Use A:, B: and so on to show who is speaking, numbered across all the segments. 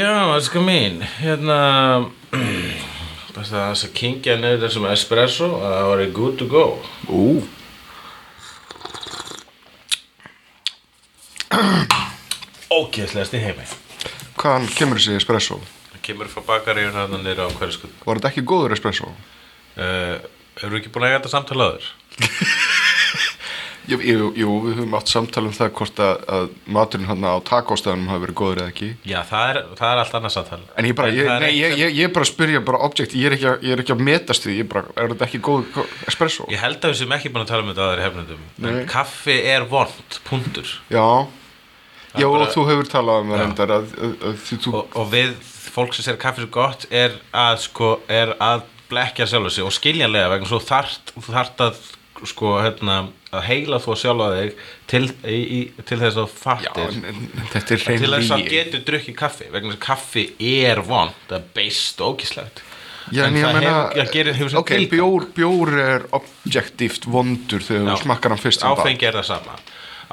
A: Já, elsku mín, hérna, best að þess að kingja niður þessum espresso að það voru good to go.
B: Ú,
A: Ógeðslega stið heimi.
B: hvaðan kemur þessi espresso?
A: Það kemur frá bakaríður þarna niður á hverju skutt.
B: Var þetta ekki góður espresso?
A: Uh, Eru ekki búin að eiga þetta samtalaður?
B: Jú, jú, jú við höfum átt samtala um það hvort að, að maturinn hann á takóstæðanum hafi verið góður eða ekki.
A: Já, það er, það er allt annað samtal.
B: En ég bara, ég,
A: það er
B: nei, ég,
A: einhver-
B: ég, ég er bara að spyrja bara objekt, ég er ekki, að- ég er ekki að metast því, ég bara, er þetta ekki góð gó- espresso?
A: Ég held að við sem ekki búin að tala um þetta aðeir hefnendum.
B: Nei.
A: Kaffi er vond, punktur.
B: Já, já
A: bara-
B: og þú hefur talað um það reyndar að, að, að því þú,
A: og, og við fólk sem segir kaffi svo gott er að sko, er að blekja sjálfa sig og skiljanlega vegna svo þart, þart að sko, hérna, að heila þú sjálfa þig til, í, í, til þess að þú
B: já,
A: fattir
B: en, en, þetta er
A: til þess að
B: reynlígi.
A: getur drukkið kaffi vegna þess að kaffi er vond það er beist og ógislegt
B: Já, en ég
A: það
B: meina,
A: hefur, það gerir, hefur sem
B: ok, bjór, bjór er objektíft vondur þegar þú smakkar hann fyrst um dag.
A: áfengi er það sama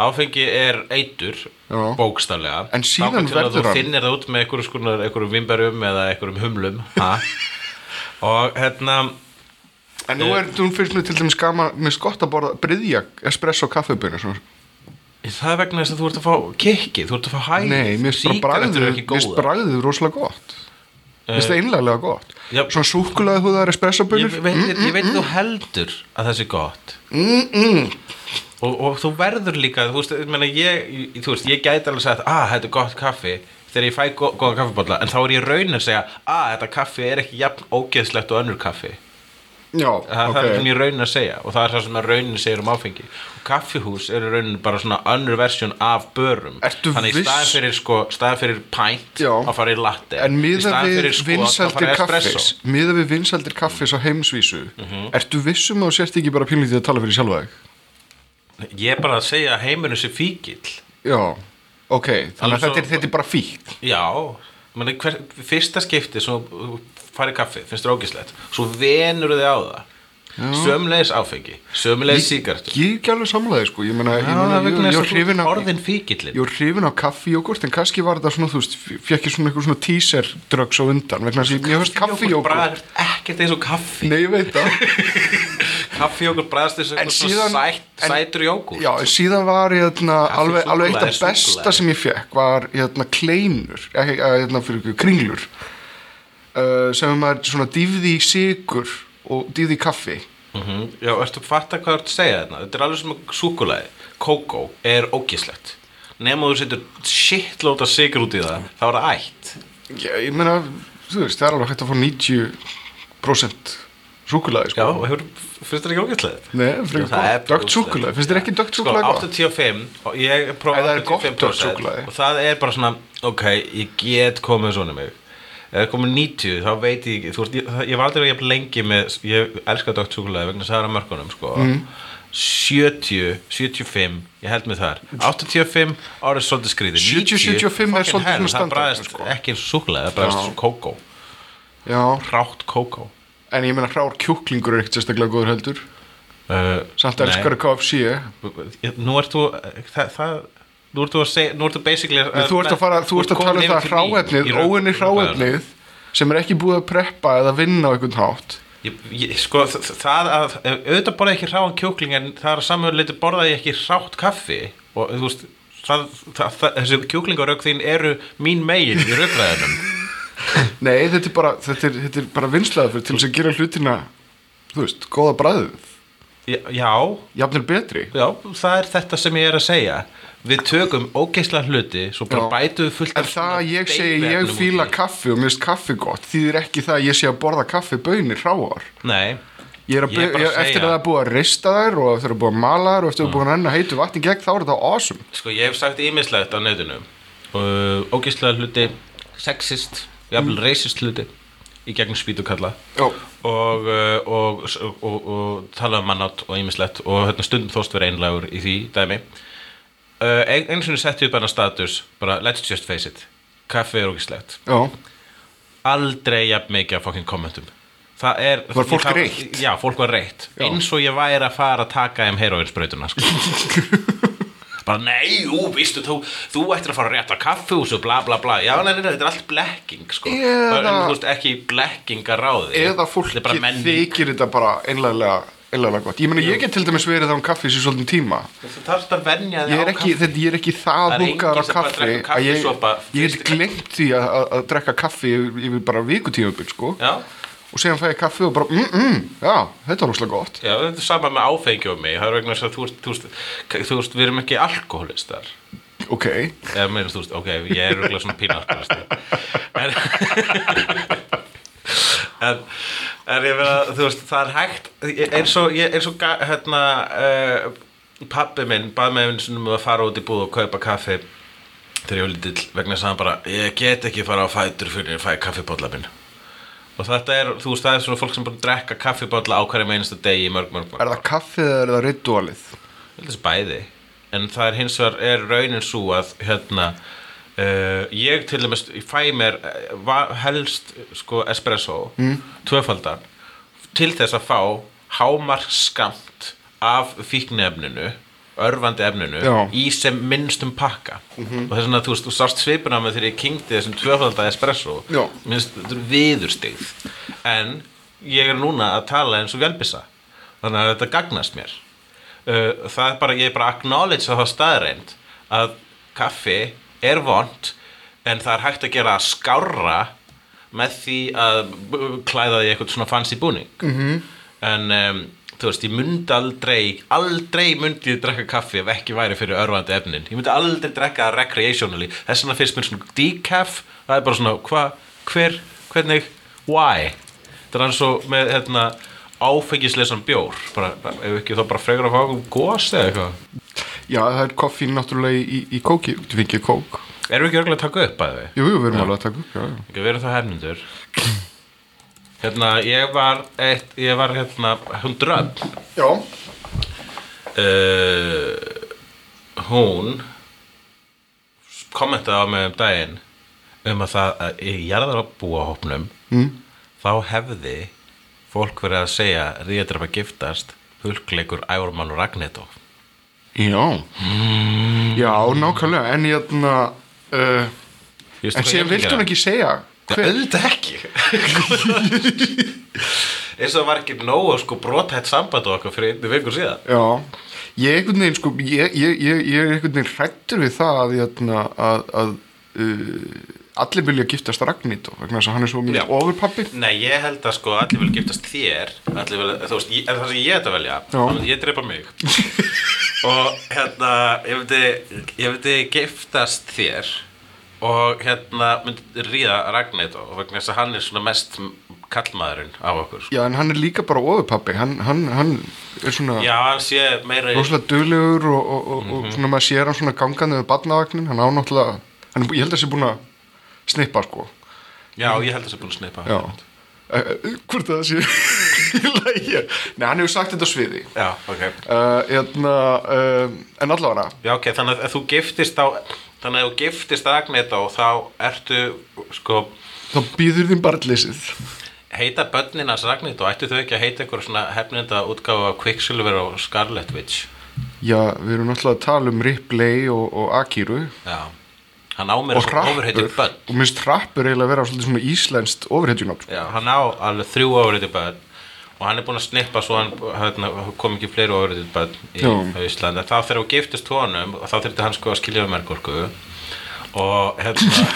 A: áfengi er eitur
B: Já.
A: bókstaflega
B: En síðan
A: Þangað til að
B: verður hann-
A: þú finnir það út með einhverjum skonar einhverjum vimberum eða einhverjum humlum ha? og hérna
B: En nú er, þú finnst mér til dæmis gaman, mér finnst gott að borða bryðja espresso kaffebunni svona.
A: það er vegna þess að þú ert að fá kikki þú ert að fá hæg
B: Nei, mér finnst bara bragðið,
A: er
B: mér
A: ekki
B: finnst
A: góða
B: bragðið rosalega gott. Mér finnst það einlega gott.
A: já.
B: Svona súkulega húðar espresso
A: ég,
B: bunnur.
A: veit, ég, ég veit
B: Mm,
A: þú heldur að það sé gott og, og þú verður líka þú veist, ég, meina, ég, ég- þú veist, ég gæti alveg að segja að ah, þetta er gott kaffi þegar ég fæ gó, góðan kaffibólla en þá er ég raun að segja að þetta kaffi er ekki jafn ógeðslegt og önnur kaffi
B: Já,
A: það, það er sem
B: ok.
A: ég raun að segja og það er það sem að raunin segir um áfengi og kaffihús eru raunin bara svona önnur versjón af börum
B: Ertu
A: þannig í
B: viss?
A: staðan fyrir, sko, staðan fyrir pint
B: Já.
A: að fara í latte
B: En miða
A: staðan
B: við
A: fyrir, sko, að fara
B: vinsaldir
A: í espresso. Mhm.
B: kaffis, miða við vinsaldir kaffis á heimsvísu, ertu vissum að þú sért ekki bara pínlítið að tala fyrir sjálfa þig?
A: ég er bara að segja að heimurinn sé fíkil
B: Já, ok, þannig
A: Alveg
B: að þetta er,
A: svo-
B: þetta er bara fíkt.
A: Já, meni, hver, fyrsta skipti sem þú farið kaffi, finnst þér ógislegt svo venur þið á það sömleis áfengi, sömleis síkartu
B: Ég er ekki alveg samlaði, sko, ég meina, ég meina, ég- ég er hrifin af...
A: orðin fíkillin
B: Ég var hrifin á kaffijógurt en kannski var þetta svona, þú veist, fekk ég svona eitthvað svona teaser drugs á undan vegna þess að ég höfst kaffijógurt.
A: bræðast ekkert eins og kaffi
B: Nei, ég veit það.
A: kaffijókur bræðast eins og
B: En
A: einhver
B: síðan-
A: svona sætt,
B: en-
A: sætur jókur
B: Já, en síðan var ég þarna alveg, alveg eitt af
A: súkkulaði,
B: besta
A: súkkulaði.
B: sem ég fekk var ég þarna kleinur, ekki, eh, hérna fyrir ykkur, kringlur uh, sem maður svona dýfði í sigur og dýfði í kaffi.
A: Mhm. Já, ertu að fatta hvað þú ert að segja þarna Þetta er alveg sem súkulæði Kókó er ógislegt Nefn að þú setur shitlóta sigur út í það Þá er það ætt
B: Ég, ég meina, þú veist, það er alveg hægt að fá 90% súkulæði,
A: Já,
B: sko.
A: og hefur, finnst þér ekki ógætlega?
B: Nei, frekar gott. Dökkt súkkulaði. Finnst þér ekki dökkt súkkulaði gott?
A: 85, Sko, og ég prófa
B: Nei, það er gott dökkt
A: 85%
B: súkkulaði.
A: og það er bara svona, ok, ég get komið svona mig Ef það er komið 90, þá veit ég ekki Þú veist, ég, það- ég var aldrei jafn lengi með Ég elska dökkt súkulega vegna særa mörkunum sko.
B: Mm.
A: 70, 75 Ég held mig þar 85, árið svolítið skrýði
B: 70, 75 er svolítið svona
A: Það
B: standard,
A: bræðist
B: sko.
A: ekki eins og súkulega Það bræðist svo kókó,
B: Já,
A: rátt kókó
B: en ég meina hrár kjúklingur er ekkert sérstaklega góður heldur.
A: uh,
B: Samt
A: nei.
B: elskar KFC,
A: nú ert þú það, það Nú ert þú að segja, nú ert þú basically
B: En þú ert að fara, þú ert að tala um það hráefnið, óunni hráefnið sem er ekki búið að preppa eða vinna á einhvern hátt
A: ég, ég, Sko, þ- þ- það að, eh, auðvitað borða ég ekki hráan kjúkling en það er að samhjörleiti borða ég ekki hrátt kaffi og þú veist, það, það, það, þessi kjúklingarögg þín eru mín megin í röggræðinum
B: Nei, þetta er bara, þetta er, þetta er bara vinslaður fyrir til þess að gera hlutina, þú veist, góða bræðið
A: Já- já,
B: jafnvel betri
A: já, það er þetta sem ég er að segja við tökum ógeisla hluti svo bara
B: Já.
A: bætum við fullt
B: En það að ég segi ég fíla kaffi og mist kaffi gott þýðir ekki það að ég sé að borða kaffi bönir hráar.
A: nei,
B: Ég er að,
A: Ég er bara
B: ég,
A: að segja.
B: eftir að það er búið að rista þær og eftir að búið að mala þær og eftir að búið að renna heitu vatni gegn þá er það awesome.
A: sko ég hef sagt ímislegt á netinu uh, ógeisla hluti sexist, jafnvel racist hluti í gegnum spýtu kalla
B: Já,
A: og, uh, og, og, og, og tala um mannátt og ímislegt og hérna, stundum þóst verið einlægur í því dæmi uh, ein, eins og setti upp hennar status bara let's just face it kaffi er ógislegt
B: já,
A: aldrei jafn mikið af fokkin kommentum það er
B: Var fólk
A: ég þarf-
B: reitt?
A: já, fólk var reitt
B: Já.
A: eins og ég væri að fara að taka þeim heroinsbrautuna sko. bara nei, jú, vístu þú, þú ættir að fara að rétta kaffi og svo bla bla bla já, nei, nei, nei, þetta er allt blekking sko.
B: Eða-
A: það er en, þú veist, ekki blekkingaráði
B: eða
A: Þetta
B: fólki
A: er bara menning.
B: þykir þetta bara einlega, einlega gott. Ég meina ég get til dæmis verið á um kaffi sér svolítið tíma.
A: Þú þarfst að venja þig á
B: Ég er ekki,
A: kaffi.
B: þetta, ég er ekki
A: Það
B: það
A: er enginn
B: húkaður á
A: sem bara
B: kaffi
A: drekkur
B: að ég,
A: kaffisopa
B: ég
A: fyrst í-
B: get glemt því að, að, að drekka kaffi yfir, yfir bara vikutímabil sko
A: Já,
B: og segja fæ ég kaffi og bara mm, mm, já, þetta er rúslega gott
A: já, þetta er sama með áfengi og mig Það er vegna þess að þú veist, þú veist, þú veist við erum ekki alkoholistar
B: ok,
A: Eða meira þú veist, ok, ég er röglega svona pína alkoholist En En, en ég meina, þú veist, það er hægt ég- Eins og, ég, eins og ga- hérna uh, Pappi minn bað með einu sinni um að fara út í búð og kaupa kaffi þegar ég var lítill vegna þess að hann bara ég get ekki fara á fætur fyrir að fæ kaffibólla minn og þetta er, þú veist, það er svona fólk sem bara drekka kaffibólla á hverjum einasta degi í mörg, mörg, mörg
B: er það kaffið eða er það ritualið
A: Ég held þessi bæði En það er hins vegar, er raunin svo að hérna, uh, ég til dæmis ég fæ mér eh, va- helst sko espresso mm. tvöfaldan til þess að fá hámarkskamt af fíknefninu örfandi efninu
B: Já. Mhm.
A: í sem minnstum pakka og þess vegna þú veist, þú sást svipuna með þegar ég kynkti þessum tvöfaldan espresso
B: Já.
A: minnst, þetta er viðurstigð en ég er núna að tala eins og velbissa þannig að þetta gagnast mér uh, það er bara, ég er bara að acknowledge að það staðreind að kaffi er vond en það er hægt að gera að skárra með því að b- klæða því eitthvað svona fancy búning -hmm. en um, þú veist, ég myndi aldrei aldrei myndi ég drekka kaffi ef ekki væri fyrir örfandi efnin, ég myndi aldrei drekka það recreationally, þess vegna finnst mér svona decaf, það er bara svona hva, hver, hvernig, why þetta er eins og með hérna, áfengisleisan bjór bara, bara, ef ekki þá bara frekar að fá okkur gos eða eitthvað,
B: já, það er koffín náttúrulega í, í, í kóki þú fengið kók,
A: erum við ekki örgulega að taka upp að við
B: jú, jú, við erum alveg að taka upp já, já.
A: ekki, við erum þá hefnindur hérna, ég var eitt, ég var hérna, hún drömm
B: já,
A: uh, hún kommentaði á mig um daginn um að það að í jarðarbúahopnum mm. þá hefði fólk verið að segja ríðadrapa giftast hulkleikur Ævormann og Ragnetó
B: já nákvæmlega, en ég þarna uh, en síðan vildi hún ekki segja
A: hver? auðvitað ekki eins og það var ekki nóg að sko brotætt samband á okkur fyrir einu vikur síðan
B: Já, ég er einhvern veginn sko, ég, ég, ég, ég er einhvern veginn hrættur við það að, hérna, að, að uh, allir vilja giftast Ragnit og vegna þess að hann er svo
A: Já.
B: mjög ofurpappi
A: Nei, ég held að sko allir vil giftast þér allir vil, þú veist, ég, en það sem ég ætti að velja
B: Já.
A: þá myndi ég drepa mig og hérna ég myndi, ég myndi giftast þér og hérna myndi ríða Ragnætt og vegna þess að hann er svona mest kallmaðurinn af okkur sko.
B: Já, en hann er líka bara ofurpappi, hann, hann, hann er svona
A: Já, Mhm. hann sé meira í
B: rosalega duglegur og, og, og, og svona maður sér hann svona gangandi við barnavagnin, hann á náttúrulega, hann er, bú- ég held að sé búin að snippa sko
A: Já, ég held að það er búin að snipa
B: Já, Eh, eh, hvort það sé í lagi? Nei, hann hefur sagt þetta á sviði
A: Já, ok
B: uh, hérna, uh, en allavega
A: Já, ok, þannig að þú giftist á þannig að þú giftist Ragnætt og þá ertu sko
B: þá býður þín barnleysið
A: Heita börnin hans Ragnhild og ættu þau ekki að heita einhver svona hefninda útgáfa af Quicksilver og Scarlet Witch
B: Já, við erum náttúrulega að tala um Ripley og, og Akiru
A: Já Hann á mér
B: og
A: að ofurheiti
B: Hrappur
A: börn
B: og minnst Hrappur eiginlega að vera svolítið svona íslenskt ofurhetjunátt
A: Já, hann á alveg þrjú ofurheiti börn og hann er búinn að snippa svo hann hérna, kom ekki fleiri ofurheiti börn í
B: Já.
A: á Íslandi en þá þegar þú giftist honum og þá þurfti hann sko að skilja um ergorku og hérna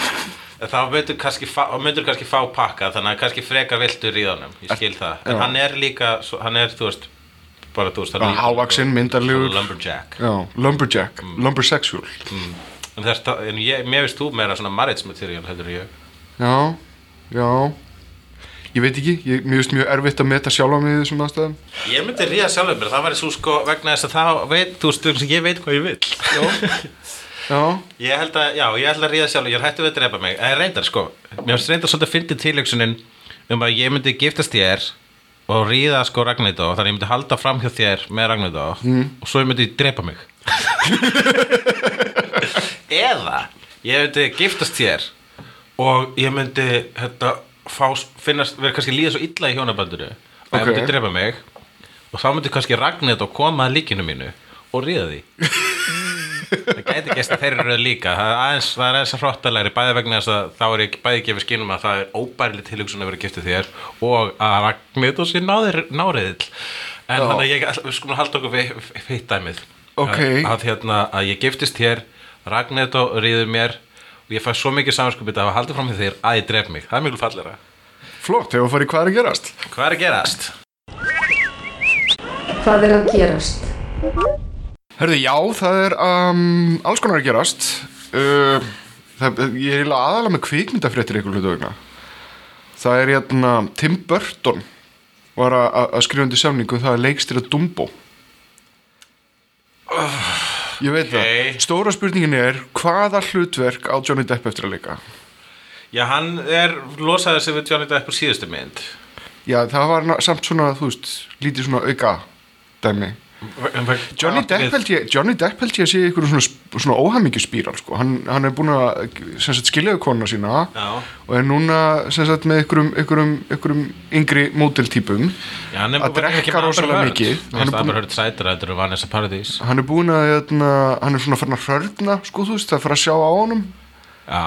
A: en þá myndur kannski, fá- þá myndirðu kannski fá pakka þannig að kannski frekar viltur í honum ég skil það, en
B: Já.
A: hann er líka, svo- hann er þú veist bara þú veist það
B: Já,
A: er líka-
B: hávaxinn, myndarlegur.
A: Lumberjack
B: já, lumberjack, lumbersexual
A: En, þess, það- en ég, mér veist þú meira svona marriage material heldur en ég
B: já, já ég veit ekki, ég, mér finnst mjög erfitt að meta sjálfa mig í þessum aðstæðum
A: Ég myndi ríða sjálfur mér, það væri svo sko vegna þess að það veit, þú veist, ég veit hvað ég vil
B: já,
A: Ég held að, já, ég held að ríða sjálfur, ég er hættu við að drepa mig En reyndar sko, mér finnst reyndar svolítið að fyndi tilöksunin um að ég myndi giftast þér og ríða sko Ragnætó þannig að ég myndi halda fram hjá þér með Ragnætó og svo ég myndi drepa mig Eða ég myndi giftast þér og ég myndi hérna, fá, finnast, verið kannski líða svo illa í hjónabandinu og
B: Ok.
A: ég myndi drepa mig og þá myndi kannski Ragnætó koma að líkinu mínu og ríða því Það gæti gæst að þeir eru líka Það er aðeins, það er aðeins að hróttalæri bæði vegna þess að þá er ég bæði gefið skínum að það er óbærileg tilhugsun að vera giftið þér og að Ragnit og sér náðir náriðill En
B: Já.
A: þannig að ég, við skulum halda okkur við hitt dæmið
B: Ok.
A: að, að, hérna, að ég giftist þér Ragnit og ríður mér og ég fæ svo mikið samanskupið að hafa haldið fram með þér að ég dref mig, það er mjög fallera
B: flott, hefur farið hvað er að gerast
A: Hvað er að gerast?
C: Hvað er að gerast?
B: Herðu, já, það er um, alls konar að gerast uh, það, Ég er eiginlega aðalega með kvikmyndafréttir ykkur hlutu vegna Það er hérna Tim Burton var að- að að skrifa undir samningu um það er leikstýra Dumbo Ég veit
A: ok.
B: það Stóra spurningin er hvaða hlutverk á Johnny Depp eftir að leika
A: Já, hann er losaði sig við Johnny Depp úr síðustu mynd
B: Já, það var na- samt svona, þú veist, lítið svona auka dæmi Johnny Depp held ég, Johnny Depp held ég að sé ykkur svona, svona óhamingjuspíral sko. hann, hann er búin að sem sagt, skiljaðu konuna sína
A: Já.
B: og er núna sem sagt, með ykkurum, ykkurum, ykkurum yngri móteltípum
A: Já, hann er
B: að
A: bara ekki
B: drekka
A: með
B: rosalega
A: Amber Heard.
B: mikið
A: Mér finnst
B: hann er,
A: Amber
B: búin,
A: Heard sætur að þetta eru Vanessa Paradís
B: hann er búin að hérna, hann er svona farin að hrörna sko, þú veist, það er farin að sjá á honum
A: Já,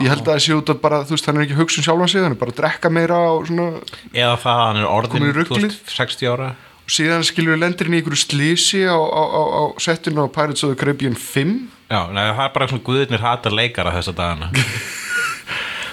B: ég held að það sé út að bara, þú veist, hann er ekki að hugsa um sjálfan sig hann er bara að drekka meira og svona
A: eða það að hann er
B: Kominn
A: orðin
B: í ruglið.
A: 60 ára
B: og síðan skilur við lendurinn í ykkur slísi á, á, á, á settinu á Pirates of the Caribbean 5
A: Já, neða, það er bara svona guðirnir hata leikara þessa dagana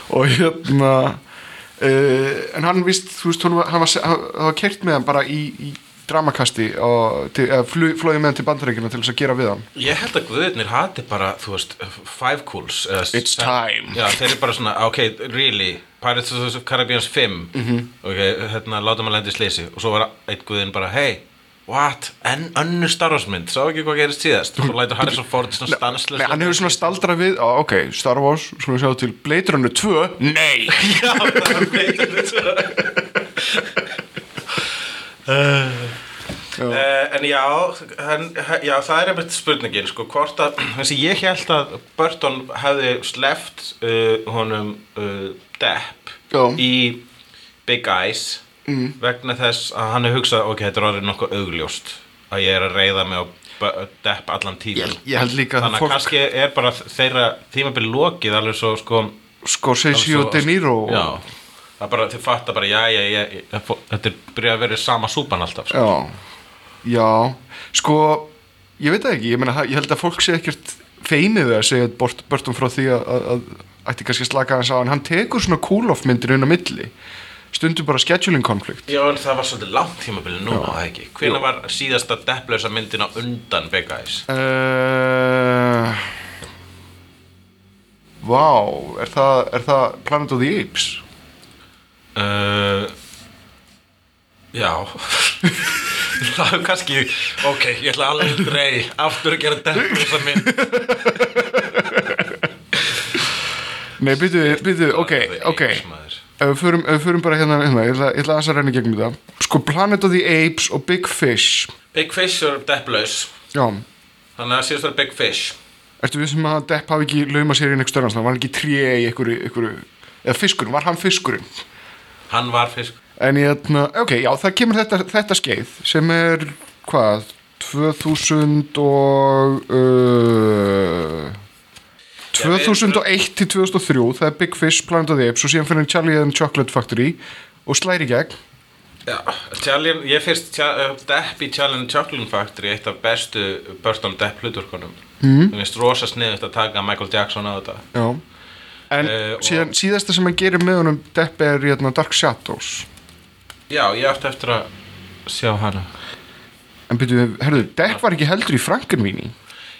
B: og hérna uh, en hann vist þú veist, honum var- hann var, hann var kert með hann bara í, í dramakasti og til- eða flug- flogið með hann til bandaríkina til þess að gera við hann
A: Ég held að guðirnir hati bara, þú veist, Five Cools eða,
B: It's
A: se-
B: time.
A: Já, þeir eru bara svona, ok, really Pirates of the Caribbean 5
B: Mhm.
A: Ok, hérna, látum að lenda í sleysi og svo var einn guðin bara, hey What? En önnur Star Wars mynd, sá ekki hvað gerist síðast Svo lætur Harrison Ford svona stanslega
B: Nei, hann hefur svona staldrað við, á, ok, Star Wars skulum sjá til Blade Runner 2 nei,
A: Já, það er beitur Uh, en já, hann, já, það er einmitt spurningin sko, hvort að, þessi ég held að Burton hefði sleft uh, honum uh, Depp
B: Já.
A: í Big Eyes mm. vegna þess að hann hefur hugsað ok, þetta er orðið nokkuð augljóst að ég er að reyða mig á Bu- Depp allan tíma
B: Ég- ég held líka að
A: þannig að
B: fólk-
A: kannski er bara þeirra tímabil lokið alveg svo sko
B: Scorsese og De Niro og-
A: Já, það er bara, þið fattar bara, já, já, já, já þetta er byrjað að vera sama súpan alltaf sko.
B: Já, já, sko, ég veit það ekki, ég, meina, það- ég held að fólk sé ekkert feimið við að segja bort, bortum frá því að, að, að ætti kannski að slaka hans á, en hann tekur svona cool-off myndir inn á milli, stundum bara scheduling konflikt.
A: Já, en það var svolítið langt tímabili núna, það ekki Hvenær var síðasta depplösa myndin á undan Big Eyes?
B: Uh, vá, er það, er það Planet of the Apes?
A: Uh, já Það er kannski, ok, ég ætla aldrei aftur að gera depplösa mynd
B: Nei, byrju, byrju, ok, ok.
A: maður.
B: Ef við förum, ef við förum bara hérna, hérna, ég ætla, ég ætla aðeins að reyna í gegnum þetta. Sko, Planet of the Apes og Big Fish,
A: Big Fish er depplös
B: já,
A: Þannig að síðast var Big Fish
B: Ertu við sem að Depp hafi ekki lauma sér í einhver störnans, hann var hann ekki tríi í einhverju, einhverju, eða fiskurinn, var hann fiskurinn?
A: Hann var fisk
B: En ég ætla, ok, já, það kemur þetta, þetta skeið sem er, hvað, 2000 og, uh, 2001 til 2003, það er Big Fish, Planet of the Apes og síðan fyrir Charlie and the Chocolate Factory og slæri gegn.
A: Já, Italian, ég fyrst tja- uh, Depp í Challenge Chocolate Factory eitt af bestu Burton Depp hluturkonum
B: Mhm.
A: mm. Mér finnst rosa sniðust að taka Michael Jackson á þetta
B: Já. En
A: Eh, og-
B: síðan, síðasta sem hann gerir með honum Depp er hérna, Dark Shadows.
A: Já, ég átti eftir að sjá hana
B: En byrju, herðu, Depp var ekki heldur í Frankenvíni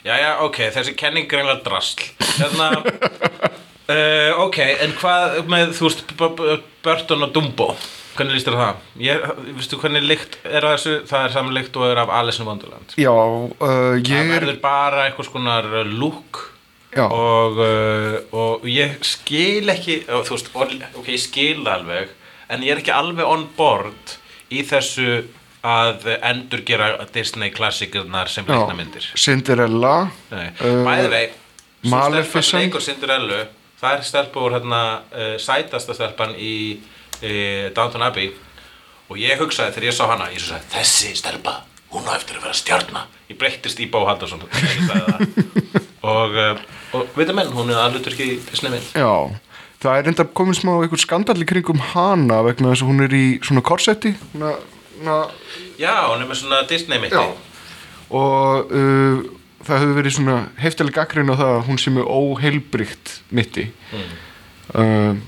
A: Já, já, ok, þessi kenning greinlega drasl Þannig að Ok, en hvað með, þú veist, B- B- Burton og Dumbo Hvernig líst þér á það? Ég, veistu hvernig lykt er á þessu? Það er saman lykt og er af Alice in Wonderland
B: Já, uh, ég
A: Það
B: er
A: verður bara eitthvað skonar lúk
B: Já.
A: og, uh, og ég skil ekki og, þú veist, og, ok, ég skil það alveg en ég er ekki alveg on board í þessu að endurgera Disney klassikurnar sem
B: já,
A: leikna myndir
B: Cinderella uh,
A: Bæði vei
B: Maleficent.
A: Leikur Cinderellu Það er stelpa úr hérna uh, sætasta stelpan í uh, Downton Abbey og ég hugsaði þegar ég sá hana ég svo sagði þessi stelpa hún á eftir að vera stjarna ég breyttist í Bó Haldarsson og, uh, og veitum enn hún er alveg ekki Disney minn
B: Já, það er enda komin smá eitthvað skandall í kringum hana vegna þess að hún er í svona korsetti na, na,
A: Já, hún er með svona Disney mitt
B: Já. og uh, það hefur verið svona heftileg akkurinn á það að hún sé með óheilbrygt mitti
A: Hmm.
B: mm.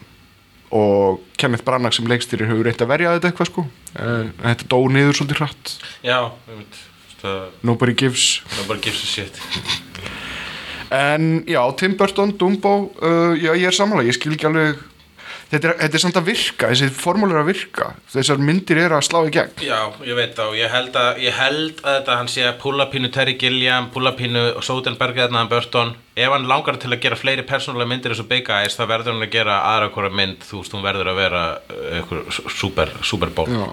B: og Kenneth Branagh sem leikstýrir hefur reynt að verja þetta eitthvað sko uh, þetta dó niður svolítið hratt
A: Já, ég veit það
B: Nobody Gives
A: það bara gives a shit
B: En já, Tim Burton, Dumbo uh, Já, ég er samanlega, ég skil ekki alveg Þetta er, þetta er samt að virka, þessi formúli er að virka Þessar myndir eru að slá í gegn
A: Já, ég veit þá, ég held að, ég held að þetta hann sé að púla pínu Terry Gilliam, púla pínu Sodenberg eða hann hérna, Burton Ef hann langar til að gera fleiri persónulega myndir eins og Big Eyes þá verður hann að gera aðra hverja mynd, þú veist, hún verður að vera uh, einhver super, super ból
B: já.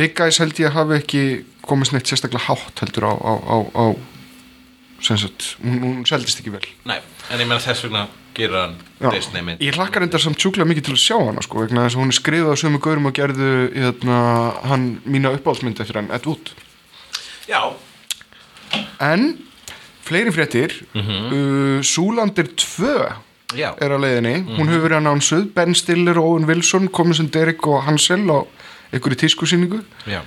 B: Big Eyes held ég að hafi ekki komist neitt sérstaklega hátt heldur á, á, á, á sem sagt, hún, hún seldist ekki vel
A: Nei, en ég meina þess vegna gera hann
B: Já.
A: Disney mynd
B: Ég hlakkar endar samt sjúklega mikið til að sjá hana sko, vegna þess að hún er skrifað á sömu gaurum og gerðu hérna, hann mína uppáhaldsmynd eftir hann, Ed Wood
A: Já,
B: En, fleiri fréttir mm uh, Súlandir 2
A: já,
B: er á leiðinni, hún hefur verið að nánsuð Ben Stiller og Owen Wilson komin sem Derek og Hansel á einhverju tískusýningu
A: já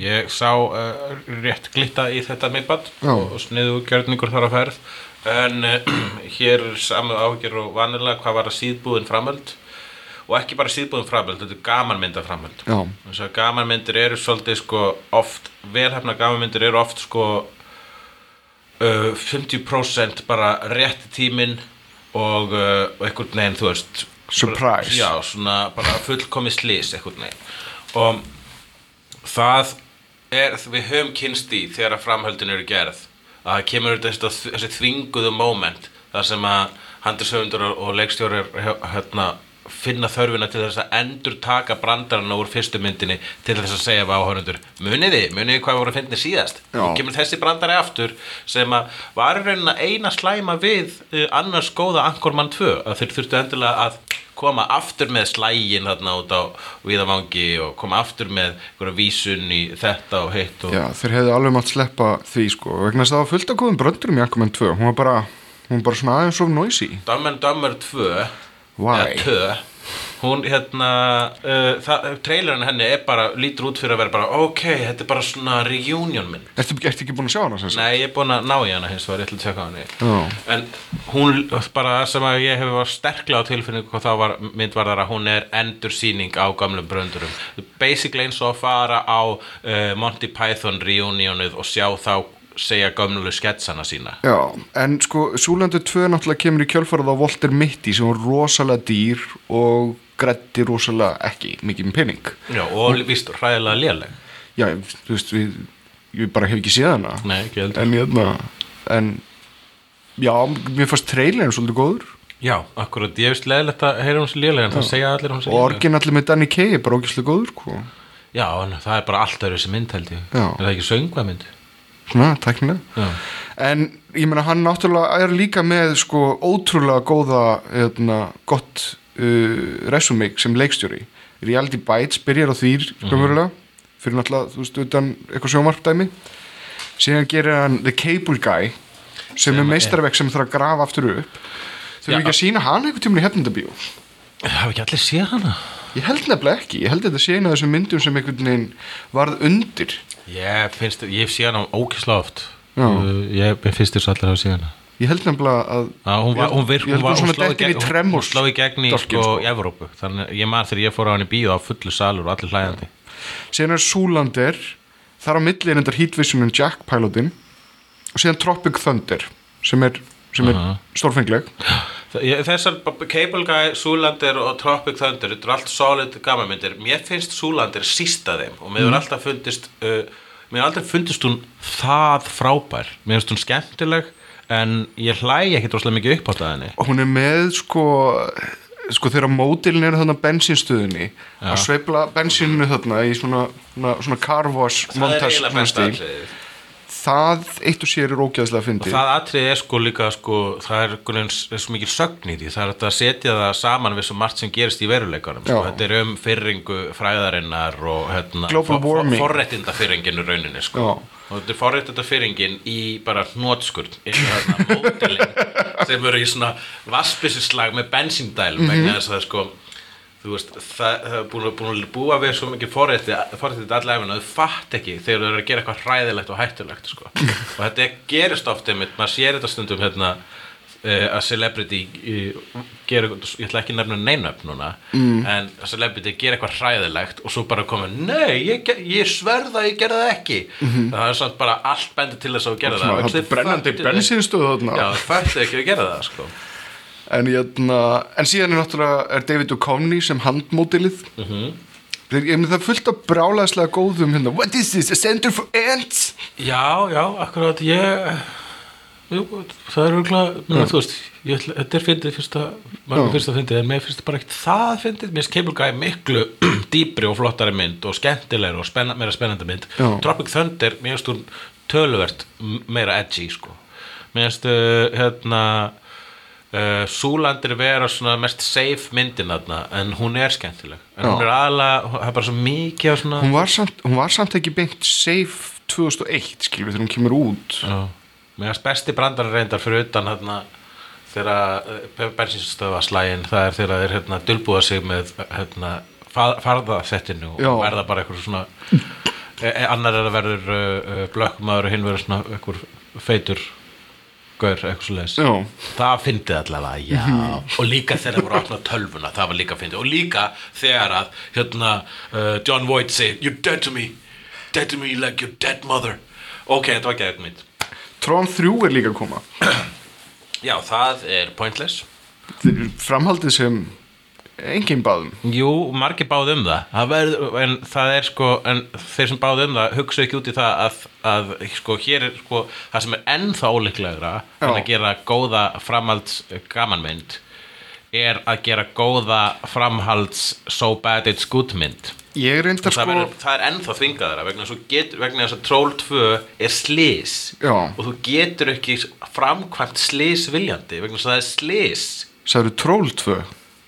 A: Ég sá uh, rétt glitta í þetta miðband
B: Já.
A: og sniðu gjörningur þar á ferð en uh, hér er samu áhyggjur og vanilega hvað var að síðbúðin framöld og ekki bara síðbúðin framöld, þetta er gamanmynda framöld
B: Já.
A: þess að gamanmyndir eru svolítið sko oft, velhæfna gamanmyndir eru oft sko uh, 50% bara rétt tímin og, uh, og einhvern veginn þú veist
B: Surprise.
A: já, svona bara fullkomis lís einhvern veginn og það er, við höfum kynst í þegar að framhöldin eru gerð að það kemur út þessi, þessi þvinguðu moment þar sem að handisöfundur og og leikstjórar hérna, finna þörfina til þess að endur taka brandarana úr fyrstu myndinni til þess að segja við áhörundur muniði, muniði hvað voru að finna síðast
B: Já.
A: og kemur þessi brandari aftur sem að var í rauninna eina slæma við uh, annars góða Ankormann 2 að þeir þurftu endilega að koma aftur með slægin þarna út á viðavangi og koma aftur með einhverja vísun í þetta og hitt og
B: Já, þeir hefðu alveg mátt sleppa því sko vegna þess að það var fullt af góðum bröndurum í Aquaman 2 hún var bara, hún var bara svona aðeins of noisy
A: Dumb and Dumber 2
B: Why?
A: eða 2 hún hérna uh, það, trailerin henni er bara, lítur út fyrir að vera bara ok, þetta er bara svona reunion minn
B: Ertu, ertu ekki búin að sjá hana sem sagt?
A: Nei, ég er búin að ná í hana hins vegar, ég ætla að tjekka á henni
B: Já.
A: En hún, bara það sem að ég hef var sterklega á tilfinningu hvað þá var myndvarðar að hún er endursýning á gamlum bröndurum Basically eins og að fara á uh, Monty Python reunionuð og sjá þá segja gamlu sketsana sína
B: Já, en sko Súlandur 2 náttúrulega kemur í kjölfarað á Walter Mitty sem var rosalega dýr og grætti rosalega ekki mikið með pening
A: Já, og víst hræðilega léleg
B: Já, ég- þú veist, við, ég bara hef ekki séð hana
A: Nei, ekki heldur
B: en hérna en já, mér fannst trailerin svolítið góður
A: Já, akkurat, ég veist leðilegt að heyra hún sér lélega en það segja allir hún sér
B: og orginallir með Danny Kaye er bara ógæslega góður sko.
A: Já, en það er bara alltaf þessi mynd held ég
B: Já.
A: Er það ekki söngva mynd?
B: svona, tæknilega
A: Já,
B: en ég meina hann náttúrulega er líka með sko ótrúlega góða hérna, gott uh, resume sem leikstjóri Reality Bites byrjar á því skömmurlega fyrir náttúrulega, þú veist, utan eitthvað sjómarpdæmi síðan gerir hann The Cable Guy sem er meistarverk sem þarf að grafa aftur upp þau
A: Já.
B: eru ekki að sína hann einhvern tímun í hefnindabíó
A: hafa ekki allir séð hana?
B: Ég held nefnilega ekki, ég held þetta sé eina af þessum myndum sem einhvern veginn varð undir
A: Ég finnst, ég hef séð hana ókisla oft
B: Já.
A: Uh, Ég mér finnst þess allir að hafa séð hana
B: Ég held nefnilega að
A: Já, hún, var, hún, virk,
B: Ég held
A: hún, var,
B: hún
A: hún,
B: svona
A: sló í
B: dettir í
A: gegn, hún, hún
B: Tremors
A: sló í gegn í
B: dálkinn,
A: sko,
B: sko.
A: Evrópu Þannig að ég maður þegar ég fór á hann í bíó á fullu salur og allir hlæðandi
B: Síðan er Súlander þar á milli er endar Heat Vision and Jack pilotin og síðan Tropic Thunder sem er, sem er stórfengleg
A: Þe- ég- Þessar b- b- Cable Guy, Zoolander og Tropic Thunder þetta er allt solid gammamyndir mér finnst Zoolander sísta þeim og
B: Mhm.
A: mér hefur alltaf fundist uh, mér hefur aldrei fundist hún það frábær mér finnst hún skemmtileg en ég hlæ ekki droslega mikið upp á staðinni
B: og hún er með sko sko þegar mótilin er þarna bensínstöðinni að sveifla bensíninu þarna í svona, svona, svona carwash
A: það er
B: montage
A: eiginlega
B: svona
A: besta
B: stíl.
A: atriðið.
B: það eitt og sér er ógæðslega
A: og
B: fyndið
A: það atrið er sko líka sko, það er, einhvern veginn- er svo mikil sögn í því það er hægt að setja það saman við svo margt sem gerist í veruleikanum sko.
B: Já.
A: þetta er um fyrringu fræðarinnar og hérna,
B: Global warming.
A: forréttinda fyrringinu rauninni sko.
B: Já.
A: og þetta er forréttinda fyrringin í bara hnótskurn hérna, mótilin sem eru í svona vassbissinslag með bensíndælum vegna þess að sko þú veist, það, það er búin, að- búin að búa við svo mikið forrétti, forrétti allavegna að þau fatt ekki þegar þau eru að gera eitthvað hræðilegt og hættulegt sko. og þetta gerist oft einmitt, maður sér þetta stundum hérna eh, að celebrity eh, gera, eitthvað- ég ætla ekki að nefna neinöfn núna, mm. en að celebrity gera eitthvað hræðilegt og svo bara koma nei, ég, ge- ég sverða að ég gerði það ekki það er samt bara allt bendur til þess að þú gerði
B: Mhm. Svona,
A: það
B: það er brennandi bensinstöð þarna.
A: já, fættu ekki að gera það sko.
B: en, jötna, en síðan er náttúrulega er David Duchovny sem handmótilið mm
A: Mhm.
B: -hmm. það er fullt af brálaðslega góðum hérna, what is this, a center for ants
A: Já, já, akkurat ég jú, það er örgulega menn, þú veist, ég ætla, þetta er fyndið fyrsta mörgum
B: Já.
A: fyrsta fyndið, en mér finnst bara ekkert það fyndið, mér finnst Cable Guy miklu dýpri og flottari mynd og skemmtilegri og spenna, meira spennandi mynd
B: Já.
A: Tropic Thunder, mér finnst hún töluvert m- meira edgy, sko mér finnst, uh, hérna uh, Súlandir vera svona mest safe myndin þarna, en hún er skemmtileg en
B: Já.
A: hún er aðalega, það er bara svo mikið af svona,
B: hún var samt, hún var samt ekki beint safe 2001 skilur við þegar hún kemur út
A: Já, meðan besti brandar reyndar fyrir utan hérna þegar bensinstöða slægin það er þegar þeir hérna dulbúða sig með hérna fa- farðasettinu
B: Já.
A: og verða bara eitthvað svona e, e, annar er að verður uh, blökkumaður og hinn verður svona eitthvað feitur gaur eitthvað svo leis
B: Já. Mhm.
A: það fyndið allavega, já og líka þegar það voru að opna tölvuna það var líka fyndið og líka þegar að hérna, uh, John Voight segir you're dead to me, dead to me like your dead mother ok, þetta var gæðið mitt
B: Tron 3 er líka að koma
A: Já, það er pointless
B: Þeir- framhaldið sem enginn baðum
A: Jú, margir báð um það, það verð, en það er sko en þeir sem báð um það hugsa ekki út í það að, að sko, hér er sko það sem er ennþá óleiklegra en
B: Já.
A: að gera góða framhalds eh, gamanmynd er að gera góða framhalds so bad it's good mynd
B: ég reyndar
A: það,
B: sko
A: verður, það er ennþá þvingaðara vegna, þess að þú get, vegna þess að Troll 2 er slís
B: Já.
A: og þú getur ekki framkvæmt slís viljandi vegna þess að það er slís
B: sagður Troll 2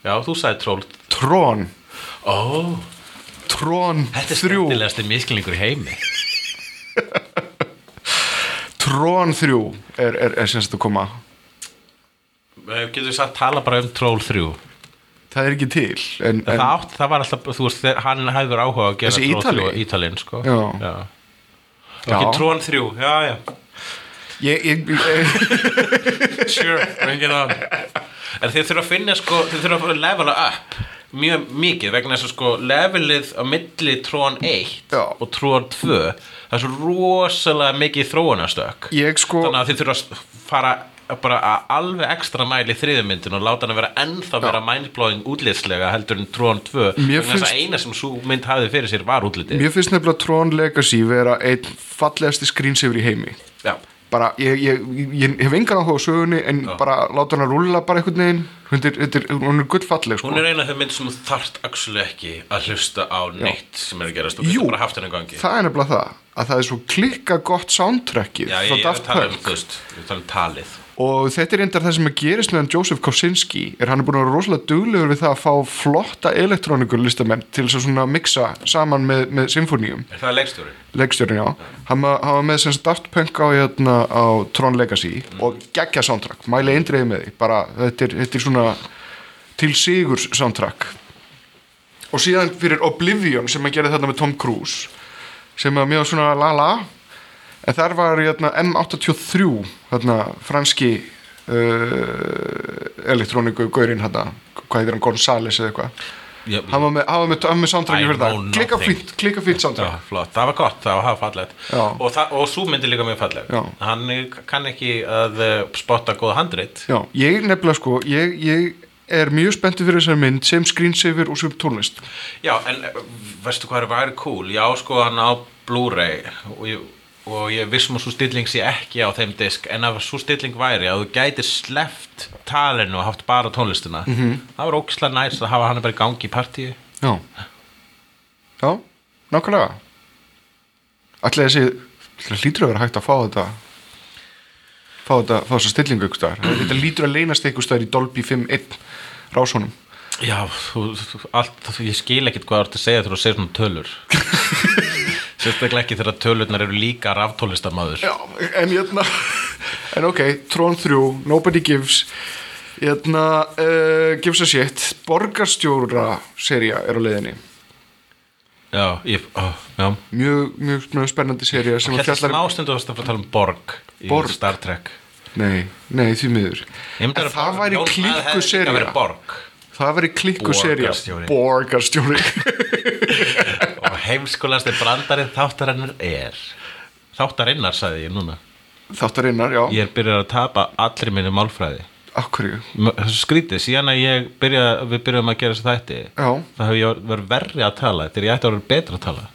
A: Já, þú sagði Troll
B: Tron
A: Ó,
B: Tron
A: þetta er
B: 3
A: skemmtilegasti miskilningur í heimi
B: Tron 3 er, er, er sem sagt að koma
A: Eh, Getur við sagt tala bara um Troll 3
B: það er ekki til en, en,
A: það, átt, það var alltaf, þú veist, þegar hann hefur áhuga að gera
B: Þessi Ítali?
A: Ítalinn, sko
B: Já.
A: Já.
B: Já.
A: Ekki Troll 3, já, já
B: ég, ég, ég,
A: Sure, bring it on En þið þurfa að finna, sko, þið þurfa að fara að levela up Mjög mikið, vegna þess að sko levelið á milli Tron 1
B: Já.
A: og Tron 2 það er svo rosalega mikið þróunastök
B: ég sko
A: þannig að þið þurfa að fara bara að alveg ekstra mæli í þriðumyndin og láta hann vera ennþá vera mindblowing útlitslega heldur en Tron 2
B: Mér
A: Vegna þess að
B: finnst-
A: eina sem svo mynd hafði fyrir sér var útlitið
B: Mér finnst nefnilega Tron Legacy vera einn fallegasti skrýnsefur í heimi
A: Já.
B: bara, ég, ég, ég hef engan áhuga á sögunni en bara láta hana rúlla bara einhvern veginn hún er, þetta er, hún er gullfalleg sko.
A: Hún er eina af þeim mynd sem þú þarft actually ekki að hlusta á neitt sem er að gerast og
B: Jú.
A: getur bara haft henni gangi
B: það er nefnilega það að það er svo klikka gott soundtrackið
A: Já, ég,
B: frá
A: ég er að
B: Daft
A: tala um,
B: Punk
A: þú veist, ég er að tala um talið
B: og þetta er reyndar það sem að gerist meðan Joseph Kosinski er hann er búin að vera rosalega duglegur við það að fá flotta elektrónikulistamenn til þess að svona mixa saman með, með symfóníum
A: Er það leikstjóri?
B: leikstjórinn já, hann ma- hann var með sem sagt Daft Punk á, hérna, á Tron Legacy og geggja soundtrack, mæli eindreiði með því bara þetta er, þetta er svona til sigurs soundtrack og síðan fyrir Oblivion sem hann gerði þarna með Tom Cruise sem er mjög svona la la en þar var hérna, M83 hérna, franski uh, elektróniku gaurinn hérna, hvað heitir hann, Gonzales eða eitthvað
A: Já,
B: hann var með, hann var með, hann var með soundtracki
A: I
B: fyrir það
A: know
B: klikka
A: nothing.
B: fýtt, klikka fýtt soundtrack
A: Já, flott, það var gott, það var það fallegt
B: Já.
A: og, það, og svo myndi líka mjög falleg
B: Já.
A: hann kann ekki að eh, spotta góð handrit
B: já, ég nefnilega sko ég, ég er mjög spenntið fyrir þessar mynd sem screensaver og sem tónlist
A: Já, en eh, veistu hvað er væri cool? Já, sko hann á Blu-ray og ég, og ég vissum að svo stilling sé ekki á þeim disk en að svo stilling væri að þú gætir sleft talinu og haft bara tónlistina -hmm. það var ógislega næst að hafa hann bara í gangi í partíu
B: já já, nákvæmlega allir þessi ætli það lítur að vera hægt að fá þetta fá þetta, fá þessa stillingu ykkur staðar þetta lítur að leynast ykkur staðar í Dolby 5.1 rásónum
A: Já, þú, þú, allt, ég skil ekkit hvað þú ert að segja þegar þú segir svona tölur Sérstaklega ekki þegar tölurnar eru líka raftólistamæður
B: Já, en hérna En ok, Tron 3, Nobody Gives Hérna uh, Gives a shit, borgarstjóra Serja er á leiðinni
A: Já, ég, ó, já
B: Mjög, mjög, mjög spennandi serja sem að
A: Hérna
B: fjallar
A: smástundu varst að fara að tala um Borg í
B: Borg.
A: Star Trek
B: Nei, nei, því miður
A: Ég
B: En
A: myndi að
B: það
A: Borg-
B: væri
A: Jón Maður hefði
B: klíku
A: líka
B: serja
A: verið Borg
B: Það væri klíku serja
A: Borgarstjóri.
B: Borgarstjóri
A: Og heimskulasti brandarinn þáttarinnar er Þáttarinnar, sagði ég núna
B: Þáttarinnar, já
A: Ég er byrjað að tapa allri minni málfræði
B: Akkurju,
A: M- Skrítið, síðan að ég byrja, við byrjum að gera þessi þætti
B: já,
A: Það hef ég verið verri að tala Þegar ég ætti að vera betra að tala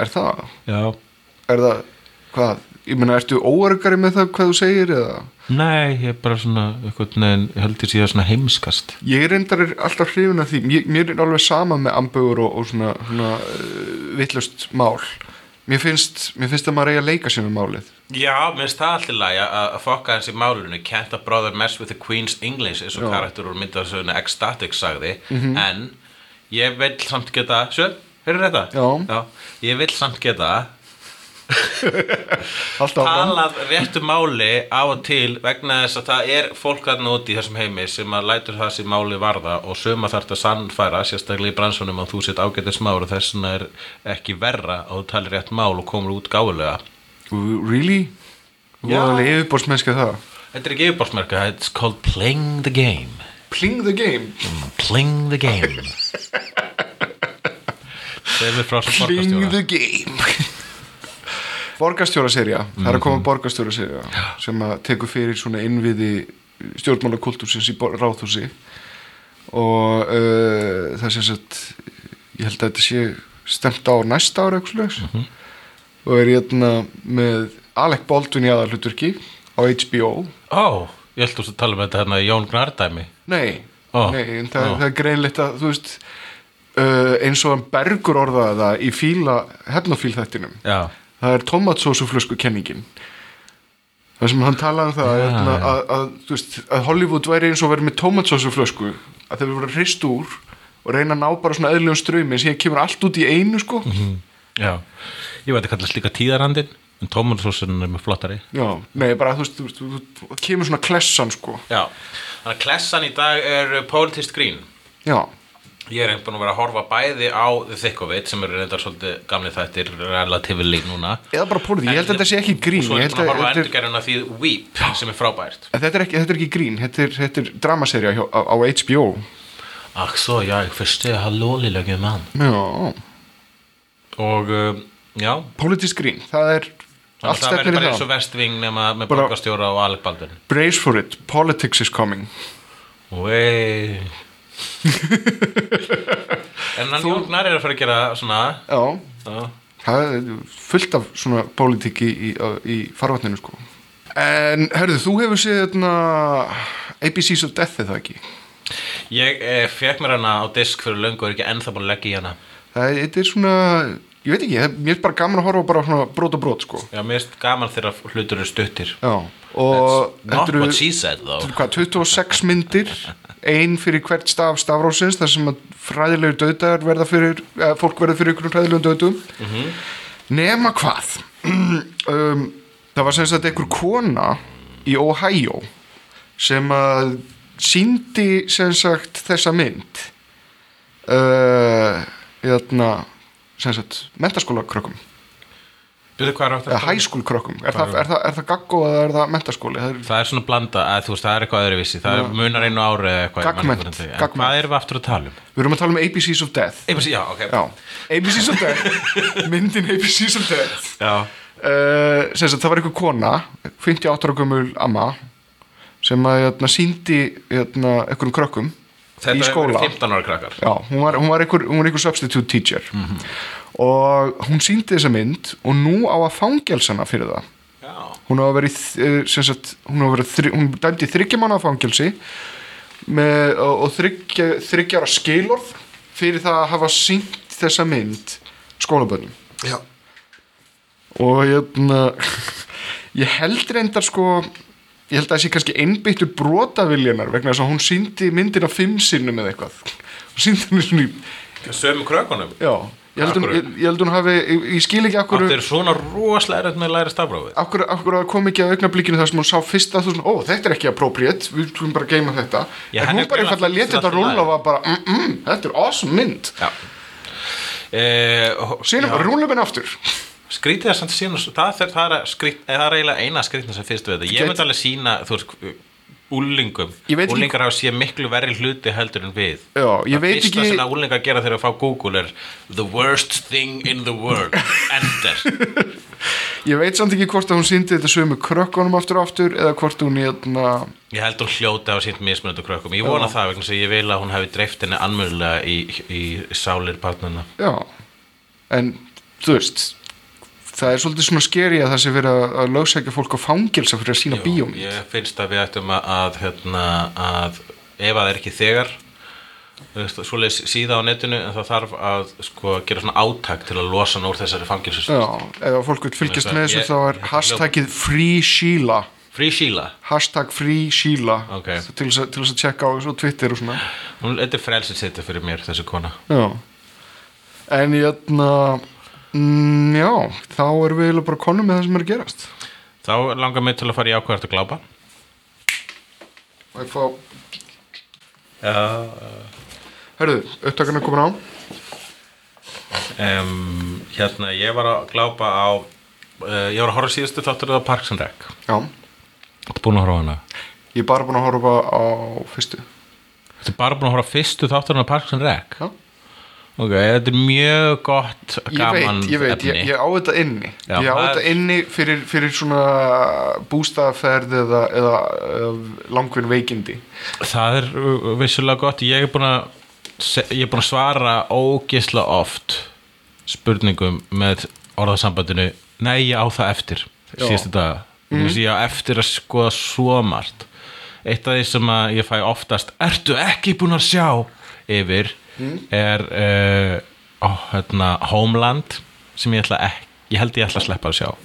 B: er það
A: Já,
B: Er það, hvað Ég meina, ertu óörgari með það hvað þú segir eða
A: Nei, ég er bara svona einhvern veginn, ég held ég sé að svona heimskast
B: Ég reyndar er alltaf hrifin af því mér, mér er alveg sama með ambögur og, og svona, svona uh, vittlust mál Mér finnst, mér finnst að maður eiga að leika sér með málið
A: Já, mér finnst það alltaf læg að að fokka hans í málunni Can't a brother mess with the queen's English eins og
B: Já. Mhm.
A: karakter úr myndasöðunni Ecstatic sagði en ég vil samt geta Sjö, heyrðu þetta?
B: Já.
A: Ég vil samt geta
B: Alltaf áfram
A: talað réttu máli á og til vegna þess að það er fólk þarna úti í þessum heimi sem að lætur það sem máli varða og söma þarf þetta sannfæra sérstaklega í bransunum að þú sitt ágætið smáur og þess vegna er ekki verra að þú talir rétt mál og komur út gáfulega
B: Ooh, Really? Þú
A: Já.
B: var alveg yfirbórsmennskið það
A: Þetta er ekki yfirborðsmerka, it's called playing the game
B: Pling the game
A: Playing the game Segðu frá sem
B: Pling
A: borgarstjóra
B: the game Borgarstjóra serja Það er að koma borgarstjóra serja sem að tekur fyrir svona innviði stjórnmálakultúrsins í bor- ráðhúsi og uh, það sé sett ég held að þetta sé stemt á næsta ára eitthvað slags og er hérna með Alec Baldwin í aðalhuturki á HBO
A: Ó, ég held þú að tala um þetta hérna í Jón Gnardæmi
B: Nei,
A: Ó.
B: nei en það,
A: Ó.
B: það er greinleitt að þú veist uh, eins og hann bergur orðaði það í fíla hefnafíl þættinum
A: Já,
B: það er tomatsósuflösku kenningin það sem hann talaði um það ja.
A: Ah.
B: að, að, að, þú veist, að Hollywood væri eins og verið með tomatsósuflösku að þeir voru hrist úr og reyna að ná bara svona eðlum strömi en síðan kemur allt út í einu sko
A: Mhm. Mm. já Ég veit að kallast líka tíðarandinn en tómansósun er með flottari
B: já, nei bara þú veist, þú veist þú, þú, þú, kemur svona klessan sko
A: Já, þannig að klessan í dag er uh, politist grín
B: já,
A: Ég er einhvern veginn að vera að horfa bæði á The Thick of It sem eru reyndar svolítið gamli þættir relatively núna
B: eða bara pólitið, ég held að þetta sé ekki
A: Og
B: grín
A: svo er
B: ég held
A: búin að
B: að,
A: horfa
B: þetta er,
A: endurgerðina því Weep sem er frábært
B: en þetta, er ekki, þetta er ekki grín þetta er, þetta er dramaserja hjá, á, á HBO
A: Ach so, já, ég fyrstu að halló lilega mann
B: já,
A: Og um, já,
B: pólitist grín það er allt
A: Allt það verður
B: stefnir í
A: bara eins
B: það
A: og vestving nema með
B: Bara-
A: borgarstjóra og Alec Baldwin
B: brace for it, politics is coming
A: Wey. En hann Jógnar er að fara að gera svona
B: já,
A: já,
B: það er fullt af svona pólitík í, í, í farvatninu sko en herðu, þú hefur séð hérna, þarna ABC's of Death eða ekki
A: Ég eh, fekk mér hana á disk fyrir löngu og er ekki ennþá búin að leggja í hana
B: það er, þetta er svona, ég veit ekki það- mér er bara gaman að horfa bara svona brot og brot sko
A: Já, mér erst gaman þegar hlutur eru stuttir
B: já, og
A: Not
B: eru-
A: what she said
B: þetta eru
A: though
B: hvað, 26 myndir ein fyrir hvert staf stafrósins þar sem að fræðilegu döðdagar verða fyrir, eða fólk verða fyrir ykkur fræðilegu döðdum nema hvað um, það var sem sagt einhver kona í Ohio sem að síndi sem sagt þessa mynd hérna, uh, jæna sem sagt mentaskóla krökkum
A: Byrðu hvað er átt
B: eða high school krökkum er, það, er, það, er það gaggó eða er það mentaskóli það er,
A: Það er svona blanda, að, þú veist, það er eitthvað öðruvísi Það er munar einu ári eða eitthvað ég man ekki
B: Gagnmennt,
A: hvernig það er. En
B: gagnmennt.
A: Hvað erum við aftur að tala um?
B: við erum að tala um ABCs of Death
A: Einhvers, já, ok
B: já, ABCs of Death myndin ABCs of Death
A: Já.
B: uh, sem sagt, það var einhver kona 58 ára gömul amma sem að jötna, síndi jötna, einhverjum krökkum
A: Þetta
B: í
A: er
B: skóla
A: 15 ára krakkar
B: Já, hún var, hún var, einhver, hún var einhver substitute teacher
A: Mhm.
B: og hún síndi þessa mynd og nú á að fangelsana fyrir það
A: Já,
B: hún á að vera í þ- eh, sem sagt, hún á að vera þri, hún dæmdi þryggjamána fangelsi með, og, og þryggja, þryggjara skilorð fyrir það að hafa sínt þessa mynd skólabönnum
A: já.
B: og hérna ég held reyndar sko ég held að það sé kannski einbyttur brotaviljanar vegna þess að hún síndi myndina fimm sinnum eða eitthvað hún síndi henni svona í
A: Sömu krökkunum
B: já, ég held, um,
A: Akkurat.
B: ég, ég held hún hafi ég, ég skil ekki akkur
A: Það er svona rosalega erfitt með að læra stafrófið
B: akkur, akkur að kom ekki að augnablikinu þar sem hún sá fyrst að þú svona, ó þetta er ekki appropriate við skulum bara geima þetta
A: Já,
B: en
A: henni
B: hún bara
A: grunar
B: eitthvað að leta
A: þetta
B: þetta
A: allt í
B: rúla
A: lagi.
B: og var bara, mm, mm, þetta er awesome mynd
A: Já Eh,
B: síðan bara rúla minn aftur
A: skrítið er samt síðan það, það, það, er, skrít, eh, það er eiginlega eina skrítið sem fyrst við þetta, ég
B: Gæti-
A: veit alveg sína þú veist, úlingum
B: Ég veit ekki-
A: úlingar hafa síðan miklu verri hluti heldur en við
B: Já, ég
A: Það
B: veit
A: fyrsta
B: ekki-
A: sem að úlingar gera þegar að fá Google er the worst thing in the world ender,
B: ég veit samt ekki hvort að hún síndi þetta sömu krökkunum aftur og aftur eða hvort hún hérna
A: ég held hún hljóta á sínt mismunandi krökkum, ég vona það vegna sem ég vil að hún hafi dreift henni anmörlega í, í sálir partnana
B: Já, en þú veist það er svolítið svona skeri að það sé verið að- að lögsækja fólk á fangelsa fyrir að sína
A: Já,
B: bíómynd
A: Ég finnst að við ættum að, að, hérna, að ef að það er ekki þegar svoleiðis síða á netinu en það þarf að sko, gera svona átak til að losa hann úr þessari fangilsus
B: Já, ef fólk vil fylgjast
A: Ég-
B: með þessu
A: ég-
B: þá er
A: ég-
B: hashtagið free Sheila
A: Free Sheila,
B: hashtag free Sheila
A: Ok.
B: til, þess að, til þess að tjekka á þessu og Twitter og svona
A: hún, þetta er frelsið þetta fyrir mér þessi kona
B: Já En jötna mm, Já, þá erum við eiginlega bara konum með það sem er að gerast
A: Þá langar mig til að fara í ákvæðart að glápa
B: og ég fá
A: Já
B: Herðu, upptakarna komin á
A: um, Hérna, ég var að glápa á uh, ég var að horfa á síðustu þáttur á Parks and Rec
B: Já,
A: Þetta búin að horfa á hana
B: ég er bara búin að horfa á fyrstu
A: Þetta er bara búin að horfa á fyrstu þátturinn á Parks and Rec
B: Já.
A: Ok, þetta er mjög gott
B: ég
A: gaman
B: veit, ég veit, ég,
A: efni.
B: ég á þetta inni
A: Já,
B: ég á
A: það er-
B: þetta inni fyrir, fyrir svona bústaðaferð eða, eða, eða langvinn veikindi
A: Það er uh, vissulega gott Ég er búin að se- ég er búin að svara ógisla oft spurningum með orðasambandinu Nei, ég á það eftir
B: Já. Mhm.
A: síðustu daga mm -hmm. Ég á eftir að skoða svo margt Eitt af því sem að ég fæ oftast Ertu ekki búin að sjá yfir
B: Mhm.
A: er uh, ó, hérna, Homeland sem ég ætla ekki ég held ég ætla að sleppa að sjá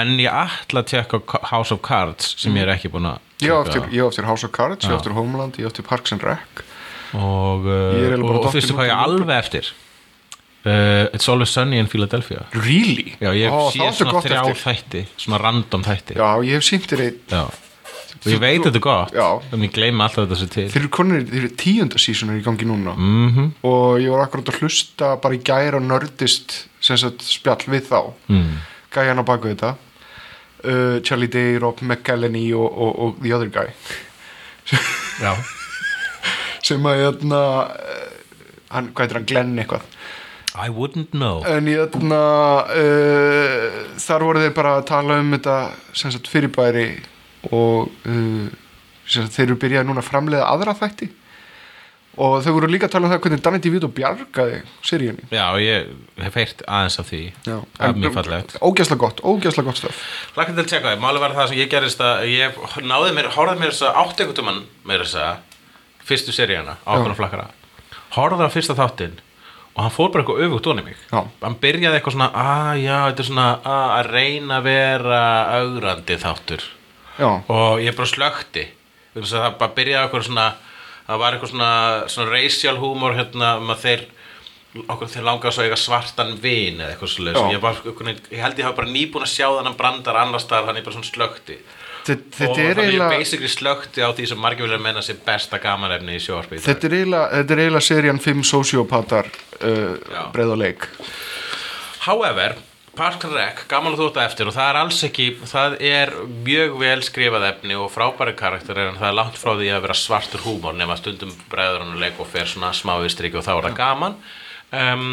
A: en ég ætla að tjekka á House of Cards sem ég er ekki búin að
B: Mhm. ég
A: tjekka á.
B: á eftir, ég á eftir House of Cards, ég á eftir Homeland ég á eftir Parks and Rec
A: og, uh,
B: Ég er eiginlega bara
A: og, og
B: dottinn
A: fyrstu
B: út
A: hvað ég
B: í lúpuna.
A: alveg eftir uh, It's Always Sunny in Philadelphia
B: Really?
A: já, ég
B: Ó,
A: sé
B: það áttu
A: svona
B: gott
A: þrjá
B: eftir
A: þætti svona random þætti
B: Já, ég hef sínt þér einn
A: Já. og ég veit
B: Þú-
A: þetta er gott
B: Já.
A: en ég gleyma alltaf þetta sér til Mhm,
B: Þeir eru konir, þeir eru tíunda sísunar í gangi núna
A: Mm.
B: -hmm. og ég var akkurat að hlusta bara í gæra og nördist sem sagt spjall við þá
A: mhm.
B: mm. gæjan á baku þetta uh, Charlie Day, Rob McElhenney og, og, og The Other Guy
A: já.
B: sem að jötna, hann, hvað heitir hann, Glenn eitthvað
A: I wouldn't know
B: en jötna, uh, þar voru þeir bara að tala um þetta sem sagt fyrirbæri og uh, sem sagt, þeir eru byrjað núna að framleiða aðra þætti og þau voru líka að tala um það hvernig Danny DeVito bjargaði seríunni
A: já, ég hef heyrt aðeins af því það er mjög fallegt
B: ógæsla gott, ógæsla gott stöf
A: Lakka til að tjekka, því. málið var það sem ég gerist að ég náði mér, horfði mér þess að átt einhvern mann mér þess að fyrstu seríana á okkur flakkara horfði á fyrsta þáttinn og hann fór bara eitthvað öfugt onni mig
B: Já.
A: hann byrjaði eitthvað svona, að já, þetta er svona að, að reyna að vera augrandi þáttur
B: já,
A: og ég bara slökti Vegna þess að það bara byrjaði eitthvað svona það var eitthvað svona, svona racial humor hérna um að þeir okkur þeir langaði svo að eiga svartan vin eða eitthvað svo
B: Já.
A: ég, var, einhvern veginn- ég held ég hafa bara nýbúin að sjá þannig brandar annars staðar þannig ég bara svona slökti
B: þetta,
A: og
B: þetta
A: þannig
B: er
A: ég
B: eiginlega
A: basically slökti á því sem margir vilja menna sé besta gamanefni í sjóarpi
B: þetta er eiginlega, þetta er eiginlega serían 5 sociopatar uh,
A: Já.
B: breið og leik
A: However, Park and Rec, gaman að þú þetta eftir og það er alls ekki, það er mjög vel skrifað efni og frábæri karakterir en það er langt frá því að vera svartur húmor nema stundum bregður hann að leik og fer svona smá viðstriki og þá er það gaman um,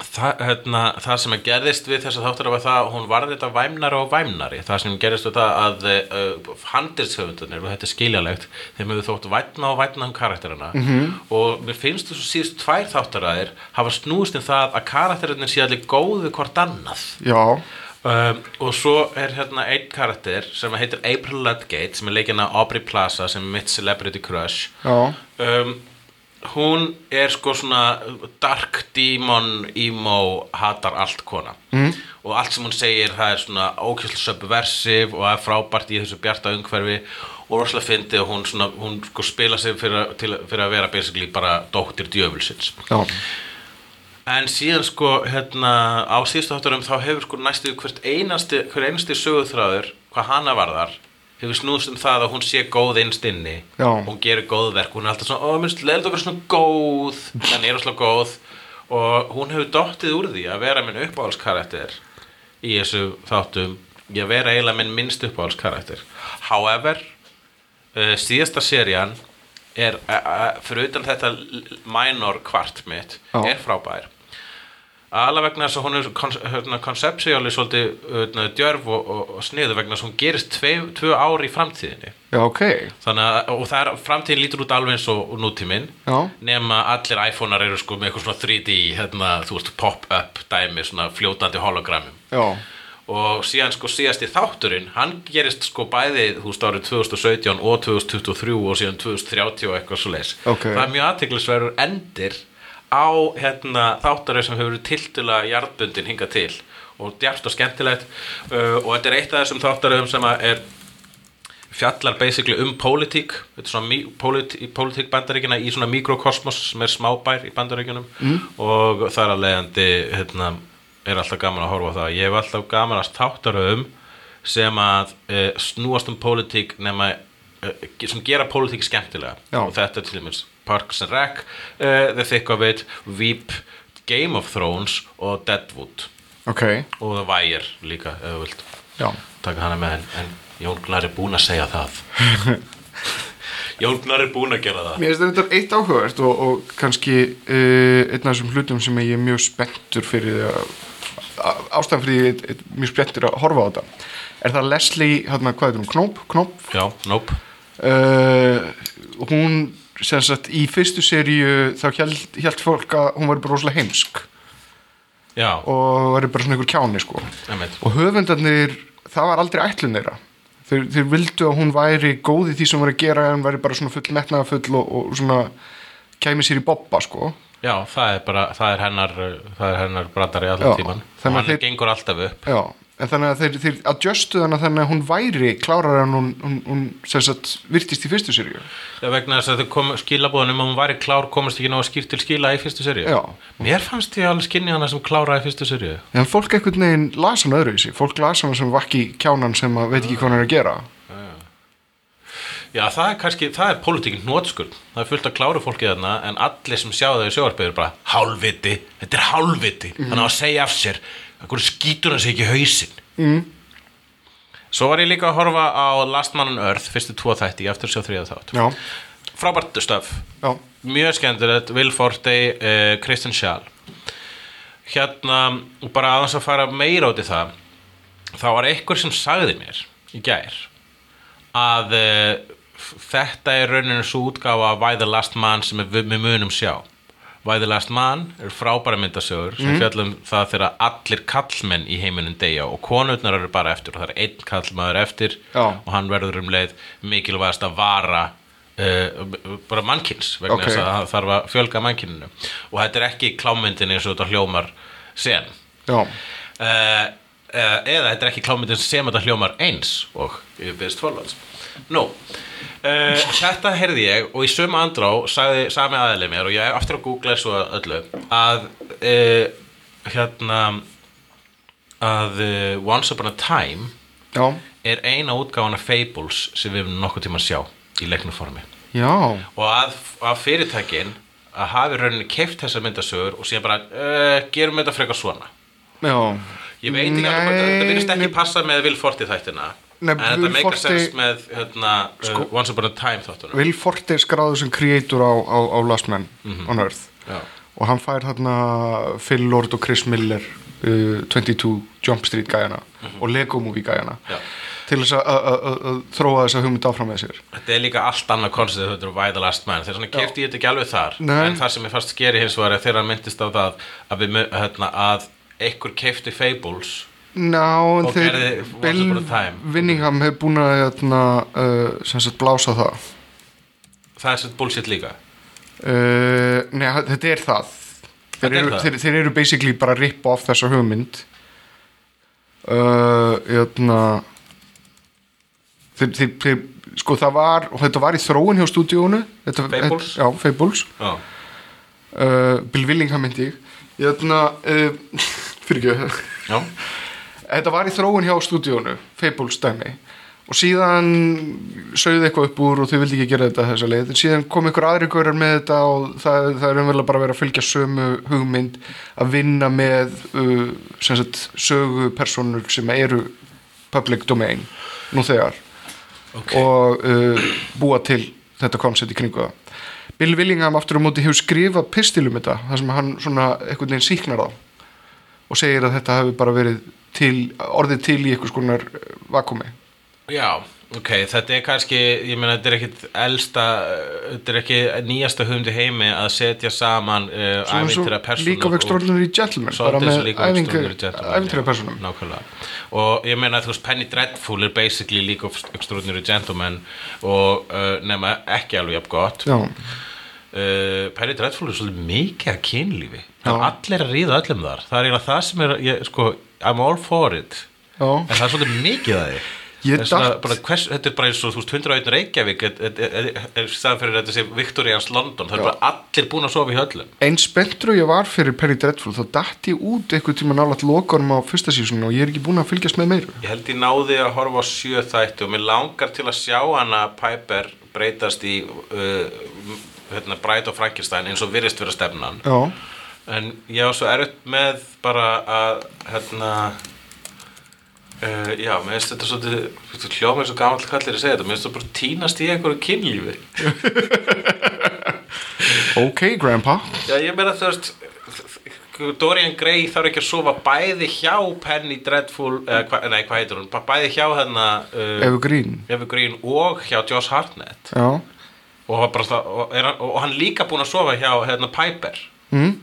A: það, hérna, það sem að gerðist við þess að þáttur var það að hún varði þetta væmnari og væmnari það sem gerðist við það að uh, handilshöfundarnir, og þetta er skiljalegt þeim hefur þótt vætna og vætna um karakterina -hmm. og mér finnst þess að síðust tvær þáttaraðir hafa snúist um það að karakterinir sé allir góðu hvort annað
B: já,
A: Um, og svo er hérna einn karakter sem heitir April Ludgate sem er leikina Aubrey Plaza sem er mitt celebrity crush
B: já,
A: um, hún er sko svona dark demon emo hatar allt kona mm. og allt sem hún segir það er svona ókjöld subversive og það er frábært í þessu bjarta umhverfi og rosalega fyndi og hún, svona, hún sko spila sig fyrir, að- til, fyrir að vera basically bara dóttir djöfulsins
B: já,
A: En síðan sko, hérna, á síðustu þátturum þá hefur sko næstu hvert einasti, hver einasti söguþráður, hvað hana varðar, hefur snúðst um það að hún sé góð innst inni,
B: Já.
A: hún gerir góð verk, hún er alltaf svona, ó, minnst, leiðið okkur svona góð, hann er alltaf góð og hún hefur dottið úr því að vera minn uppáhalskarakter í þessu þáttum, ég vera eiginlega minn minnst uppáhalskarakter. However, uh, síðasta serían er, uh, uh, fyrir utan þetta l- minor kvart mitt,
B: Já.
A: er frábær alveg vegna þess að hún er kon- hérna, koncepsjóli svolítið hérna, djörf og, og, og sniðu vegna þess að hún gerist tvei, tvö ár í framtíðinni
B: já, ok,
A: þannig að, og það er, framtíðin lítur út alveg eins og, og nútíminn
B: Já.
A: nema allir iPhone-ar eru sko með eitthvað svona 3D hérna, þú veist, pop-up dæmi svona fljótandi hologramum
B: já,
A: og síðan sko síðasti þátturinn hann gerist sko bæði þú veist árið 2017 og 2023 og síðan 2030 og eitthvað svo leis
B: Ok.
A: það er mjög aðteklisverður endir á hérna, þáttarið sem hefur verið tiltula jarðbundin hingað til og djart og skemmtilegt uh, og þetta er eitt af þessum þáttariðum sem að er fjallar basically um pólitík þetta er svona mí- pólitík, pólitík bandaríkina í svona mikrokosmos sem er smábær í bandaríkinum mm. og þar að leiðandi hérna, er alltaf gaman að horfa á það ég hef alltaf gaman að þáttaröfum sem að e, snúast um pólitík nema e, sem gera pólitík skemmtilega
B: Já.
A: og þetta er til dæmis Parks and Rec e, The Thick of It, Veep Game of Thrones og Deadwood
B: ok,
A: og The Wire líka ef þú vilt
B: já,
A: taka hana með en, en Jón Gnar er búinn að segja það Jón Gnar er búinn að gera það
B: Mér finnst þetta eitt áhugavert og, og kannski uh, einn af þessum hlutum sem ég er mjög spenntur fyrir að á- ástæðan fyrir ég er mjög spenntur að horfa á þetta er það Leslie, hérna, hvað heitir hún, Knóp, Knóp
A: já, nope
B: uh, hún sem sagt í fyrstu seríu þá held, held fólk að hún var bara rosalega heimsk
A: já,
B: og var bara svona einhver kjáni sko
A: einmitt,
B: og höfundarnir, það var aldrei ætlun þeirra þeir, þeir vildu að hún væri góð í því sem hún var að gera en væri bara svona full metnaðafull og, og svona kæmi sér í bobba sko
A: já það er bara það er hennar, uh, það er hennar brandari allan
B: Já,
A: tíman og
B: þannig að
A: hann
B: þeir-
A: gengur alltaf upp
B: Já, en þannig að þeir, þeir adjustu hana þannig að hún væri klárar en hún, hún, hún sem sagt virtist í fyrstu sérju
A: Já, vegna þess að þau kom skilabóðunum að hún væri klár komast ekki nóg að skýrt til skila í fyrstu serju
B: Já.
A: mér fannst ég alveg skinni hana sem klára í fyrstu serju
B: En fólk einhvern veginn las hann öðru í sig Fólk las hann sem vakki kjánan sem að veit ekki hvað hann er að gera
A: já, það er kannski, það er pólitíkinn nótskur það er fullt að kláru fólkið þarna en allir sem sjá það í sjóvarpið eru bara hálfviti, þetta er hálfviti hann á að segja af sér, hverju skýtur hann sig ekki í hausinn mm. svo var ég líka að horfa á Last Man on Earth, fyrstu tvo þætti ég á eftir að sjá þriða þátt
B: Já,
A: frábært stöf,
B: já,
A: mjög skemmtilegt Will Forte, uh, Kristen Schaal hérna og bara aðeins að fara meira út í það þá var einhver sem sagði mér í gær að uh, þetta er rauninu svo útgáfa af Why the Last Man sem við, við munum sjá Why the Last Man er frábæra myndasögur sem fjallum það þegar allir kallmenn í heiminum deyja og konurnar eru bara eftir og það er einn kallmaður eftir
B: Já.
A: og hann verður um leið mikilvægast að vara uh, bara mannkins vegna
B: Ok.
A: þess að það þarf að fjölga mannkyninu og þetta er ekki klámyndin eins og þetta hljómar sen
B: já,
A: uh, uh, eða þetta er ekki klámyndin sem þetta hljómar eins og viðst forlands Nú, uh, þetta heyrði ég og í sömu andrá sagði sami aðeili mér og ég er aftur að googla svo öllu að uh, hérna að uh, Once Upon a Time
B: já,
A: er eina útgáfana Fables sem við höfum nokkuð tíma að sjá í leiknuformi
B: já,
A: og að, að fyrirtækin "Eh, að hafi rauninni keift þessar myndasögur og síðan bara uh, gerum þetta frekar svona
B: já,
A: Ég veit ekki alveg hvort
B: Nei,
A: þetta virðist ekki
B: nei.
A: passa með Will Forte þættina
B: Nei,
A: en þetta
B: Will
A: meikar
B: Forte- Sko-
A: sens með hérna, uh, Once Upon a Time þáttunum
B: Will Forte er skráður sem kreator á, á, á Last Man on Earth
A: Já.
B: og hann fær þarna Phil Lord og Chris Miller uh, 22 Jump Street gæjana og Lego Movie gæjana
A: Mhm. Já.
B: til þess að- að að- að þróa þessa hugmynd áfram með sér
A: Þetta er líka allt annað koncept þetta er Why the Last Man þegar svona kefti ég þetta ekki alveg þar
B: Nei.
A: en það sem ég fast skeri hins var að þegar hann myndist á það að, við, mu- hérna, að einhver kefti Fables
B: Ná, en
A: Og gerði
B: þeir
A: Once Upon a
B: Bill
A: Time.
B: Winningham hefur búin að hérna, uh, sem sagt blása það
A: það er svolítið bullshit líka
B: uh, Nei, ha- þetta er það Þeir
A: Þetta er
B: eru,
A: það.
B: þeir, þeir eru basically bara að rippa off þessa hugmynd uh, Jötna þeir, þeir, þeir, Sko það var og þetta var í þróun hjá stúdíónu þetta,
A: Fables?
B: Þetta, já, Fables
A: Já.
B: uh, Bill Willingham myndi ég Jötna uh, Fyrir ekki
A: Já.
B: Þetta var í þróun hjá stúdíónu, Fables dæmi og síðan sögðu eitthvað upp úr og þau vildi ekki gera þetta þessa leið en síðan kom ykkur aðri gaurar með þetta og það, það er umverulega bara að vera að fylgja sömu hugmynd að vinna með uh, sem sagt, sögu personur sem eru public domain nú þegar
A: Ok.
B: og uh, búa til þetta koncept í kringu það Bill Willingham aftur á móti hefur skrifað pistilum þetta þar sem hann svona einhvern veginn síknar þá og segir að þetta hefur bara verið til, orðið til í einhvers konar uh, vakumi
A: Já, ok, þetta er kannski, ég meina, þetta er ekkit elsta, uh, þetta er ekki nýjasta hugmynd í heimi að setja saman uh, ævintýra persónur.
B: líka vextrónunir í Gentleman bara
A: Svolítið svo
B: með
A: líka Extraordinary Gentleman,
B: ævintýra
A: já,
B: personum
A: Nákvæmlega. Og ég meina þú veist Penny Dreadful er basically League of Extraordinary Gentlemen og uh, nema ekki alveg jafn gott.
B: já,
A: Uh, Penny Dreadful er svolítið mikið að kynlífi. Það er
B: Já.
A: allir að ríða öllum þar. Það er eiginlega það sem er, ég, sko, I'm all for it.
B: já,
A: En það er svolítið mikið að þið.
B: Ég
A: Það er svona
B: datt-
A: bara, hvers, þetta er bara eins og þú veist 101 Reykjavík er, er, er, er staðan fyrir þetta sem Victorians London það er bara allir búin að sofa í höllum
B: einn spenntur og ég var fyrir Penny Dreadful þá datt ég út einhvern tíma nálaðt lokanum á fyrsta sísunum og ég er ekki búin að fylgjast með meiru
A: Ég held ég náði að horfa á sjö þættu og mér langar til að sjá hana Piper breytast í uh, hérna, Bright og Frankenstein eins og virðist vera stefnan
B: já,
A: en ég á svo erut með bara að hérna uh, já, mér finnst þetta svolítið hljóma eins og gamall kallir að segja þetta mér finnst þetta bara tínast í einhverju kynlífi
B: ok grandpa
A: Já, ég meina þú veist Dorian Gray þarf ekki að sofa bæði hjá Penny Dreadful eh, hva, nei, hvað heitir hún, Ba- bæði hjá hérna uh,
B: Evergreen
A: Evergreen og hjá Josh Hartnett
B: já,
A: og, var bara, það- og, er, hann- og hann líka búinn að sofa hjá hérna, Piper
B: mm,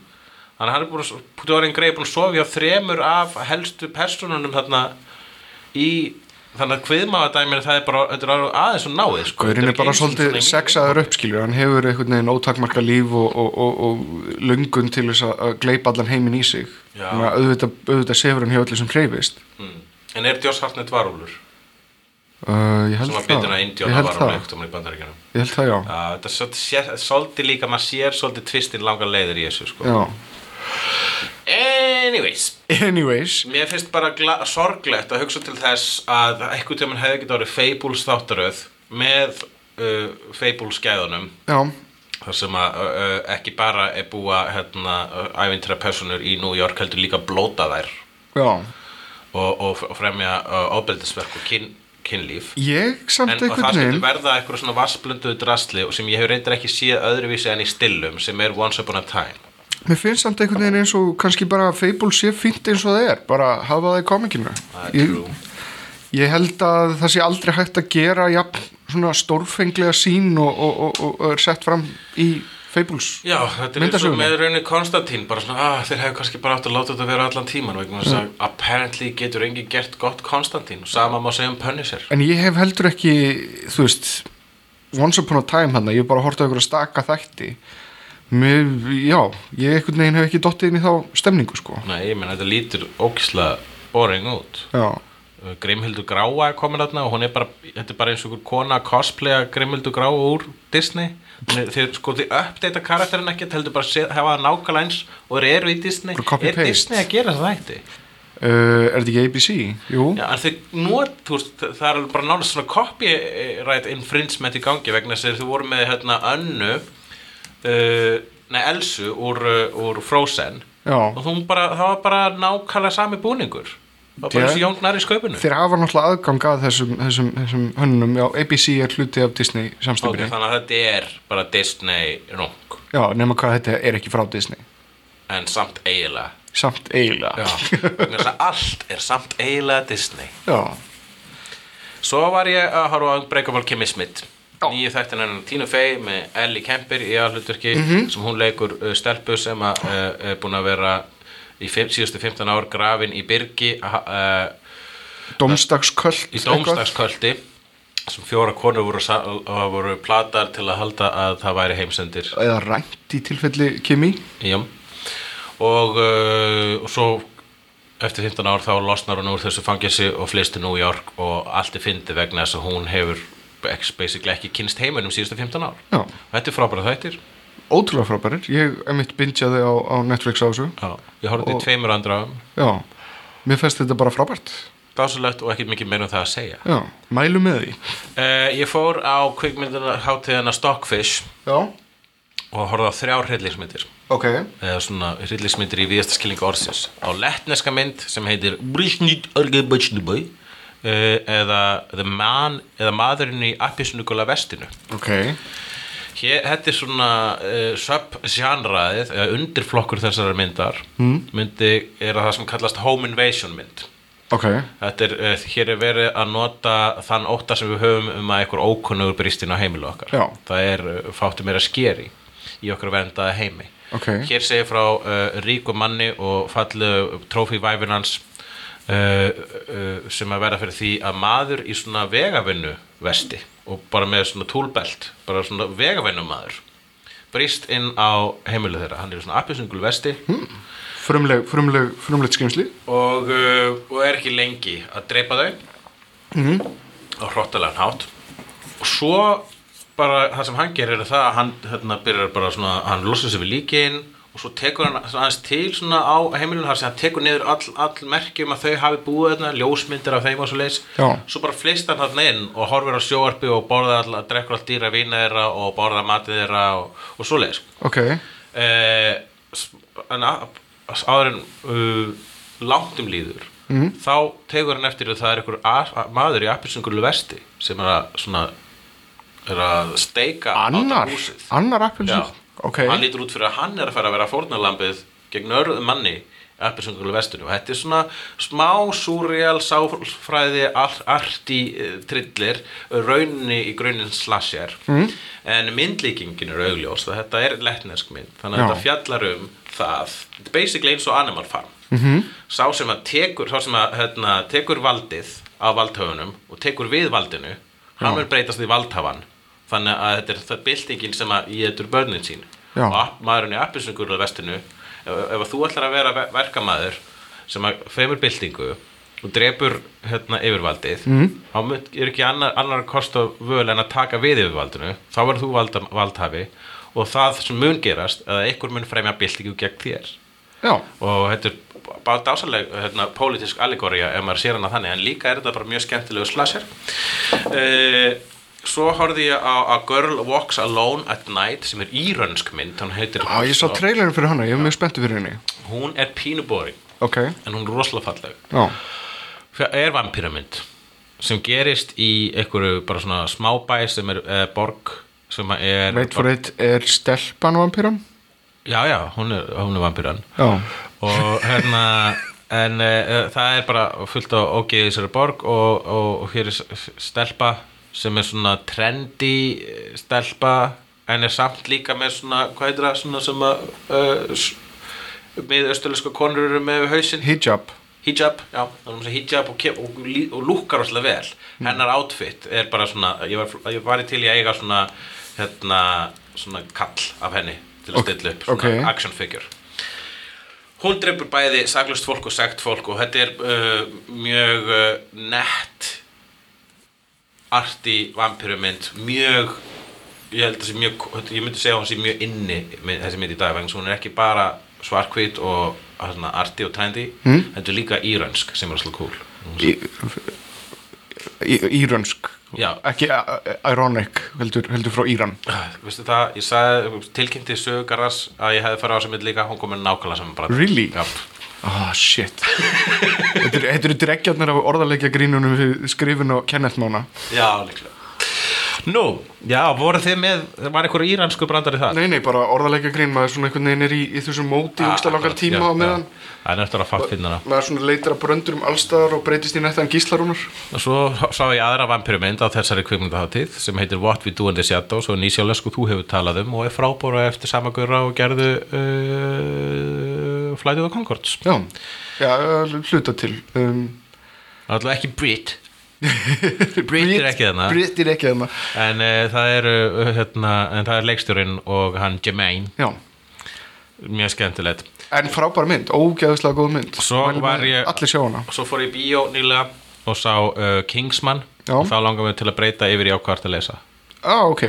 A: þannig að hann er búin að so- Dorian Gray er búinn að sofa hjá þremur af helstu personunum þarna í þannig að kviðmáðadæmir það er bara þetta er aðeins og náið sko.
B: Gaurinn
A: Þetta
B: er
A: ekki
B: bara
A: einu sinni
B: svolítið
A: svona í-
B: sexaður uppskilur, hann hefur einhvern veginn ótakmarka líf og, og, og, og lungun til þess að gleipa allan heiminn í sig.
A: Já.
B: Þannig að auðvitað, auðvitað sefur hann hjá öllu sem hreyfist.
A: Mm. en er Josh Hartnett varúlur
B: Uh, ég held
A: sem var
B: það.
A: bitur að um
B: Ég
A: Indiana
B: held
A: varúlur
B: það.
A: eitthvað í bandaríkjunum
B: Ég held það, já.
A: Já, þetta er svolítið sér- svolítið líka, maður sér svolítið tvistin langar leiðir í þessu, sko.
B: já.
A: Anyways,
B: Anyways,
A: mér finnst bara gla- sorglegt að hugsa til þess að einhvern tímann hefði getið orðið Fables þáttaröð með uh, Fables gæðunum,
B: já,
A: þar sem að uh, uh, ekki bara er búa hérna, uh, ævintra personur í New York heldur líka blóta þær
B: já.
A: og, og, f- og fremja uh, ofbeldisverk og kyn, kynlíf.
B: Ég
A: En
B: samt
A: og það
B: einhvern
A: skilur
B: veginn,
A: verða eitthvað svona vassblönduðu drasli og sem ég hef reyndar ekki séð öðruvísi en í stillum sem er Once Upon a Time.
B: mér finnst samt einhvern veginn eins og kannski bara Fable sé fínt eins og það er, bara hafa það í komikinu.
A: Það er
B: Ég,
A: trú.
B: ég held að það sé aldrei hægt að gera jafn svona stórfenglega sín og, og, og, og, og er sett fram í Fables.
A: Já, þetta er eins og
B: Myndasögunni.
A: með rauninni Konstantín bara svona, að þeir hefur kannski bara átt að láta þetta vera allan tíman vegna þess að apparently getur enginn gert gott Konstantín og sama má segja um Punisher
B: En ég hef heldur ekki, þú veist, Once Upon a Time hann, ég hef bara hortið okkur að staka þætti. Mér, já, ég einhvern veginn hef ekki dottið inn í þá stemningu, sko.
A: Nei, ég meina þetta lítur ókislega boring út Uh,
B: Já,
A: Grimhildur Gráa er komin þarna og hún er bara, þetta er bara eins og einhver kona að cosplaya Grimhildur Gráa úr Disney Hún er- þeir sko þið uppdata karakterin ekkert heldur bara set, hafa það nákvæmlega eins og þeir eru í Disney
B: Bara copy
A: er
B: paste.
A: Disney að gera það þætti
B: uh, er þetta ekki ABC? Jú,
A: Já, en þau not, þú veist, það er alveg bara nánast svona copyright infringement í gangi vegna þess að þau voru með hérna önnu, uh, nei Elsu úr, uh, úr Frozen
B: já,
A: og þú bara, það var bara nákvæmlega sami búningur. var bara þessi jóngnar í sköpunum
B: Þeir hafa náttúrulega aðgang að þessum, þessum, þessum hönnum Já, ABC er hluti af Disney
A: Ok,
B: samstæmri
A: þannig að þetta er bara Disney rung
B: Já, nema hvað þetta er ekki frá Disney
A: en samt eiginlega
B: Samt eiginlega
A: Já, vegna þess að allt er samt eiginlega Disney
B: Já,
A: Svo var ég að horfa á Breakable Kimmy Smith
B: Já.
A: Nýju þættin hennar Tínu Fey með Ellie Kemper í aðhluturki sem hún leikur uh, stelpu sem að, uh, er búin að vera í fimm, síðustu 15 ár grafin í Byrgi uh,
B: Dómstagsköld
A: í Dómstagsköldi sem fjóra konur voru, sa- og voru platar til að halda að það væri heimsendir
B: eitthvað. Eða rænt í tilfelli Kimi
A: Já. og, uh, og svo eftir 15 ár þá losnar hún úr þessu fangelsi og flyst til New York og allt er fyndi vegna þess að hún hefur ex- basically ekki kynst heiminum síðustu 15 ár
B: Já.
A: þetta er frábæra þættir
B: Ótrúlega frábærir, ég emitt bindjaði á, á Netflix á þessu
A: Já. ég horfði
B: Og-
A: í tveimur andra
B: Já, mér fæst þetta bara frábært
A: dásulegt og ekkert mikið meira um það að segja
B: Já, mælu með því
A: uh, ég fór á kvikmyndina hátíðina Stockfish
B: Já,
A: og horfði á þrjár hryllingsmyndir
B: ok
A: eða svona hryllismyndir í viðasta skilninga orðsins á letneska mynd sem heitir Brísnit Argeibætsnubæ eða The Man eða maðurinn í appisnugula vestinu
B: Ok,
A: Hér, þetta er svona uh, sub-genraðið eða undirflokkur þessarar myndar mm. myndi er það sem kallast home invasion mynd
B: ok
A: Þetta er, uh, hér er verið að nota þann óta sem við höfum um að einhver ókunnugur brýst inn á heimilu okkar.
B: Já.
A: Það er uh, fátum meira skeri í okkar verndaða heimi.
B: Ok.
A: Hér segir frá uh, ríku manni og fallu trófívæfin hans uh, uh, sem að vera fyrir því að maður í svona vegavinnu vesti og bara með svona túlbelt, bara svona vegavinnu maður brýst inn á heimilu þeirra. Hann er í svona appisungul vesti
B: Hm? Frumleg, frumleg, frumlegt skrimsli
A: og, uh, og er ekki lengi að dreipa þau á hrottalega hátt og svo bara það sem hann gerir er það að hann hérna, byrjar bara svona, hann losar sig við líkin og svo tekur hann aðeins til svona á heimilinu þar sem hann tekur niður all, all merki um að þau hafi búið þarna, ljósmyndir af þeim og svo leis
B: Já.
A: svo bara flyst hann þarna inn og horfir á sjóarpi og borða all, drekkur all dýra vína þeirra og borða matið þeirra og, og svo leis
B: Ok,
A: eh, en á- áður en uh, langt um líður þá tegur hann eftir að það er einhver a- a- maður í appisungulu vesti sem er að svona er að steika á þetta
B: annar,
A: húsið.
B: annar appelsin
A: Já.
B: Ok,
A: hann lítur út fyrir að hann er að fara að vera fórnarlambið gegn örðu manni appisungulu vestunum og þetta er svona smá súrjál sáfræði arti trillir raunni í grunin slasher mm. en myndlíkingin er augljós það þetta er letnesk mynd þannig að
B: Já.
A: þetta fjallar um það þetta er basically eins og Animal Farm
B: Mhm.
A: mm -hmm. sá sem að tekur, sá sem að, hérna, tekur valdið á valdhafunum og tekur við valdinu hann verður breytast í valdhafan þannig að þetta er það byltingin sem að í þetta er börnin sín
B: Já.
A: og app- maðurinn í appisungur á vestinu ef, ef að þú ætlar að vera ver- verkamaður sem að fremur byltingu og drepur hérna yfirvaldið mm. þá mun- er ekki annar, annar kost og völ en að taka við yfirvaldinu þá verður þú valda, valdhafi og það sem mun gerast eða einhver mun fremja byltingu gegn þér
B: já,
A: og þetta er bara dásaleg hérna, pólitísk allegória ef maður sér hana þannig en líka er þetta bara mjög skemmtilegu slasher uh, svo horfði ég á A Girl Walks Alone at Night sem er írönsk mynd hún, heitir,
B: já, ég sá trailerin fyrir hana, ég er mjög spenntu fyrir henni
A: hún er pínubori
B: Ok,
A: en hún er rosalega falleg
B: já,
A: Það er vampíramynd sem gerist í einhverju bara svona smábæ sem er eh, borg sem er
B: Wait for it, er stelpan vampýran?
A: já já, hún er, hún er vampíran
B: Já,
A: og hérna en uh, það er bara fullt á ógeði í þessari borg og, og, og hér er s- stelpa sem er svona trendy eh, stelpa en er samt líka með svona hvað heitir það svona sem að uh, með östuleska konur eru með við hausinn
B: hijab
A: hijab, já, það er um að segja hijab og, kef, og, lí- og lúkkar rosalega vel
B: Mm.
A: hennar outfit er bara svona ég var, ég var til í að eiga svona hérna, svona kall af henni til að
B: Ok-
A: stilla upp, svona
B: ok.
A: action figure hún dreipur bæði saklust fólk og sagt fólk og þetta er uh, mjög uh, nett arti vampirumynd mjög ég held að það sé mjög, ég myndi segja að hún sé mjög inni með þessi mynd í dag, vegna þess að hún er ekki bara svarkvít og svona, arti og trendy,
B: Hmm?
A: mm. þetta er líka írönsk sem er alltaf cool
B: Í- í- Írönsk
A: Já.
B: Ekki a- a- ironic, heldur, heldur frá Íran
A: Vistu það, ég sagði tilkynnti sögugarðars að ég hefði farið á sem mynd líka, hún kom með nákvæmlega saman bara
B: Really?
A: Já,
B: Ah, shit Þetta eru- þetta eru dregjarnir af orðarleikja grínunum við skrifin á Kenneth Mána
A: Já, líklega Nú, já, voru þið með, var einhver íransku brandari það?
B: Nei, nei, bara orðarleikja grín maður svona einhvern veginn er í, í þessum
A: Ah,
B: móti í úkslega langar tíma á meðan
A: Það er nættur að fatt finna hana
B: maður svona leitar að bröndur um allstaðar og breytist í nættan gíslarúnar
A: Og svo sá ég aðra vampirumynd á þessari kvikmyndahátíð sem heitir What We Do in the Shadows og nýsjálensku þú hefur talað um og er frábóra eftir samagurra og gerðu uh, Flight of the Conchords
B: Já, já, eh, hluta til um,
A: Alltaf ekki Brit Brit er ekki þarna
B: Breytir ekki þarna
A: en, uh, það er, uh, hérna, en það er leikstjórinn og hann Jermaine
B: Já,
A: mjög skemmtilegt
B: en frábær mynd, ógeðslega góð mynd
A: Svo
B: Mælum
A: var
B: með-
A: ég-
B: Allir sjá hana
A: og svo fór ég í bíó nýlega og sá uh, Kingsman
B: Já.
A: og þá langar mig til að breyta yfir í ákvært að lesa
B: Á, ah, ok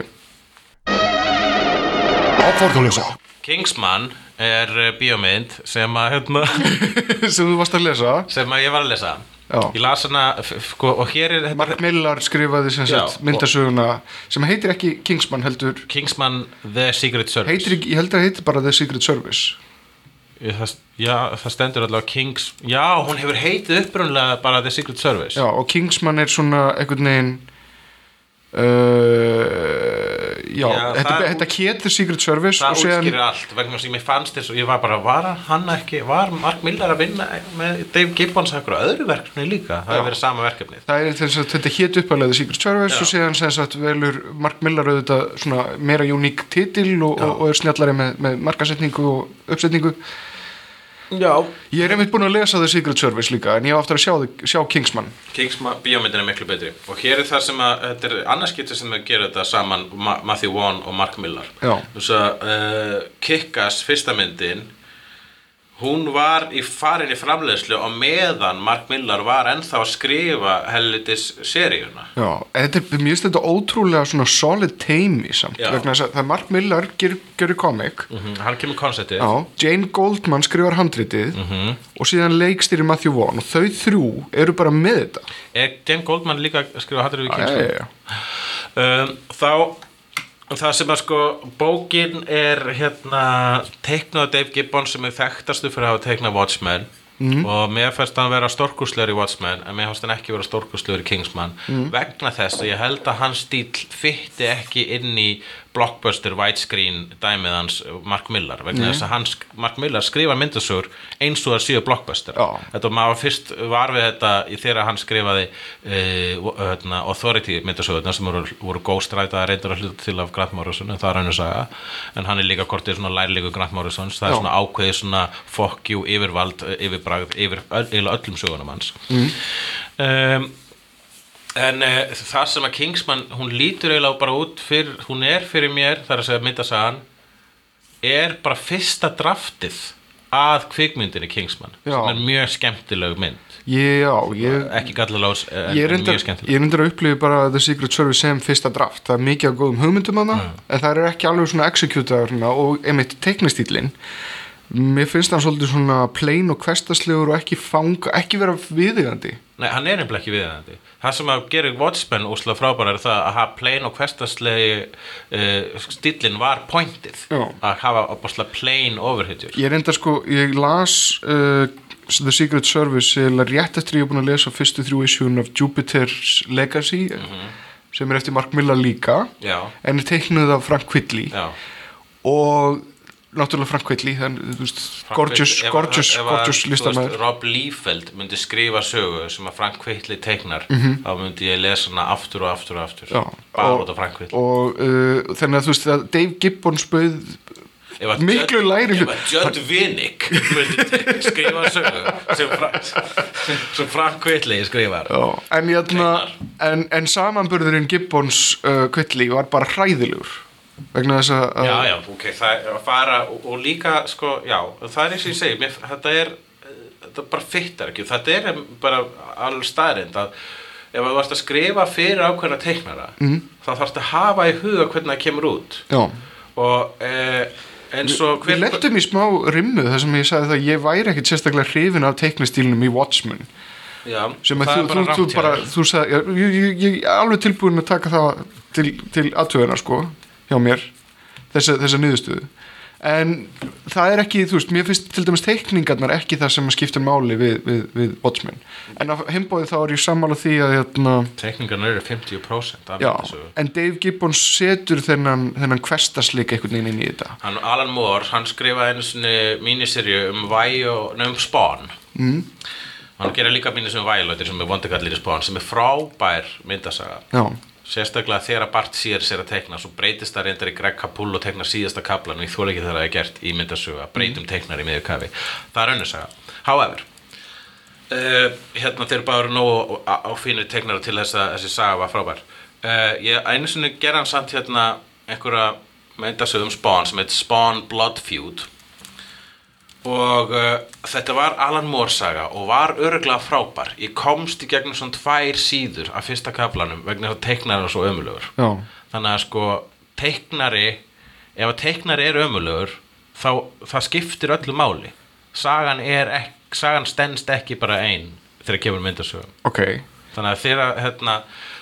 B: Áforðuleysa
A: Kingsman er uh, bíómynd sem að hérna,
B: Sem þú varst að lesa
A: sem að ég var að lesa
B: Já.
A: ég las hana f- f- sko, og hér er þetta
B: Mark Millar skrifaði sem
A: Já,
B: sagt
A: og-
B: myndasöguna sem heitir ekki Kingsman heldur
A: Kingsman The Secret Service
B: heitir, ekki- ég held að heitir bara The Secret Service
A: Ég- það, já, það stendur allavega Kings já, hún hefur heitið upprunlega bara The Secret Service
B: Já, og Kingsman er svona einhvern veginn uh, Já,
A: Já,
B: þetta,
A: það-
B: þetta hét The Secret Service
A: það
B: og síðan,
A: útskýrir allt vegna sem ég fannst þess og ég var bara var hann ekki, var Mark Millar að vinna með Dave Gibbons að einhverju öðru verkefni líka það
B: Já.
A: hefur verið sama verkefnið
B: Það er þess að þetta hét upphæðlega The Secret Service
A: Já.
B: og síðan sem sagt velur Mark Millar auðvitað svona meira uník titil og, og, og er snjallari með, með markasetningu og uppsetningu
A: já,
B: Ég er einmitt búin að lesa The Secret Service líka en ég á aftur að sjá, þig- sjá Kingsman
A: Kingsman bíómyndin er miklu betri og hér er það sem að þetta er annarskipti sem að gera þetta saman Ma Matthew Vaughn og Mark Millar
B: Já.
A: þess að uh, Kickass fyrsta myndin hún var í farin í framleiðslu og meðan Mark Millar var ennþá að skrifa hellitis seríuna
B: Já, en þetta er mjög þetta ótrúlega svona solid teimi samt
A: Já. Mm.
B: vegna þess að það er Mark Millar ger- gerir komik
A: Mhm, hann kemur konceptið
B: Já, Jane Goldman skrifar handritið og síðan leikstýri Matthew Vaughn og þau þrjú eru bara með þetta
A: er Jane Goldman líka að skrifa hattur við
B: Já,
A: Kingsman
B: já, já.
A: um, þá það sem að sko bókin er hérna teiknuð af Dave Gibbons sem er þekktastu fyrir að hafa teiknað Watchmen og mér fannst hann vera stórkuslegur í Watchmen en mér fannst hann ekki vera stórkuslegur í Kingsman vegna þess að ég held að hans stíl fytti ekki inn í blockbuster widescreen dæmið hans Mark Millar vegna þess að hans, Mark Millar skrifa myndasögur eins og það séu blockbuster
B: Já.
A: þetta maður fyrst var við þetta í þegar hann skrifaði uh, hérna, Authority myndasögurnar sem voru, voru góstræta reyndar að hluta til af Grant Morrison en það er hann að saga en hann er líka kortið svona lærlegu Grant Morrisons það
B: Já.
A: er svona ákveðið svona fuck you yfirvald, yfirbragð yfir öll, eiginlega öllum sögunum hans
B: Mm.
A: um, En uh, það sem að Kingsman, hún lítur eiginlega bara út fyrir, hún er fyrir mér, þar að segja myndasagan, er bara fyrsta draftið að kvikmyndinni Kingsman,
B: Já.
A: sem er mjög skemmtileg mynd.
B: Ég- já ég,
A: Ekki gallalás, eh, en,
B: ég er
A: en
B: reyndar
A: mjög skemmtileg.
B: ég er reyndar að upplifa bara The Secret Service sem fyrsta draft, það er mikið af góðum hugmyndum að það,
A: Mm.
B: en það er ekki alveg svona executaður hérna og einmitt teiknistýlin mér finnst hann svolítið svona plain og kvestaslegur og ekki fanga ekki vera viðigandi
A: Nei, hann er nefnilega ekki viðeigandi. Það sem að gera Watchmen úrslega frábæra er það að hafa plain og hverstaslegi uh, stíllinn var pointið.
B: Já.
A: Að hafa opaslega plain overhitjur.
B: Ég reynda sko, ég las uh, The Secret Service eða rétt eftir ég er búin að lesa fyrstu þrjú issue of Jupiter's Legacy sem er eftir Mark Millar líka
A: Mhm. Já.
B: en er teiknuð af Frank Quitely
A: Já.
B: og náttúrulega Frank Quitely þann, þú veist, gorgeous,
A: Ef-
B: gorgeous,
A: ef- ef- þú veist,
B: gorgeous listamaður
A: Rob Liefeld myndi skrifa sögu sem að Frank Kvitli teiknar þá myndi ég lesa hana aftur og aftur og aftur
B: Mhm. Já,
A: bara
B: og-
A: út af Frank Kvitli
B: og uh, þannig að þú veist að Dave Gibbons bauð miklu lægri hlut.
A: Ef að Judd Vinnick myndi te- skrifa sögu sem, Fra- sem, sem Frank Kvitli skrifar
B: Já, en, jæna, en, en samanburðurinn Gibbons uh, Quitely var bara hræðilegur vegna þess að að-
A: Já, já, ok, það er að fara og, og líka, sko, já, það er eins og ég segi, mér, þetta er, eh, þetta bara fyttar ekki, þetta er bara alveg staðrind að ef þú varst að skrifa fyrir ákveðna teiknara, mm.
B: Mhm.
A: þá þarfst að hafa í huga hvernig það kemur út
B: já.
A: og eh, eins og
B: Við lettum í smá rimmu þar sem ég sagði það að ég væri ekkit sérstaklega hrifin af teiknistílnum í Watchmen
A: já,
B: sem að
A: það er
B: þú, þú,
A: bara
B: þú
A: rangt hjá
B: bara,
A: þér.
B: þú sagði ég, ég, ég, ég er alveg tilbúin að taka það til, til aðtöðuna sko hjá mér þessa, þessa niðurstöðu en það er ekki, þú veist, mér finnst til dæmis teikningarnar ekki það sem skiptir máli við, við, við botsmenn en á heimbóði þá er ég sammála því að hérna,
A: Tekningarnar eru 50% af
B: já,
A: þessu.
B: en Dave Gibbons setur þennan, þennan kvestasleik einhvern veginn inn í þetta
A: Hann, Alan Moore, hann skrifaði einu sinni míniserju um Væjó, nefnum Spawn mm. hann gerir líka míniserju um Væjólætir sem er vondakallir í Spawn sem er frábær myndasaga
B: já,
A: sérstaklega þegar að Bart Sears er að tekna svo breytist það reyndar í Greg Capullo og tekna síðasta kaplan og ég þóla ekki þegar það er gert í myndasögu að breytum teknar í miður kafi það er önnur saga, however uh, hérna þeir bara eru nógu á, á fínu teknar til þess að þessi saga var frábær uh, ég einu sinni gerði hann samt hérna einhverja myndasögu um Spawn sem heit Spawn Blood Feud og uh, þetta var Alan Moore saga og var öruglega frábær ég komst í gegnum svona tvær síður af fyrsta kaplanum vegna þess að teiknari var svo ömulegur
B: já,
A: þannig að sko teiknari ef að teiknari er ömulegur þá það skiptir öllu máli sagan, er ek, sagan stendst ekki bara ein þegar kemur myndasögum
B: ok
A: þannig að þegar hérna,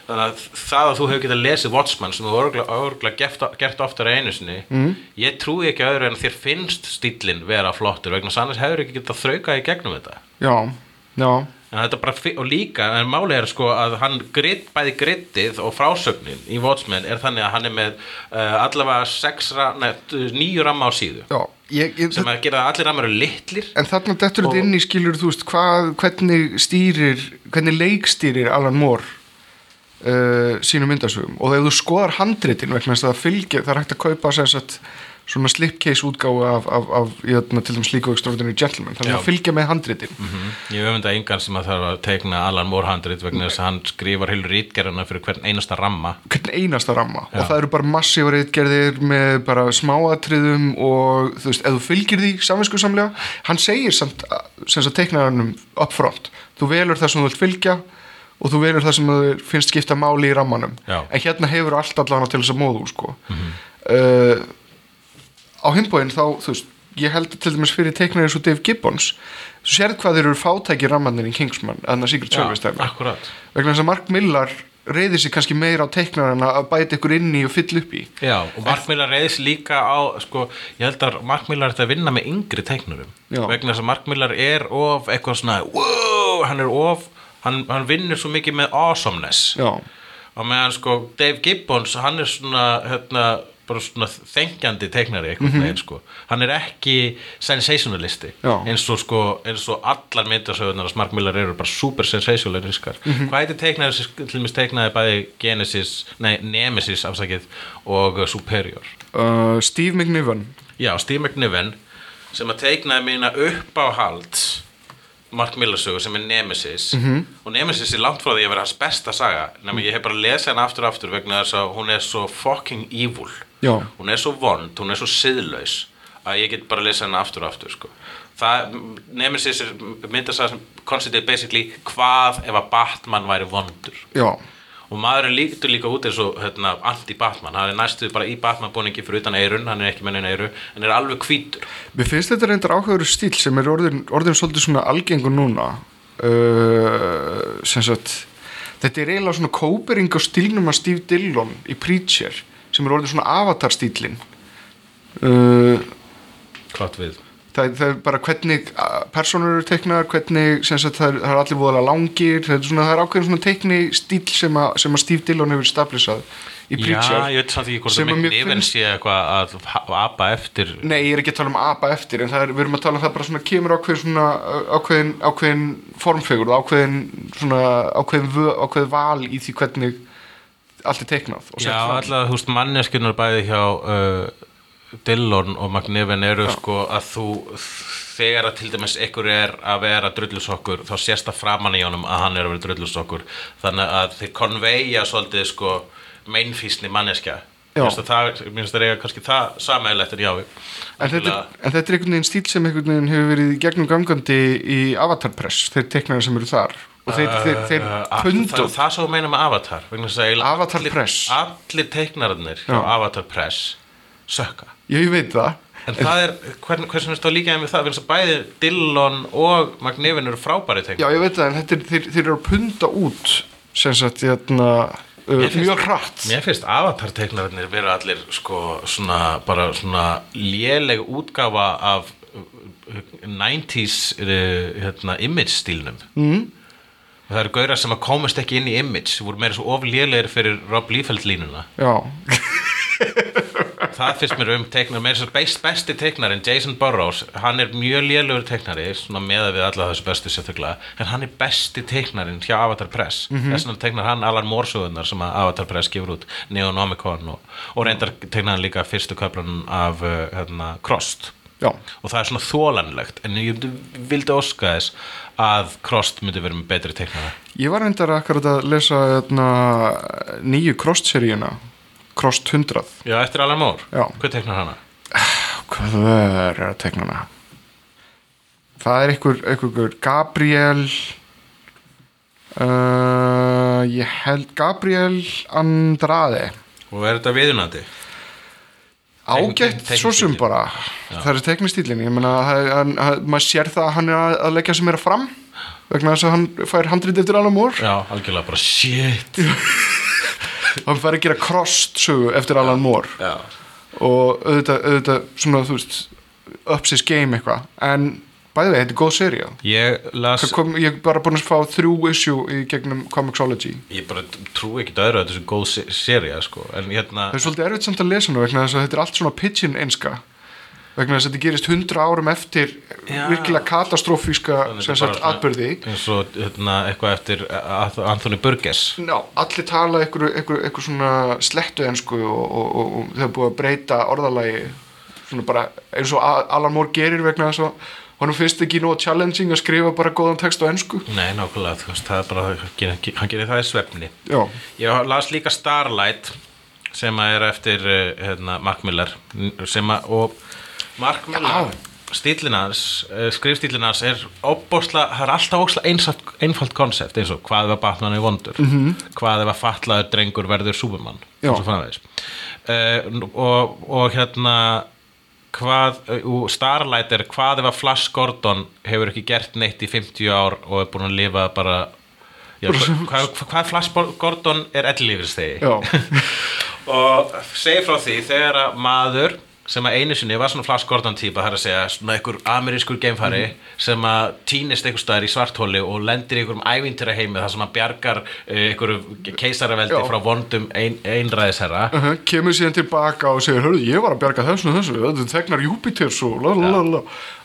A: þannig að það að þú hefur getað lesið Watchmen sem þú örgulega gert, gert oftar einu sinni mm. ég trúi ekki öðru en þér finnst stílinn vera flottur vegna þess að annars hefur ekki getað þraukað í gegnum þetta
B: já, já,
A: en þetta bara, fi- og líka, en málið er sko að hann grit, bæði grittið og frásögnin í Watchmen er þannig að hann er með uh, allavega sex, ra- nei, nýju ramma á síðu
B: já ég, ég,
A: sem að gera að allir rammar eru litlir
B: En þarna dettur þetta inn í skilur þú veist hvað, hvernig stýrir hvernig leikstýrir Alan Moore uh, sínum myndasögum og ef þú skoðar handritin vegna þess að það fylgja það er hægt að kaupa sér satt svona slipcase útgáfu af, af, af jötna, til dæmis líka extraordinary gentleman þannig
A: Já.
B: að fylgja með handritin
A: Mhm. Ég öfunda engan sem að þarf að teikna Alan Moore handrit vegna þess að hann skrifar heilu rítgerðina fyrir hvern einasta ramma
B: hvern einasta ramma
A: Já.
B: og það eru bara massífa reitgerðir með bara smáatriðum og þú veist, ef þú fylgir því samvinskusamlega hann segir samt, sem sagt teiknaranum uppfront, þú velur það sem þú vilt fylgja og þú velur það sem þú finnst skipta máli í rammanum
A: Já. Mhm.
B: en hérna hefur allt allan til þess að móðu sko. mm á hinbóin þá, þú veist ég held til dæmis fyrir teiknarið svo Dave Gibbons þú sérð hvað þeir eru fátæki rammanir í Kingsman, annars Secret Service dæmi
A: akkurat
B: vegna þess að Mark Millar reyðir sig kannski meira á teiknar en að bæta ykkur inn í og fylla upp í
A: Já, og markmiðlar reyðis líka á sko, ég held að markmiðlar þetta að vinna með yngri teiknurum,
B: Já.
A: vegna þess að markmiðlar er of eitthvað svona wow, hann er of, hann, hann vinnur svo mikið með awesomeness
B: já,
A: og meðan sko Dave Gibbons hann er svona hérna, bara svona þengjandi teiknari einhvern veginn sko hann er ekki sensationalisti
B: Já.
A: eins og sko eins og allar myndasögunar að smarkmillar eru bara super sensationaliskar hvað heitir teiknari sem til dæmis teiknaði bæði Genesis, nei Nemesis afsakið og uh, Superior
B: uh, Steve McNiven
A: já, Steve McNiven sem að teiknaði mína upp á hald Mark Miller sögu sem er Nemesis og Nemesis er langt frá því að vera hans besta saga nema ég hef bara lesið hann aftur og aftur vegna þess að hún er svo fucking evil
B: Já.
A: hún er svo vond, hún er svo siðlaus að ég get bara lesið hann aftur og aftur sko. það, Nemesis er myndasaga sem konstitið basically hvað ef að Batman væri vondur
B: já,
A: og maðurinn lítur líka út eins og hérna, anti-Batman, hann er næstuð bara í Batman búningi fyrir utan eirun, hann er ekki mennin eiru en er alveg hvítur
B: mér finnst þetta reyndar áhugaður stíl sem er orðin, orðin svolítið svona algengur núna uh, sem sagt þetta er eiginlega svona kópering á stílnum að Steve Dillon í Preacher sem er orðin svona avatar stílin uh,
A: Kvart við
B: það, það er bara hvernig uh, personur eru teiknaðar, hvernig sem sagt, það, er, það er allir voðalega langir það er, svona, það er ákveðin svona teikni stíl sem að, sem að Steve Dillon hefur stablisað í
A: Já,
B: Preacher
A: ég veit samt ekki hvort
B: Sem
A: það
B: að mér
A: mikið nefn
B: finnst-
A: sé eitthvað að ha- apa eftir
B: Nei, ég er ekki að tala um apa eftir en það er, við erum að tala um það bara svona kemur ákveðin, svona, uh, ákveðin, ákveðin formfegur ákveðin, svona, ákveðin, vö, ákveðin val í því hvernig allt er teiknað og sett
A: Já,
B: fram.
A: allavega, þú veist, manneskunar bæði hjá uh, Dillon og McNiven eru sko að þú þegar að til dæmis ykkur er að vera drullusokkur, þá sést það framan í honum að hann er að vera drullusokkur þannig að þeir konveja svolítið sko meinfísni manneskja
B: Já.
A: Mér finnst að það- mér finnst það eiga kannski það samægilegt en já
B: En þetta,
A: algjörlega.
B: en þetta er einhvern veginn stíl sem einhvern veginn hefur verið í gegnum gangandi í Avatar Press, þeir teknaðar sem eru þar og þeir, þeir, þeir
A: Uh,
B: pundu
A: það, það svo meina með Avatar vegna þess að eiginlega
B: Avatar
A: allir,
B: Press.
A: allir teiknararnir á
B: Já.
A: Avatar Press sökka
B: Já, ég veit það
A: en það er, hvern, hversu finnst þá líka en við það, finnst að bæði Dillon og McNiven eru frábæri
B: Já,
A: teiknar
B: ég veit það, en þetta er, þeir, þeir eru að punta út sem sagt, hérna uh,
A: Mér finnst-
B: mjög hratt
A: Mér finnst avatarteiknarnir vera allir sko svona bara svona léleg útgafa af uh, uh, 90s uh, hérna, image stílnum mm. Það eru gaurar sem að komast ekki inn í image voru meira svo of lélegir fyrir Rob Liefeld línuna
B: já,
A: Það finnst mér um teiknar meira svo best, besti teiknarinn Jason Burrows, hann er mjög lélegur teiknari svona meða við alla þessu bestu sérstaklega en hann er besti teiknarinn hjá Avatar Press mm -hmm. þess vegna teiknar hann allar mórsöðunar sem að Avatar Press gefur út Neonomicon og, og reyndar teiknar hann líka fyrstu köflunum af uh, hérna, Crossed
B: já,
A: og það er svona þólanlegt en ég vildi óska þess að Crossed myndi vera með betri teiknara
B: ég var reyndar akkurat að lesa hérna, nýju Crossed-seríuna Crossed 100
A: Já, eftir Alan Moore,
B: Já.
A: hvað teiknar hana?
B: hvað er að tekna hana það er einhver, einhver, einhver Gabriel uh, ég held Gabriel Andrade
A: Og er þetta viðunandi?
B: ágætt
A: Teikn- teikn-
B: svo sem
A: teiknistíllinn.
B: bara það er teknistílin, ég meina það- hann- hann- maður sér það að hann er að- að leggja sem er að fram vegna þess að hann fær handrit eftir Alan Moore
A: Já, algjörlega bara shit
B: hann fær að gera crossed sögu eftir Alan Moore
A: Já
B: og auðvitað, auðvitað svona þú veist ups his game eitthvað en bæði vegi, þetta er góð serið
A: Ég las,
B: Það kom, ég er bara búin að fá þrjú issue í gegnum Comixology
A: ég bara trú ekki öðru að þetta er svo góð se- sería sko, en hérna,
B: það er svolítið erfitt samt að lesa nú vegna þess að þetta er allt svona pigeon einska vegna þess að þetta gerist hundra árum eftir
A: Já.
B: virkilega katastrófíska
A: Þannig þetta
B: sem
A: er bara
B: sagt
A: svona-
B: atbyrði
A: eins og hérna eitthvað eftir uh, Anthony Burgess
B: Ná, allir tala einhverju einhver, einhver svona slettu ensku og, og, og, og þau er búið að breyta orðalagi svona bara eins og A- Alan Moore gerir vegna þess að honum finnst ekki nóg challenging að skrifa bara góðan text á ensku
A: Nei, nákvæmlega, þú veist, það er bara hann gerir- hann gerir það í svefni
B: Já,
A: Ég las líka Starlight sem að er eftir uh, hérna, Mark Miller sem að, og Mark Miller stílinans, skrifstílinans eh, er óbórsla, það er alltaf óbórsla einsalt, einfalt konsept eins og hvað ef að Batman er vondur, -hmm. hvað ef að fatlaður drengur verður Superman
B: Já.
A: og, uh, og, og hérna hvað, uh, Starlight er hvað ef að Flash Gordon hefur ekki gert neitt í 50 ár og er búin að lifa bara Já, hvað, hvað- hvað Flash Gordon er ellilífristegi
B: já,
A: og segi frá því þegar að maður sem að einu sinni var svona Flash Gordon típa það er að segja svona einhver amerískur geimfari
B: Mhm.
A: sem að týnist einhver staðar í svarthóli og lendir í einhverjum ævintýra heimi þar sem að bjargar eh, einhverju keisaraveldi
B: Já.
A: frá vondum ein, einræðisherra
B: uh kemur síðan tilbaka og segir, hörðu, ég var að bjarga þessu og þessu, þetta tegnar Júpiters og lalalala,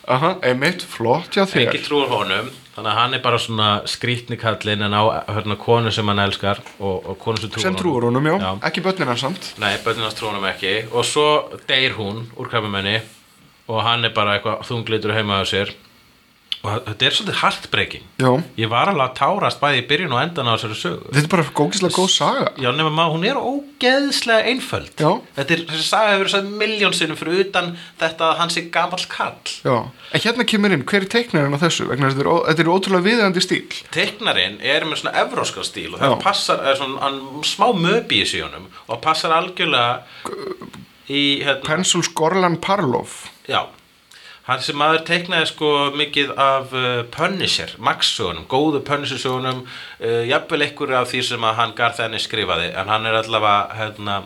B: aha, einmitt, flott já þér,
A: ekki trúar honum þannig að hann er bara svona skrítni kallinn en á hérna, konu sem hann elskar og, og konu sem trúar
B: sem trúur honum, já,
A: Já.
B: ekki börnin hans samt,
A: Nei, bönnunars trónum ekki og svo deyr hún úr krabamenni og hann er bara eitthvað þunglitur heima á sér og þetta er svolítið heartbreaking
B: já,
A: ég var alveg að tárast bæði í byrjun og endan á þessari sögu
B: þetta er bara gókislega góð saga,
A: Já, nema maður, hún er ógeðslega einföld
B: Já.
A: Þetta er, þessi saga hefur verið sagði miljón sinnum fyrir utan þetta að hann sé gamall kall
B: já, en hérna kemur inn, hver er teiknarinn á þessu, vegna þess að þetta er ó- þetta er ótrúlega viðandi stíl,
A: Teiknarinn er með svona evróska stíl og það
B: Já.
A: passar, eða svona hann, smá möbi í síðunum og passar algjörlega í hérna
B: Pensuls Gorlan Parlov,
A: Já, hann sem maður teiknaði sko mikið af uh, Punisher, Max-sögunum, góðu Punisher-sögunum, uh, jafnvel einhverju af því sem að hann Garth Ennis skrifaði, en hann er allavega hérna,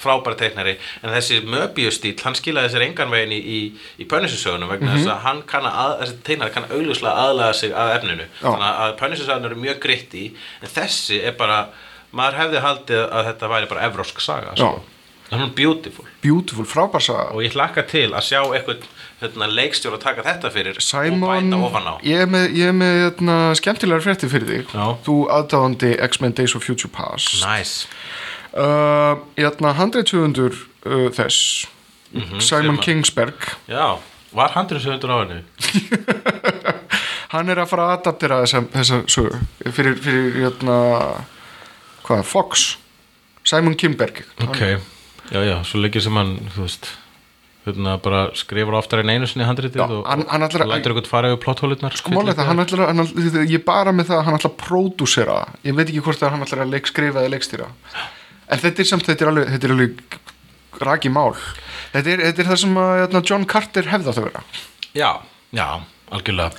A: frábæra teiknari, en þessi Möbius-stíl, hann skilaði sér engan veginn í, í, í Punisher-sögunum vegna
B: Mhm.
A: þess að hann kann að, þessi teiknari kann auðljuslega aðlaga sig að efninu,
B: Já.
A: þannig að Punisher-sögunum eru mjög gritt í, en þessi er bara, maður hefði haldið að þetta væri bara evrósk saga, sko.
B: Já.
A: En hún er beautiful
B: beautiful, frábær saga,
A: og ég hlakka til að sjá eitthvað hérna, leikstjóra taka þetta fyrir og
B: Simon,
A: bæta ofan á
B: ég er með, ég er með hérna, skemmtilegar frétti fyrir þig,
A: Já.
B: þú aðdáðandi X-Men Days of Future Past,
A: nice.
B: uh, hérna handreitshöfundur uh, þess
A: Mhm,
B: Simon
A: sem að-
B: Kingsberg
A: já, var handurinn sem hundur á henni
B: hann er að fara að adaptera þessa, þessa sögu fyrir, fyrir hérna, hvað, Fox Simon Kimberg
A: ok, já já, svo leikir sem hann þú veist hérna, bara skrifur oftar en einu sinni handritið
B: Já,
A: og,
B: hann- hann ætlar
A: og
B: að-
A: lætur eitthvað fara yfir plotthólutnar
B: sko málega það, hann ætlar að hann ætlar, ég er bara með það að hann ætlar að pródúsera það. ég veit ekki hvort að hann ætlar að leik, skrifa eða leikstýra en þetta er samt, þetta er alveg, þetta er alveg raki mál þetta er, þetta er það sem að, hérna, John Carter hefði átt að vera
A: já, já algjörlega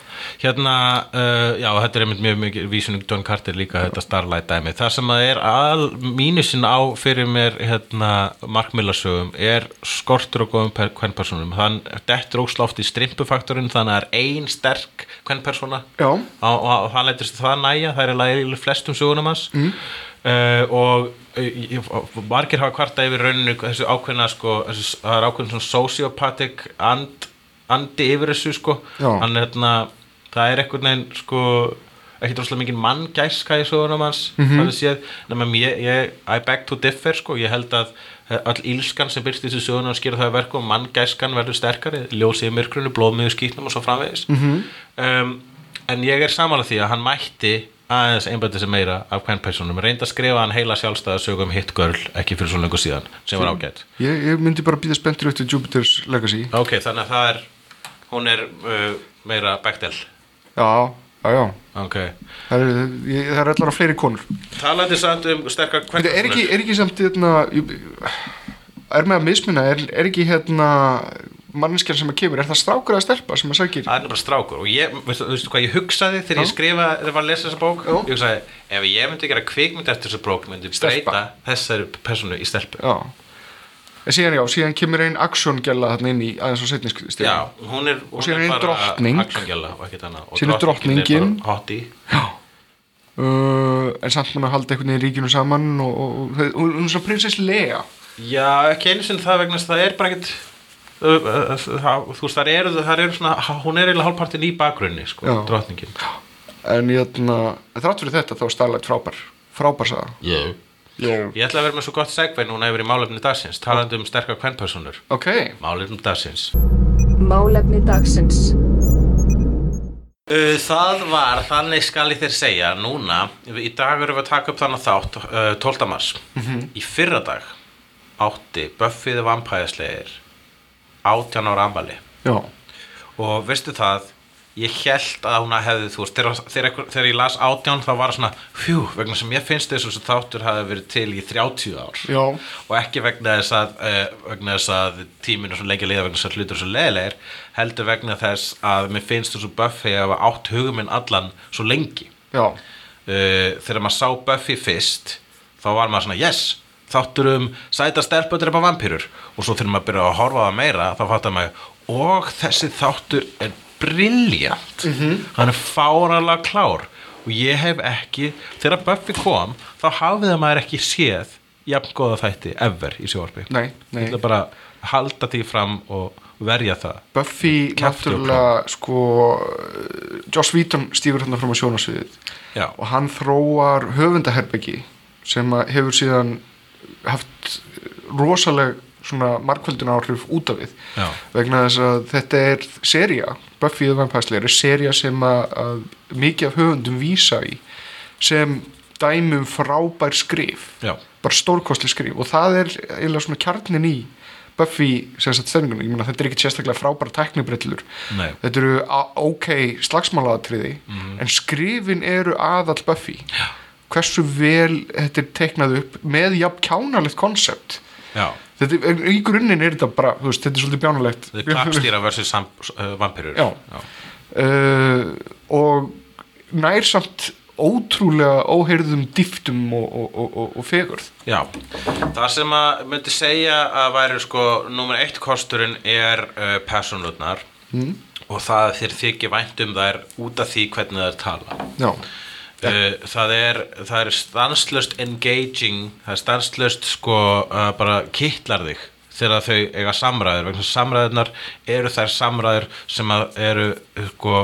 A: hérna, uh, já þetta er einmitt mjög mikið vísunum John Carter líka þetta Starlight dæmi það sem að er al, mínusin á fyrir mér hérna markmillarsögum er skortur og góðum hvernpersonum, þann dettur ósláft í strimpufaktorinn þannig að það er ein sterk hvernpersona
B: Já.
A: og, og, og hann leitist það næja það er eiginlega í flestum sögunum hans mm. og eh, ég- margir hafa kvarta yfir rauninu þessu ákveðna sko, þessu, það er ákveðin svona sociopathic and, andi yfir þessu sko
B: Já.
A: hann er hérna, það er eitthvað neginn sko ekki droslega mikið manngæska í sögunum hans þannig séð, nefnum ég, ég I beg to differ sko, ég held að eh, öll ílskan sem byrst í þessu sögunum hans gera það að verku og manngæskan verður sterkari ljósið í myrkrunu, blóðmiðu skýtnum og svo framvegis -hmm. um, en ég er samanlega því að hann mætti aðeins einbætti sem meira af hvern personum reyndi að skrifa hann heila sjálfstæða sögum Hit Girl ekki fyrir svo lengur síðan sem var ágætt
B: Ég, ég myndi bara býða spenntur eftir Jupiter's Legacy
A: ok, þannig að það er hún er uh, meira Bechdel
B: Já, já, já
A: ok
B: Það er, ég, það er allara fleiri konur
A: talaði samt um sterkar hvern
B: Þetta er ekki, er ekki samt hérna, ég- Er með að mismuna Er, er ekki hérna manneskjan sem að kemur Er það strákur eða stelpa sem að sækir
A: það er bara strákur og ég, veistu, veistu hvað ég hugsaði þegar ég skrifa, þegar ég var að lesa þessa bók
B: Já.
A: ég hugsaði, ef ég myndi gera kvikmynd eftir þessa bók, myndi ég
B: Stelpa.
A: breyta þessari personu í stelpu
B: Já En síðan já, síðan kemur einn aksjóngella þarna inn í aðeins á setni stíð
A: já, hún er, hún
B: síðan er einn drottning.
A: actiongella og ekkert annað. Og
B: Síðan er
A: drottningin
B: drottningin.
A: bara hottie.
B: uh, En samt mann að halda einhvern veginn ríkinu saman Og, og, og, og hún er svona prinsess Lea
A: Já, ekki einu sinni það vegna þess að það er bara ekkert Ö, ö, ö, það- þú veist, þar eru, þar eru svona, hún er eiginlega hálfpartin í bakgrunni, sko,
B: Já.
A: drottningin
B: En hérna, þrátt fyrir þetta þá er Starlight frábær Frábær saga
A: yeah.
B: yeah.
A: Ég ætla að vera með svo gott segvei núna yfir í málefni dagsins, talandi um sterkar kvenpersonur
B: Ok,
A: Málefni dagsins
C: Málefni dagsins.
A: Uh, Það var, þannig skal ég þér segja, núna, í dag erum við að taka upp þannig þátt, uh, 12. mars. Í fyrra dag átti Buffy the Vampire Slayer 18 ára ambali.
B: já,
A: Og veistu það, ég held að hún hefði, þú veist, þegar, þegar, einhver- þegar ég las 18 þá var það svona, fjú, vegna sem ég finnst þess að þáttur hafi verið til í 30 ár
B: já
A: og ekki vegna þess að, uh, vegna þess að tíminu svo lengi að liða vegna þess að hlutur svo leiðilegir heldur vegna þess að mér finnst þessu Buffy að hafa átt hugum minn allan svo lengi
B: Já,
A: uh, þegar maður sá Buffy fyrst þá var maður svona yes þáttur um sæta stelpa að drepa vampýrur og svo þegar maður byrja að horfa á það meira þá fattar maður og þessi þáttur er brilljant -hmm.
B: Mhm.
A: hann er fáranlega klár og ég hef ekki, þegar Buffy kom þá hafði maður ekki séð jafn góða þætti ever í sjóarpi
B: Nei, nei.
A: ég ætla bara að halda því fram og verja það
B: Buffy
A: Kjafti og
B: náttúrulega sko uh, Joss Whedon stígur hérna fram á sjónasviðið
A: Já.
B: og hann þróar höfundaherbyggi sem að hefur síðan haft rosaleg svona markvöldun áhrif út af við
A: Já.
B: vegna þess að þetta er seria, Buffy the Vampire Slayer er seria sem að, að mikið af höfundum vísa í sem dæmum frábær skrif
A: Já.
B: bara stórkostli skrif og það er eiginlega svona kjarnin í Buffy sem sagt stemningunum, ég meina þetta er ekki sérstaklega frábæra tæknibrellur,
A: Nei.
B: þetta eru á- ok slagsmálaðatriði
A: Mhm.
B: en skrifin eru aðall Buffy Já. hversu vel þetta er teiknað upp með jafn kjánalegt konsept
A: Já.
B: þetta, er- í grunninn er þetta bara, þú veist, þetta er svolítið bjánalegt
A: þetta er klappstýra versus uh, vampýrur
B: Já. uh, og nær samt ótrúlega óheyrðum dýftum og, og, og, og, og fegurð
A: Já, það sem að myndi segja að væri sko nummer eitt kosturinn er uh, personlutnar mm. og það þeir þykir vænt um þær út af því hvernig þær tala
B: Já,
A: uh, það er það er stanslöst engaging það er stanslöst sko uh, bara kittlar þig þegar þau eiga samræður vegna þess að samræðurnar eru þær samræður sem að eru sko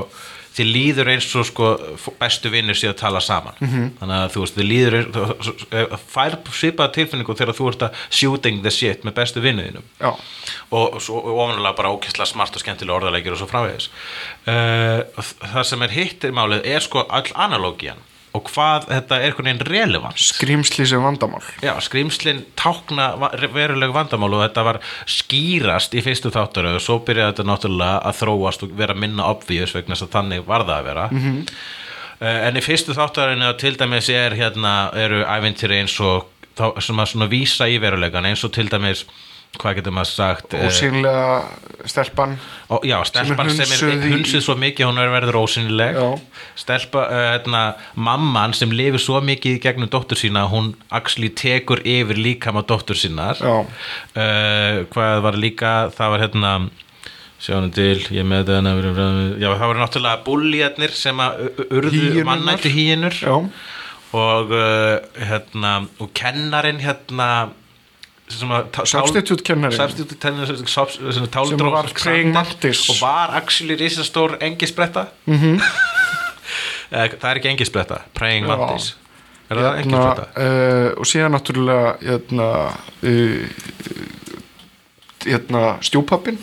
A: þið líður eins og sko f- bestu vinnir séu að tala saman -hmm. þannig að þú veist, þið líður eins- þú- þú- þú- fær svipaða tilfinningu þegar þú ert að shooting the shit með bestu vinnuðinum
B: já
A: og, og svo ofanulega bara ókessla smart og skemmtilega orðalegir og svo framvegis uh, það sem er hittir málið er sko all analógian og hvað þetta er einhvern veginn relevans
B: skrýmsli sem vandamál
A: Já, skrýmslin tákna va- verulegu vandamál og þetta var skýrast í fyrstu þáttur og svo byrjaði þetta náttúrulega að þróast og vera minna obvious vegna þess að þannig var það að vera mm en í fyrstu þáttarinu til dæmis er hérna, eru ævintýri eins og þá, sem að svona vísa í verulegan eins og til dæmis hvað getur maður sagt eh,
B: ósýnlega stelpan
A: Ó, já, stelpan sem er
B: hunsuð í-
A: hunsuð svo mikið að hún er verður ósynileg
B: Já.
A: stelpa, uh, hérna, mamman sem lifir svo mikið í gegnum dóttur sína að hún axli tekur yfir líkama dóttur sínar
B: Já.
A: Eh, hvað var líka það var hérna sjáum til, ég er með þetta já, það voru náttúrulega búlíarnir sem að u- u- urðu
B: Hýenurnar.
A: mannættu hýinur
B: já,
A: og uh, hérna og kennarin hérna sem að tá- tál-
B: Substitute kennarinn.
A: substitute kennarin sem, sub- sem, táldró-
B: Sem var
A: Alexander
B: praying mantis.
A: og var actually risastór engisbretta mm það er ekki engisbretta praying
B: Mhm. Já.
A: mantis er það
B: hérna,
A: engisbretta?
B: uh, og síðan náttúrulega hérna, uh, hérna stjúpappin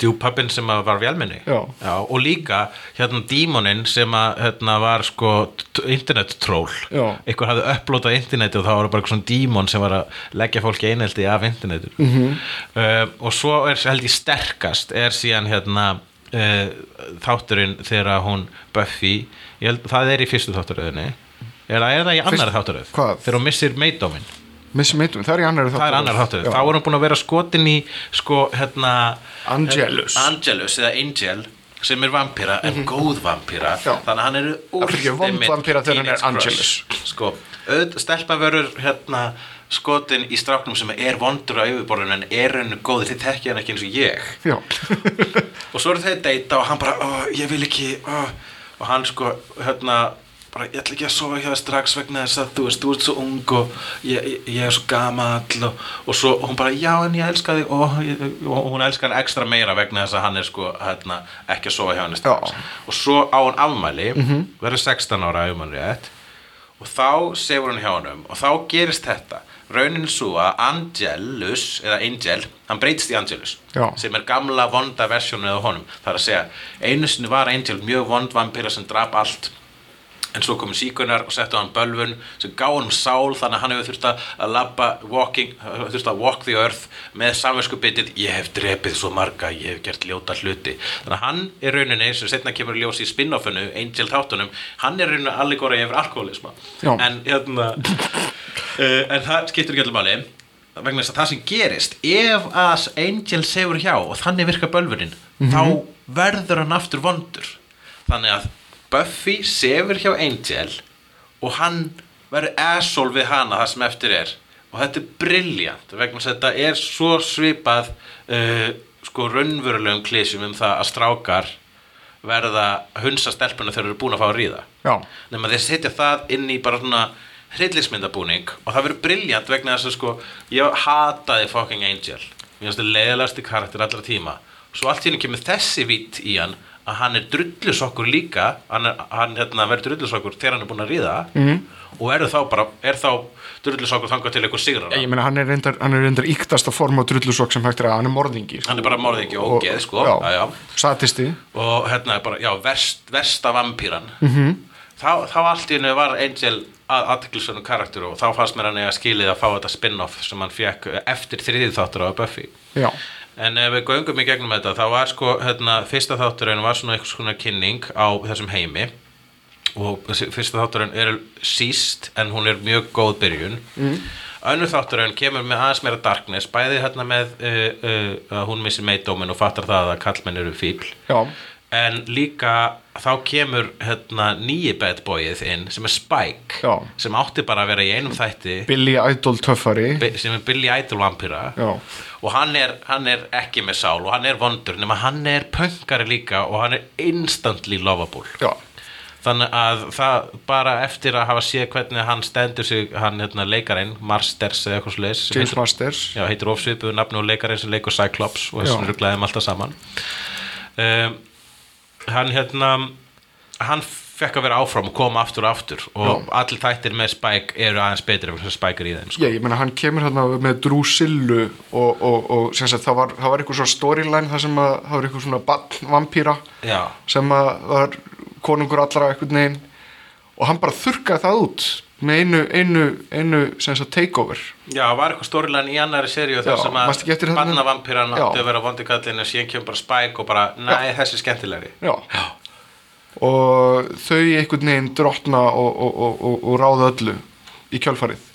A: stjúpappin sem að var vélmenni
B: Já.
A: og líka hérna dímonin sem að hérna, var sko t- internet-troll
B: Já.
A: einhver hafði upplótað interneti og þá var bara eitthvað svona dímon sem var að leggja fólki eineldi af internetu mm
B: Mhm.
A: -hmm. og svo er held ég sterkast er síðan hérna uh, þátturinn þegar hún Buffy, ég held, það er í fyrstu þátturöðinni eða er það í annar
B: Fyrst-
A: þátturöð
B: hvað?
A: þegar hún missir meidóminn
B: missi meitum, það er í annar
A: það er annar þáttur þá er hún búin að vera skotin í sko hérna eh,
B: Angelus. Mhm.
A: Angelus eða Angel sem er vampýra en góð vampýra
B: Já.
A: þannig að hann er
B: er ekki vond
A: úrstimmill
B: vampíra þegar hann er
A: teenage
B: Angelus.
A: crush. sko, auð, stelpa verður hérna skotin í stráknum sem er vondur á yfirborðinu en er hann góð þið tekja hann ekki eins og ég
B: já,
A: og svo eru þeir deyta og hann bara oh, ég vil ekki oh. og hann sko hérna bara ég ætla ekki að sofa hjá þér strax vegna þess að þú veist, þú ert svo ung og ég, ég, ég er svo gamall og, og svo hún bara já en ég elska þig og, ég, og hún elskar hann ekstra meira vegna þess að hann er sko hérna, ekki að sofa hjá henni strax
B: Já.
A: og svo á hann afmæli verður 16 ára ef mann rétt og þá sefur hann hjá honum og þá gerist þetta raunin svo að Angelus eða Angel, hann breytist í Angelus
B: Já.
A: sem er gamla vonda versjónu eða honum það er að segja, einu sinni var Angel mjög vond vampýra sem drap allt en svo komu síkunar og settu á hann bölvun sem gá hann sál þannig að hann hefur þurft að að labba walking, hefur þurft að walk the earth með samverskubitið, ég hef drepið svo marga, ég hef gert ljóta hluti þannig að hann er rauninni, sem setna kemur í ljós í spin-offinu, Angel Tátunum hann er rauninni allegóra yfir alkoholisma
B: Já.
A: en hérna uh, en það skiptir ekki allir máli vegna þess að það sem gerist ef að Angel sefur hjá og þannig virka bölvunin þá verður hann aftur vondur þannig að Buffy sefur hjá Angel og hann verður asshole við hana það sem eftir er og þetta er brilljant vegna þess að þetta er svo svipað uh, sko raunverulegum klísjum um það að strákar verða hunsa stelpuna þegar þeir eru búin að fá að ríða
B: já,
A: nema þeir setja það inn í bara svona hryllismyndabúning og það verður briljant vegna þess að sko ég hataði fucking Angel mér finnst það leiðalasti karakter allra tíma svo allt í henni kemur þessi vít í hann að hann er drullusokkur líka hann, er, hann hérna, verður drullusokkur þegar hann er búinn að ríða mm. og er þá bara er þá drullusokkur þangað til einhver sigrar
B: ég meina hann er reyndar, hann er reyndar íktasta form á drullusokk sem hægt er að hann er morðingi sko.
A: hann er bara morðingi og ógeð sko
B: já,
A: já, já.
B: satisti
A: og hérna er bara, já, verst, versta vampýran -hmm. þá, þá allt í hennu var Angel að aðteklisvönum karakter og þá fannst mér hann eiga skilið að fá þetta spin-off sem hann fekk eftir þriðið þáttur á Buffy
B: já,
A: en ef við göngum í gegnum þetta þá var sko, hérna, fyrsta þátturinn var svona einhvers konar kynning á þessum heimi og þessi fyrsta þátturinn er síst en hún er mjög góð byrjun mm. önnur þátturinn kemur með aðeins meira darkness bæði hérna með uh, uh, að hún missir meitdómin og fattar það að kallmenn eru fíbl
B: já,
A: en líka þá kemur hérna nýji bad boyið inn sem er Spike
B: Já.
A: sem átti bara að vera í einum þætti
B: Billy Idol töffari
A: Bi- sem er Billy Idol vampýra
B: Já.
A: og hann er, hann er ekki með sál og hann er vondur nema hann er pöngari líka og hann er instantly lovable
B: já,
A: þannig að það bara eftir að hafa séð hvernig hann stendur sig hann hérna leikarinn, Marsters eða eitthvað slags
B: James Masters
A: Já, heitir ofsvipuðu nafnu og leikarinn sem leikur Cyclops og
B: Já.
A: þessum rugglaðum alltaf saman um, Hann hérna hann fekk að vera áfram og koma aftur og aftur og allir þættir með Spike eru aðeins betri ef þess að Spike er í þeim sko.
B: Já, ég meina hann kemur hérna með Drusillu og, og, og sem sagt, það var, það var eitthvað svona storyline þar sem að það var eitthvað svona ballvampýra
A: Já,
B: sem að var konungur allra eitthvað neginn og hann bara þurkaði það út með einu, einu, einu sem sagt takeover
A: Já, var eitthvað stórilan í annari seríu
B: Já,
A: þar sem
B: manstu ekki eftir
A: að
B: þarna?
A: bannavampýran
B: Já.
A: átti að vera vondi kallin og síðan kemur bara Spike og bara, næ, þessi er skemmtilegri
B: Já. og þau eitthvað neginn drottna og, og, og, og, og ráða öllu í kjölfarið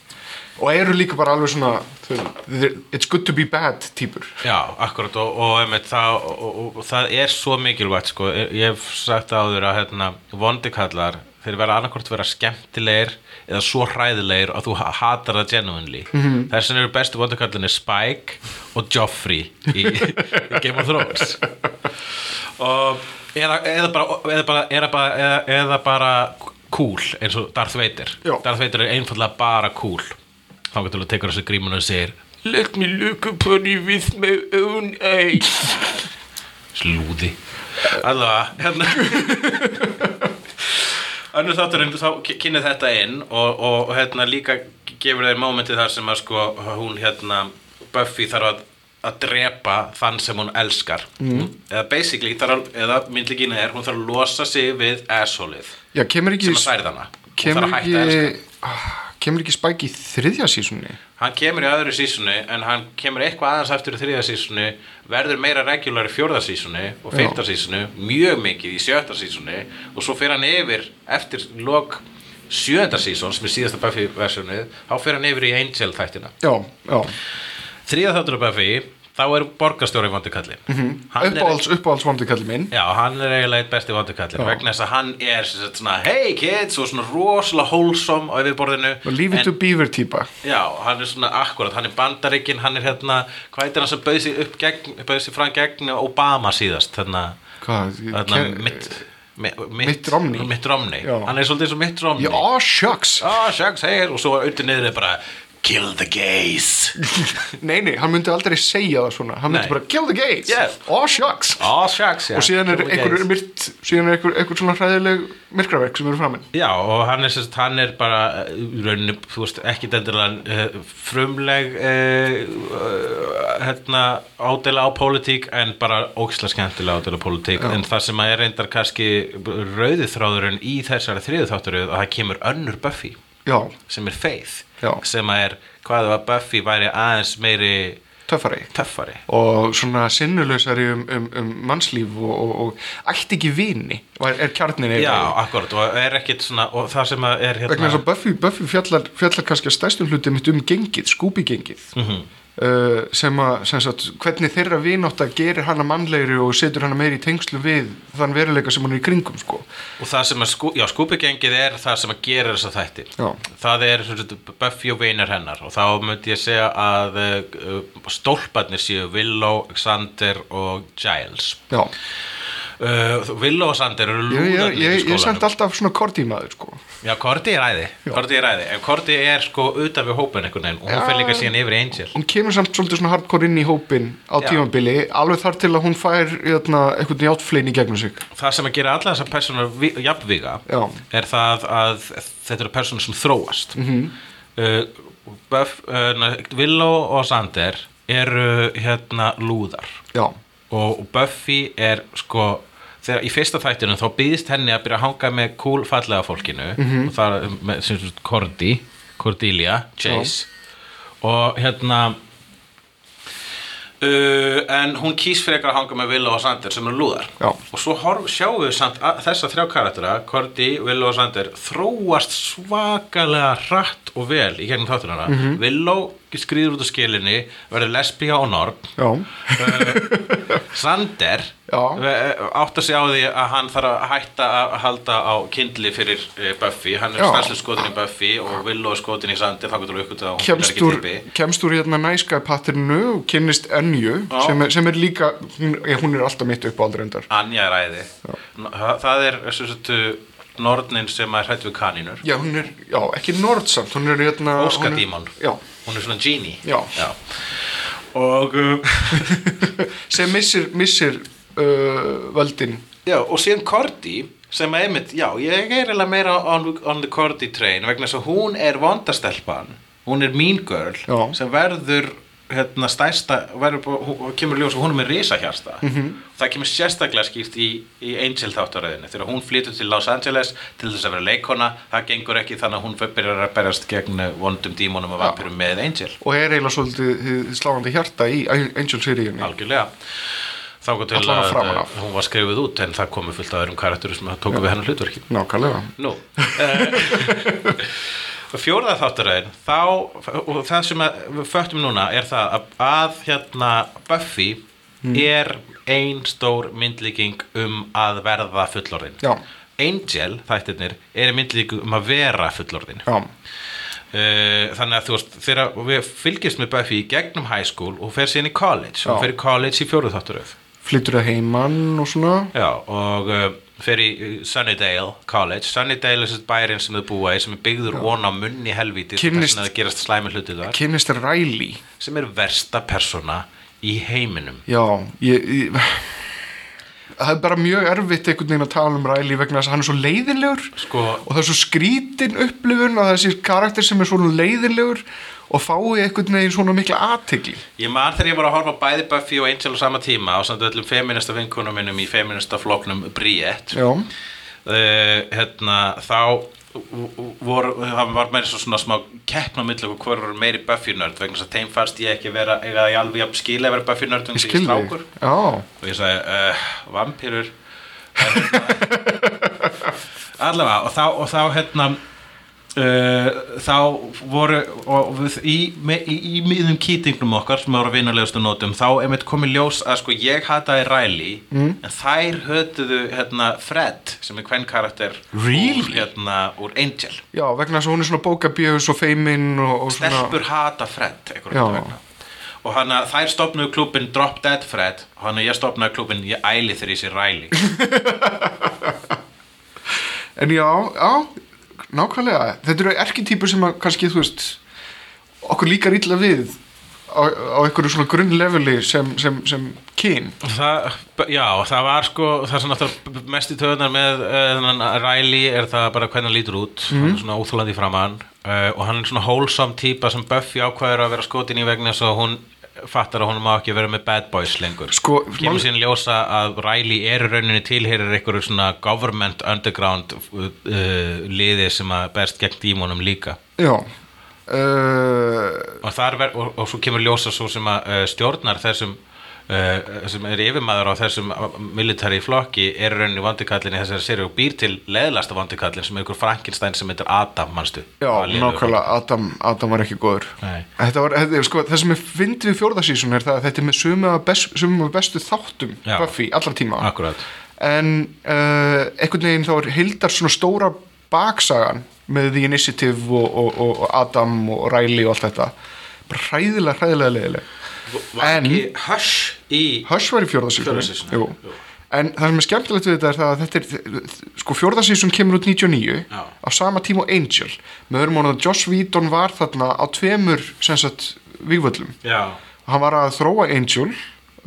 B: og eru líka bara alveg svona þau- þeir- it's good to be bad típur
A: Já, akkurat og, og, einmitt, það, og, og, og það er svo mikilvægt sko. Ég ég hef sagt áður að hérna, vondikallar þeir verða annarkvort vera skemmtilegir eða svo hræðilegir að þú ha- hatar það genuinely -hmm. þess vegna eru bestu vondikallinni Spike og Joffrey í, í Game of Thrones og eða, eða bara, eða bara, eða bara, eða, eða bara cool eins og Darth Vader
B: Já.
A: Darth Vader er einfallega bara cool þá getur þú tekur þessu grímun og segir Let me look upon you with my own eyes Slúði Allavega, hérna Önnur þátturinn, þá kynni þetta inn og, og hérna líka gefur þeir mómenti þar sem að sko hún hérna Buffy þarf að, að drepa þann sem hún elskar mm. eða basically, þarf, að- eða myndlíkina er hún þarf að losa sig við assholið
B: já, kemur ekki
A: sem að særið hana hún
B: kemur
A: þarf að hætta að elska
B: ekki ah, kemur ekki spæk í þriðja sísunni
A: hann kemur í öðru sísunni en hann kemur eitthvað aðeins eftir í þriðja sísunni verður meira regular í fjórða sísunni og fyrta sísunni, mjög mikið í sjötta sísunni og svo fer hann yfir eftir lok sjönda sísón sem er síðasta Buffy versjónu þá fer hann yfir í Angel þættina
B: já, já,
A: þriða þáttur af Buffy, þá er borgarstjóri vandikallin mm
B: Mhm.
A: -hmm.
B: uppáhalds, uppáhalds vondi kalli minn
A: Já, hann er eiginlega eitt besti vandukallin
B: Já.
A: vegna þess að hann er sem sagt, svona hey kids og svona rosalega wholesome á yfirborðinu
B: leave it
A: en-
B: to beaver típa
A: Já, hann er svona akkurat, hann er bandaríkin, hann er hérna, hvað heitir hann sem bauði sig upp gegn, bauði sig fram gegn Obama síðast, þarna,
B: hvað,
A: þarna
B: ken-
A: mitt, mitt,
B: Mitt Romney.
A: Mitt Romney,
B: Já.
A: hann er svolítið svo Mitt Romney.
B: já, ah, shucks
A: Á, sjöks, heyr, og svo undir niður er bara, kill the gays.
B: nei, nei, hann myndi aldrei segja það svona hann myndi
A: Nei.
B: bara kill the gates
A: Yeah.
B: ah, shucks
A: Á, sjöks, já.
B: og síðan er
A: kill the
B: einhver
A: gays.
B: myrt síðan er einhver, einhver svona hræðileg myrkraverk sem eru framinn
A: Já, og hann er, sérst, hann er bara eh, í rauninni, þú veist, ekki dendilega uh, frumleg uh, hérna ádela á pólitík en bara ógislega skemmtilega ádela á pólitík en það sem að er reyndar kannski rauði þráðurinn í þessari þriðu þátturöð að það kemur önnur Buffy
B: já,
A: sem er Faith
B: Já.
A: sem að er hvað ef að Buffy væri aðeins meiri
B: töffari
A: töffari
B: og svona sinnulausari um, um, um mannslíf og, og, og ætti ekki vini og er, er kjarnin
A: Já, akkurat, og er ekkit svona og það sem að er
B: vegna þess að
A: hérna
B: Buffy, Buffy fjallar, fjallar kannski að stærstum hluti mitt um gengið, Scooby-gengið
A: Mhm.
B: uh, sem að sem sagt, hvernig þeirra vinátta gerir hana mannlegri og setur hana meiri í tengslu við þann veruleika sem hún er í kringum sko.
A: og það sem að skú, já, skúpigengið er það sem að gera þessa þætti
B: Já.
A: það er sem sagt, Buffy og vinar hennar og þá myndi ég segja að uh, stólparnir séu Willow, Xander og Giles
B: Já,
A: uh, Willow og Xander eru
B: ég, ég,
A: lúðarnir í
B: ég, ég semt
A: skólanum
B: alltaf svona korti maður sko.
A: já, Korti er æði, Korti er æði en Korti er sko utan við hópin einhvern veginn og hún
B: Já.
A: fyrir líka síðan yfir í Angel
B: Hún kemur samt svolítið svona hardcore inn í hópin á
A: Já.
B: tímabili, alveg þar til að hún fær jötna, einhvern játflein í gegnum sig
A: það sem að gera alla þessar personar vi- jafnvíga
B: Já.
A: er það að þetta eru personar sem þróast mm
B: Mhm.
A: -hmm. uh, Buff, uh, na- Willow og Sander eru hérna lúðar
B: Já,
A: og, og Buffy er sko þegar í fyrsta þættinu þá býðist henni að byrja að hanga með cool fallega fólkinu og það er með, sem sagt Cordy Cordelia, Chase og hérna Uh, en hún kýs frekar að hanga með Willow og Sander sem eru lúðar
B: Já.
A: og svo horf, sjáum við samt að þessa þrjá karaktera, Cordy, Willow og Sander þróast svakalega hratt og vel í gegnum þáttunana mm -hmm. Willow skrýður út á skilinni verður lesbía og norn
B: já,
A: Sander eh,
B: Já.
A: átt að segja á því að hann þarf að hætta að halda á kindli fyrir eh, Buffy, hann er
B: Já.
A: stanslega skotin í Buffy og Willow er skotin í Sander þá getur þú ykkur það að hún fílar
B: kemst
A: ekki
B: úr,
A: tippi
B: kemst úr hérna næskæpatternu og kynnist Önju
A: Já.
B: sem, er- sem er líka, hún, ég, hún er alltaf mitt upp á aldrei endar
A: Anja er æði það, það er eh, sem sagt, uh, nornin sem er hrætt við kanínur
B: Já, hún er, já, ekki nord samt, hún er hérna hún er-
A: Óskadímon,
B: Já,
A: hún er svona genie
B: Já.
A: og uh,
B: sem missir, missir uh, völdin
A: Já, og síðan Korti sem að einmitt, já, ég er eiginlega meira on, on the Korti train vegna þess að hún er vondastelpan hún er mean girl
B: Já.
A: sem verður hérna stærsta verður, bara- hún, hún kemur ljós og hún er með risahjarsta
B: Mhm.
A: -hmm. það kemur sérstaklega skýrt í, í Angel þáttaröðinu þegar hún flytur til Los Angeles til þess að vera leikona það gengur ekki þannig að hún fer- byrjar að berjast gegn eh, vondum dímonum og vampirum með Angel
B: og er eiginlega svolítið hið sláandi hjarta í Angel seríunni
A: algjörlega þá kom til
B: Allan að
A: að,
B: framan
A: að
B: af.
A: hún var skrifuð út en það komu fullt af öðrum karakterum sem tóku við hennar hlutverki
B: Nákvæmlega
A: Nú eh, fjórða þáttaröðin þá, og það sem að við föttum núna er það að, að hérna Buffy
B: Mm.
A: er ein stór myndlíking um að verða fullorðin
B: Já.
A: Angel, þættirnir, er myndlíking um að vera fullorðin
B: já,
A: Eh, þannig að þú veist þegar við fylgjumst með Buffy í gegnum high school og fer síðan í college
B: Já.
A: og fer í college í fjóruð þátturöð
B: flyttur að heiman og svona
A: já, og uh, fer í eh, Sunnydale College Sunnydale er þessi bærin sem þau búa í sem er byggður von á munni helvíti
B: Kynnist-
A: þess að það gerast slæmi hluti þar
B: kynnist Riley
A: sem er versta persóna í heiminum
B: já, ég, ég það er bara mjög erfitt einhvern veginn að tala um Riley vegna þess að hann er svo leiðinlegur
A: sko,
B: og það er svo skrítin upplifun að þessi karakter sem er svona leiðinlegur og fái einhvern veginn svona mikla aðtegli
A: Ég man þegar ég var að horfa á bæði Buffy og Angel á sama tíma og samt öllum feminista vinkunum minnum í feminista floknum Briett
B: já,
A: uh, hérna, þá vor, það var meira svo svona smá keppn á milli og hver voru meiri Buffy-nörd vegna þess að þeim fannst ég ekki vera eiga það í alveg jafn skil að vera Buffy-nörd
B: ég
A: vegna þess að ég er
B: skil þig
A: strákur
B: já,
A: og ég sagði uh, vampýrur allavega og þá, og þá hérna Uh, þá voru og við, í, me, í, í miðum kýtingnum okkar sem voru vinulegustu nótum þá einmitt komið ljós að sko ég hataði Riley mm. en þær hötuðu hérna, Fred sem er hvern karakter
B: Really?
A: úr, hérna, úr Angel
B: já, vegna þess að hún er svona bókabjöfus og feimin og, og svona
A: stelpur hata Fred einhvern
B: Já.
A: veginn. og hann að þær stopnuðu klubin Drop Dead Fred og hann að ég stopnaði klubin ég æli þegar ég sé Riley
B: En já, já, nákvæmlega Þetta eru erketýpur sem að kannski, þú veist okkur líkar illa við á, á einhverju svona grunnleveli sem, sem, sem kyn
A: Það, já, það var sko það sem náttúrulega mest í töðunar með uh, Riley er það bara hvernig hann lítur út
B: Mhm.
A: hann er svona óþólandi framann uh, og hann er svona hólsam típa sem Buffy ákvæður að vera skotin í vegna svo hún fattar að hún má ekki vera með bad boys lengur
B: Sko,
A: kemur
B: mál-
A: síðan í ljós að Riley er í rauninni tilherir einhverju svona government underground uh, uh, liði sem að berst gegn dímonum líka
B: Já uh,
A: og, þar ver, og, og svo kemur ljósa svo sem að uh, stjórnar þessum uh, sem er yfirmaður á þessum military flokki er í rauninni vandikallin í þessari séri og býr til leðlasta vandikallin sem er ykkur Frankenstein sem heitir Adam, manstu?
B: Já,
A: Það var lélegur.
B: nákvæmlega, Adam, Adam var ekki góður
A: Nei.
B: Þetta var, þetta, er, sko, það sem er fyndið við fjórðasísun er það að þetta er með suma, best, suma bestu þáttum
A: Já.
B: Buffy, allra tíma
A: Akkurat
B: en uh, einhvern veginn þá er hildar svona stóra baksagan með The Initiative og, og, og, og Adam og Riley og allt þetta bara hræðilega, hræðilega leiðileg
A: Var
B: En-
A: ekki Hush í
B: Hush var í
A: Fjórða
B: fjórðasísun
A: season,
B: Jú.
A: jú.
B: en það sem er skemmtilegt við þetta er það að þetta er, sko fjórðasísun kemur út 99
A: Já.
B: á sama tíma og Angel með öðrum honum að Joss Whedon var þarna á tveimur sem sagt vígvöllum
A: Já,
B: hann var að þróa Angel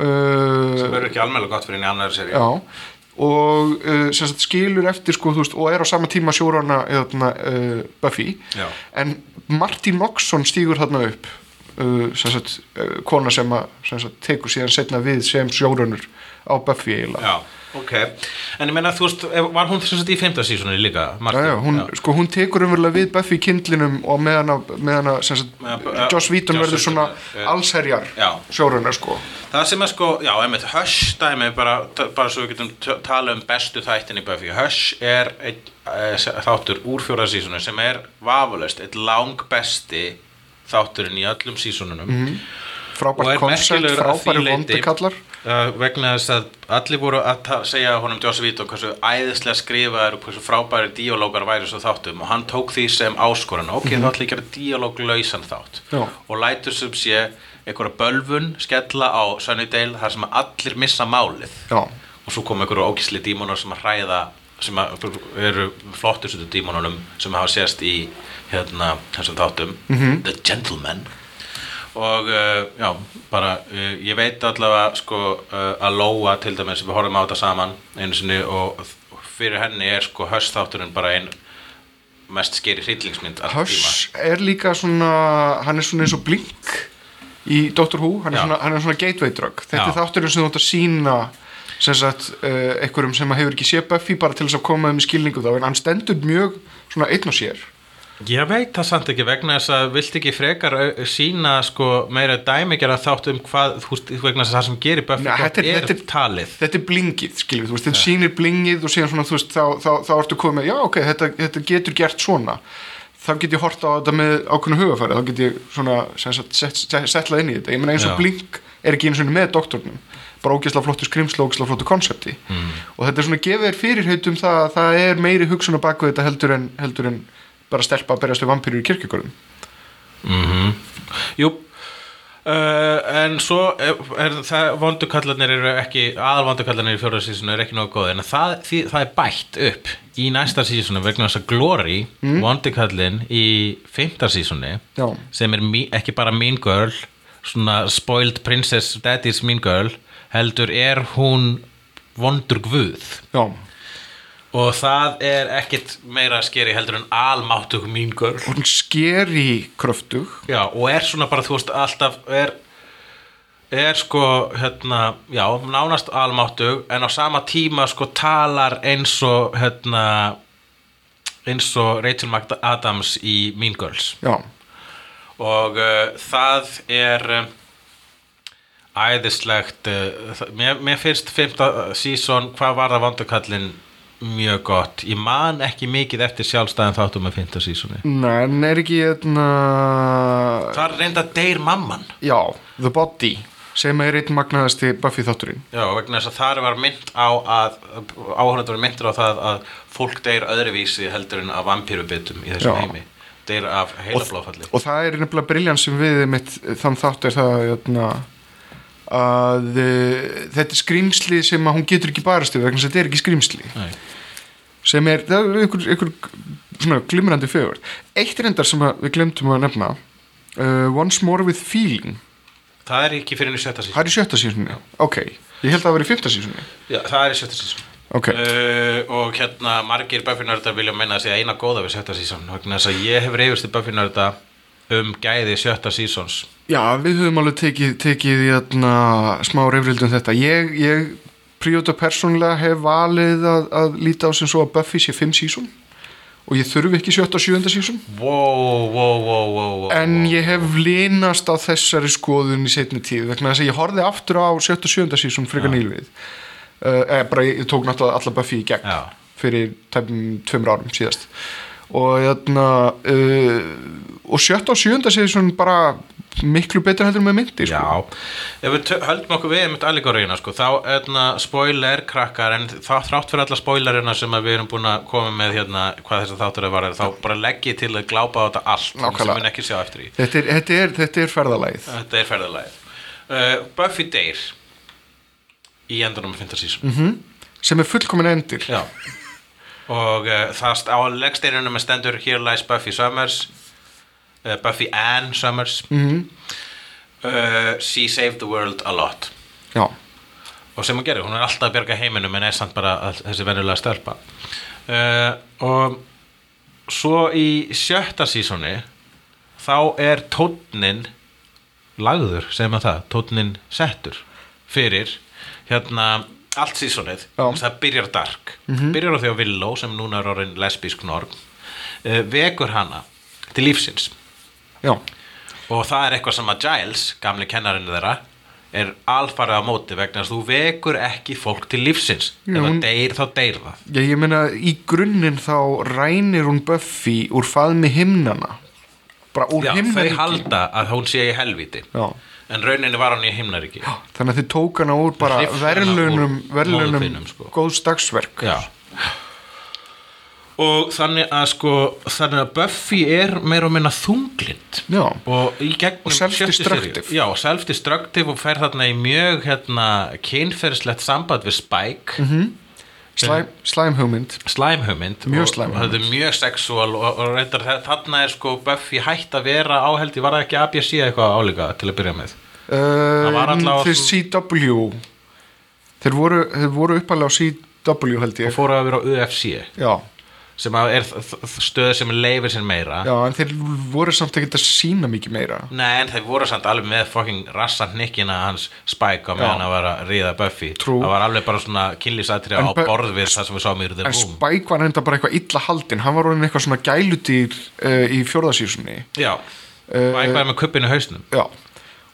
B: uh,
A: það verður ekki almennlega gott fyrir henni annar séri
B: já og uh, sem sagt skilur eftir sko, þú veist, og er á sama tíma sjórana eðna, uh, Buffy
A: Já.
B: en Martin Noxon stígur þarna upp uh, sem sagt, uh, kona sem að sem sagt, tekur síðan setna við sem sjóranur á Buffy eiginlega
A: Já, ok En ég meina, þú veist, ef- var hún þess að í femta sísunni líka?
B: Já,
A: Martin?
B: já, hún, Sko, hún tekur umverulega við Buffy kindlinum og meðan að, meðan að sem sagt,
A: Meðan að-
B: Joss Whedon
A: Joss
B: verður
A: Whedon,
B: svona
A: eh,
B: allsherjar
A: Já.
B: sjóranar sko
A: Það sem er sko, já, einmitt, Hush dæmi, bara, bara svo við getum t- talað um bestu þættin í Buffy. Hush er ein, e, þáttur úr fjóra sísonu sem er vafalaust, eitt lang besti þátturinn í öllum sísonunum og
B: frábært
A: er
B: koncept,
A: merkilegur að því
B: frábæri
A: leyti
B: vondikallar
A: uh, vegna þess að allir voru að ta- segja honum Joss Vító hversu æðislega skrifaður og hversu frábæri díalógar væri svo þáttum og hann tók því sem áskorun ok, þá ætla ég að gera díalóglausan þátt
B: Mhm. Já.
A: og lætur sem sé einhverja bölvun skella á Sunnydale þar sem að allir missa málið
B: Já.
A: og svo kom einhverju ókísli dímonar sem að hræða sem að eru flottustu dímonunum sem hafa sést í hérna, þessum þáttum -hmm. The Gentleman og uh, já, bara uh, ég veit allavega sko uh, að Lóa til dæmis, við horfum á þetta saman einu sinni og fyrir henni er sko höstþátturinn bara ein mest skeri hryllingsmynd allra tíma.
B: Hush er líka svona hann er svona eins og blink í Doctor Who, hann er,
A: Já.
B: svona, hann er svona gateway drug þetta
A: Já.
B: er þátturinn sem þú ætti að sína sem sagt, uh, einhverjum sem hefur ekki séð Buffy bara til þess að koma þeim í skilningu þá en hann stendur mjög svona einn og sér
A: Ég veit það samt ekki vegna þess að vilt ekki frekar au- sína sko meira dæmigjara þátt um hvað þú veist vegna þess að það sem gerir Buffy
B: Nei,
A: gott
B: þetta er- þetta er-
A: talið
B: þetta er blingið, skiljum við, þú veist, þetta sýnir blingið og síðan svona, þú veist, þá, þá, þá ertu komið, já, ok, þetta, þetta getur gert svona þá þá get ég horta á þetta með ákveðnu hugafæri þá get ég svona sem sagt, sett- sett- setlað inn í þetta ég meina eins og
A: Já.
B: blink er ekki eins og með doktornum bara ógeðslega flottu skrimsla ógeðslega flottu konsepti og þetta er svona gefið þér fyrirheit um það að það er meiri hugsun á baku þetta heldur en, heldur en bara stelpa að berjast við vampýrur í kirkjögörðum
A: Mhm. Jú Uh, en svo er, er það vondukallarnir eru ekki aðalvondukallarnir í fjóra sísonu er ekki nógu góð en það, því, það er bætt upp í næsta sísonu vegna þess að Glory mm. vondukallin í fymta sísoni
B: Já.
A: sem er mi, ekki bara Mean Girl svona spoiled princess daddy's Mean Girl heldur er hún vondur guð
B: já,
A: og það er ekkit meira skeri heldur en almáttug Mean Girl
B: og hún sker í kröftug
A: Já, og er svona bara, þú veist, alltaf er, er sko, hérna, já, nánast almáttug, en á sama tíma sko talar eins og, hérna, eins og Rachel McAdams í Mean Girls
B: já,
A: og uh, það er um, æðislegt uh, það- mér, mér finnst fymta sísón hvað var það vandukallin mjög gott, ég man ekki mikið eftir sjálfstæðan þáttum með fymta sísóni
B: Nei, en er ekki hérna
A: þar reynda deyr mamman
B: Já, The Body sem er einn magnaðasti Buffy þátturinn
A: Já, vegna þess að þar var mynd á að áhörðandur var myndur á það að fólk deyr öðruvísi heldur en af vampírubitum í þessum
B: Já.
A: heimi deyr af heilablóðfalli
B: og það er nefnilega briljant sem við mitt, þann þátt er það jötna, að uh, þetta er skrýmsli sem að hún getur ekki barast yfir vegna þess að þetta er ekki skrýmsli
A: Nei.
B: sem er, það er einhver, einhver svona glimrandi fögur eitt reyndar sem að við glemtum að nefna uh, Once More With Feeling
A: Það er ekki fyrir henni sjötta
B: það
A: sísón
B: er í sjötta sísunni, ok ég held að það var í fymta sísunni
A: Já, það er í sjötta sísón
B: Ok.
A: uh, Og hérna margir Buffy-nördar vilja meina að segja eina góða við sjötta sísón vegna þess að ég hef reyfist í Buffy-nörda um gæði sjötta sísóns
B: Já, við höfum alveg tekið, tekið jötna, smá reyfrildum þetta. Ég, ég príota persónulega hef valið að, að líta á sem svo að Buffy sé 5 sísón og ég þurfi ekki 7. og 7. sísón
A: Wow, wow, wow, wow, wow
B: en ég hef linast á þessari skoðun í setni tíð vegna þess að ég horfði aftur á 7. og 7. sísón frekar nýlvið uh, eða bara ég, ég tók náttúrulega alla Buffy í gegn
A: Já.
B: fyrir tæmum tveimur árum síðast og jötna, uh, og 7. og 7. sísón bara miklu betur heldur með myndi sko.
A: Já, ef við tö- höldum okkur við einmitt allegóriðina sko, þá erna spoiler krakkar en þá þrátt fyrir alla spoilerina sem að við erum búin að koma með hérna hvað þess að þáttur er varðið, þá bara legg ég til að glápa á þetta allt
B: Nákvæmlega.
A: sem við ekki sjá eftir í
B: Þetta er, þetta er, þetta er ferðalæð
A: Þetta er ferðalagið uh, Buffy deyr í endanum að finna sísum mm -hmm.
B: sem er fullkomin endir
A: Já og uh, það st- á leggsteinunum er stendur Here lies Buffy Summers uh, Buffy Ann Summers mm -hmm. uh, She saved the world a lot
B: Já,
A: og sem hún gerir, hún er alltaf að bjarga heiminum en er samt bara all- þessi venjulega stelpa uh, og svo í sjötta sísoni þá er tónnin lagður, segjum að það tónnin settur fyrir hérna allt sísonið
B: Já.
A: það byrjar dark byrjar á því á Villó sem núna er orðin lesbísk norm uh, vekur hana til lífsins
B: já,
A: og það er eitthvað sem að Giles, gamli kennarinn þeirra er alfarið á móti vegna þess að þú vekur ekki fólk til lífsins
B: Jú,
A: ef
B: hún-
A: það deyr þá deyr það
B: já ég meina í grunninn þá rænir hún Buffy úr faðmi himnana bara úr
A: Já, þau
B: himnaríki
A: halda að hún sé í helviti
B: Já.
A: en rauninni var hún í himnaríki Já.
B: þannig að þið tók hana úr bara
A: Hrifsa hana
B: verðlunum,
A: úr móðurfinum,
B: verðlunum
A: sko.
B: góðs dagsverk
A: og þannig að sko þannig að Buffy er meira og minna þunglind
B: Já.
A: og í gegnum
B: Og self-destructive.
A: sjöttu seríu- já, self-destructive og fer þarna í mjög hérna, kynferðislegt samband við Spike mm -hmm.
B: Slæm, slæm hugmynd
A: slæmhugmynd
B: Mjög
A: og-
B: slæm
A: og þetta er mjög sexual og, og reyndar þe- þarna er sko Buffy hætt að vera áheldi, var það ekki ABC eitthvað álíka til að byrja með var
B: uh,
A: allavega
B: þeir
A: svo-
B: CW þeir voru, þeir voru uppalega á CW held
A: og
B: ég
A: fóru að vera á UFC
B: já,
A: sem að er þ- þ- stöð sem leifir sér meira
B: já, en þeir voru samt ekki að sína mikið meira
A: Nei, en þeir voru samt alveg með fucking rassan hnikkina hans Spike á meðan
B: Já.
A: að vera að ríða Buffy
B: True.
A: það var alveg bara svona kynlýsatri
B: En
A: á
B: Bu-
A: borð við það sem við sáum í The
B: En
A: Room
B: Spike var enda bara eitthvað illa haldinn hann var orðin eitthvað svona gæludýr uh, í fjórðasísunni
A: Já,
B: Eh,
A: Spike var með kuppinu í hausnum
B: já.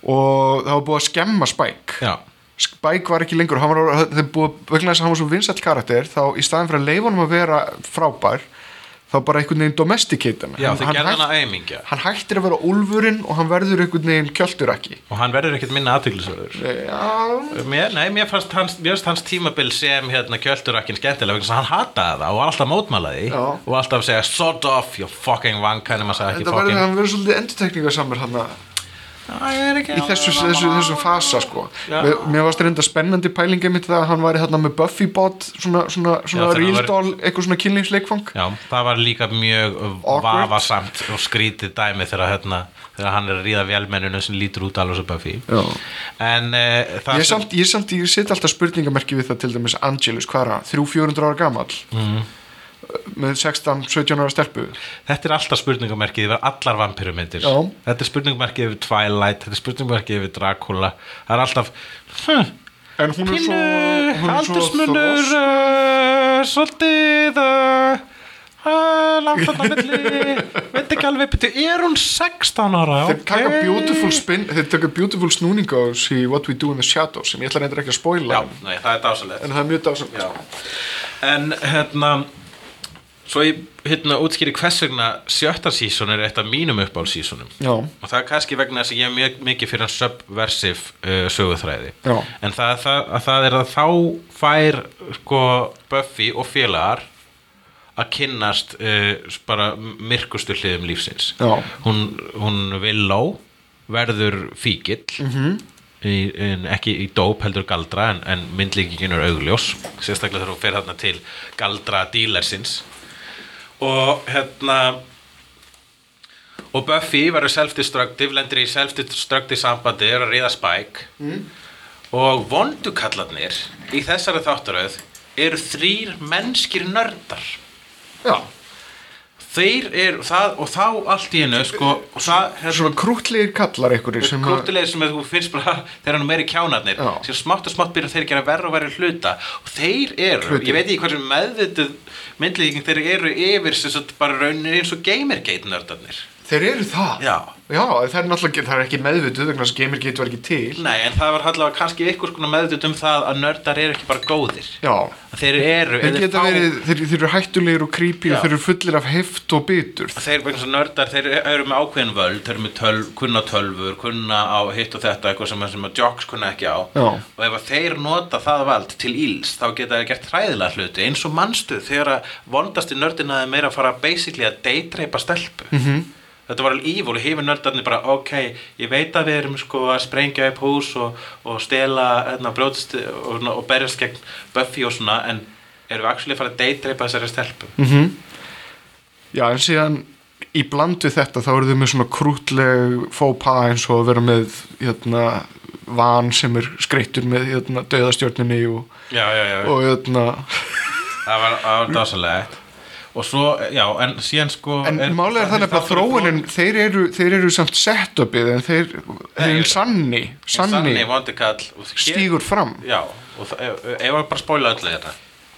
B: og það var búið að skemma Spike
A: Já,
B: Spike var ekki lengur hann var, orðinn- þeir búið, vegna þess að hann var svo vinsæll karakter þá í staðin fyrir að leifa hann að vera frábær þá bara einhvern veginn domesticate hana
A: Já,
B: Hann-
A: þau
B: hann
A: gerðu
B: hætt-
A: hana aumingja.
B: hann hættir að vera úlfurinn og hann verður einhvern veginn kjölduraki
A: og hann verður ekkert minna aðtýrlisverður
B: já,
A: Mér, nei, mér fannst hans, mér fannst hans tímabil sem hérna kjöldurakkinn skemmtilega vegna þess að hann hataði það og var alltaf mótmálaði
B: Já.
A: og alltaf segja sod off, you fucking wankan en maður sagði ekki
B: þetta verður
A: fucking
B: hann verður svolítið endurtekningarsamur hann að
A: Það er ekki
B: í þessu, þessu, þessum fasa sko
A: Já.
B: mér, mér varst reynda spennandi pælingi mitt það að hann væri þarna með Buffy bot svona, svona,
A: þegar
B: svona
A: hann
B: real
A: var-
B: doll, eitthvað svona kynlingsleikfang
A: Já, það var líka mjög
B: Awkward.
A: vafasamt og skrítið dæmi þegar, hérna, þegar hann er að ríða vélmenninu sem lítur út alveg svo Buffy
B: Já.
A: En uh, það
B: ég samt, ég samt, ég set alltaf spurningamerki við það til dæmis Angelus, hvað er hann, 300-400 ára gamall
A: Mhm.
B: með 16-17 ára stelpu
A: Þetta er alltaf spurningamerkið yfir allar vampirumyndir
B: Já.
A: Þetta er spurningamerkið yfir Twilight Þetta er spurningamerkið yfir Dracula Það er alltaf hm,
B: en hún er svo,
A: Pínu,
B: hún er svo
A: aldursmunur
B: þros-
A: uh, Svolítið uh, uh, Langt þarna á milli Veit ekki alveg byrju, Er hún 16 ára?
B: þeir taka
A: Ok.
B: beautiful spin þeir taka beautiful snúning á þessi What We Do in the Shadows sem ég ætla reyndir ekki að spoila
A: Já, nei, það er dásalegt
B: en það er mjög dásamt
A: Já. En hérna Svo ég hérna útskýri hvers vegna sjötta sísón er eitt af mínum uppáhaldsísónum
B: Já.
A: og það er kannski vegna þess að ég er mjög mikið fyrir subversiv uh, söguþræði
B: Já.
A: en það, það, að það er að þá fær sko, Buffy og félagar að kynnast uh, bara myrkustu hliðum lífsins
B: Já.
A: hún, hún Willow verður fíkill -hmm. í, en ekki í dóp heldur galdra en, en myndlíkingin er augljós sérstaklega þegar hún fer þarna til galdra dílersins og hérna og Buffy verður self-destructive lendir í self-destructive sambandi er að ríða Spike og vondukallarnir í þessari þáttaröð eru þrýr mennskir nördar
B: Já.
A: þeir eru það og þá allt í hennu sko, og það er
B: svona krútlegir kallar einhverjir sem að-
A: krútilegir sem þú finnst bara þeir eru meiri kjánarnir
B: Já.
A: sem smátt og smátt byrja þeir að gera verra og verra hluta og þeir eru,
B: Hluti.
A: ég veit ekki hversu meðvituð myndlíking þeir eru yfir sem sagt bara raunin eins og gamergate nördarnir
B: Þeir eru það?
A: Já.
B: Já, það er náttúrulega, það er ekki meðvituð vegna þess að gamer getur ekki til.
A: Nei, en það var allavega kannski einhvers konar meðvituð um það að nördar eru ekki bara góðir
B: Já.
A: Að þeir eru
B: Þeir
A: ef
B: geta
A: fá-
B: verið, þeir, þeir eru hættulegir og creepy
A: Já.
B: og þeir eru fullir af heft og bitur.
A: þeir vegna svo nördar, þeir eru með ákveðin völd þeir eru með töl, kunna tölfur, kunna á hitt og þetta, eitthvað sem, sem að jocks kunna ekki á
B: Já.
A: og ef að þeir nota það vald til íls, þá geta þeir gert hræðilega hluti eins og mannstu þegar að vondasti nördin að þeir meira að fara basically að deitreipa stelpu
B: Mhm.
A: -hmm. Þetta var alveg ívól, hefur nördarnir bara, ok, ég veit að við erum sko að sprengja upp hús og, og stela, hérna, brjóðst og, og berjast gegn Buffy og svona, en erum við actually að fara að deitreipa þessari stelpu? Mm -hmm.
B: Já, en síðan í bland við þetta þá eru þau með svona krútleg fópa eins og að vera með, hérna, van sem er skreittur með, hérna, döðastjörnunni og,
A: Já, já, já.
B: og hérna,
A: það var, það var dásalegt og svo, já, en síðan sko
B: en málega er þannig að þróunin, þeir eru, þeir eru samt setupið en þeir, þeir
A: ég-
B: eru sanni, sanni
A: sanni vondikall
B: stígur fram.
A: já, og það- ef ef að bara spóla öllu hérna. þetta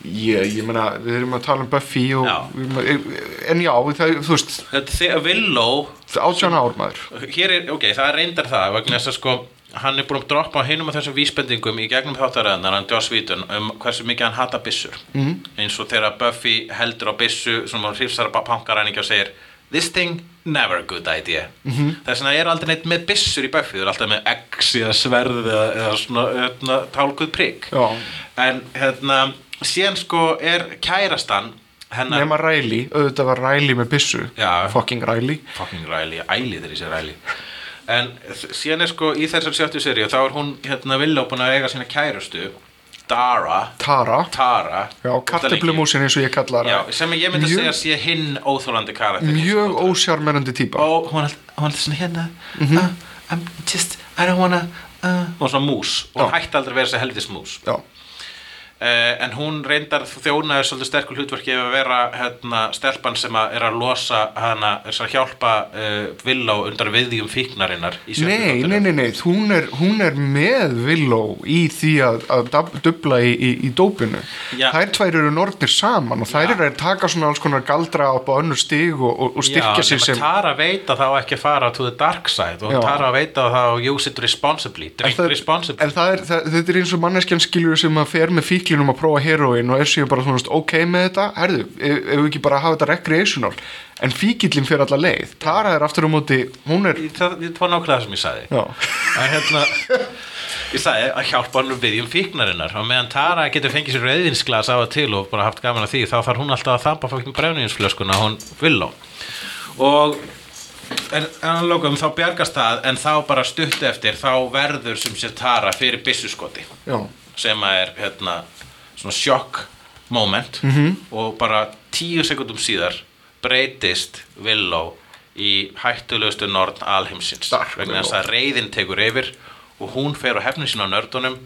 B: Ég, ég meina, við erum að tala um Buffy og,
A: Já.
B: við erum að, en já, það, þú veist,
A: þetta er þegar Villó
B: átján ár maður.
A: hér er, ok, það er reyndar það vegna þess að sko, hann er búin að droppa hinum að þessum vísbendingum í gegnum þáttaræðanar hann Joss Whedon um hversu mikið hann hata byssur mm.
B: Mhm.
A: eins og þegar Buffy heldur á byssu sem hann hrifsar að pankaræningi og segir this thing, never a good idea mm -hmm.
B: Mhm.
A: þess vegna er aldrei neitt með byssur í Buffy þau eru alltaf með X eða sverð eða, eða svona hérna, tálkuð prigg
B: Já.
A: en hérna, síðan sko er kærastan hennar
B: Nema Riley, auðvitað var Riley með byssu,
A: Já.
B: fucking Riley.
A: fucking Riley, æli þeir í sér Riley en þ- síðan er sko í þessar sjöttu seríu þá er hún hérna Villó búin að eiga sína kærustu Dara,
B: Tara,
A: Tara
B: já, karteplumúsin eins og ég kalla
A: já,
B: hana.
A: sem ég myndi
B: Mjög-
A: að segja sé hinn óþólandi karakter
B: Mjög ósjármennandi típa.
A: og hún er allt- hún er alltaf svona hérna
B: Mhm.
A: uh, I'm just, I don't wanna uh, og svona mús, og hún
B: Já.
A: hætti aldrei að vera þessi helvitis mús
B: Já,
A: uh, en hún reyndar þjónaði svolítið sterkur hlutverki ef að vera hérna, stelpan sem að er að losa hana, er að hjálpa uh, Villó undan viðjum fíknarinnar í sjöttu
B: nei,
A: þáttunum.
B: nei, nei, nei, hún er, hún er með Willow í því að, að dab- dubla í, í, í dópinu.
A: Já.
B: Þær tvær eru nornir saman og þær
A: Já.
B: eru að taka svona alls konar galdra upp á önnur stig og, og, og styrkja
A: Já,
B: sig
A: nema
B: sem...
A: Tara veit að það á ekki að fara to the dark side og
B: Já.
A: Tara veit að það á use it responsibly
B: En
A: drink
B: það,
A: responsibly
B: en það er, það, þetta er eins og manneskjan skilur sem að fer með fíklinum að prófa heroin og er síðan bara svona ok með þetta, herðu, ef ef við ekki bara hafa þetta recreational, en fíkillin fyrir alla leið, Tara er aftur á móti hún er,
A: Ég- það það var nákvæmlega það sem ég sagði
B: já,
A: að hérna ég sagði að hjálpa hann við um fíknarinnar og meðan Tara getur fengið sér rauðinsglas á að til og bara haft gaman að því þá þarf hún alltaf að þampa fokkin brefninsflöskuna hún vill á og en, en að lokum þá bjargast það en þá bara stutt eftir þá verður sem sé Tara fyrir byssuskoti
B: já
A: sem að er hérna svona sjokk moment
B: Mhm.
A: -hmm. og bara tíu sekundum síðar breytist Villó í hættulegustu norn alheimsins
B: Dark
A: vegna þess
B: Willow.
A: að reyðin tekur yfir og hún fer á hefnum sína á nördunum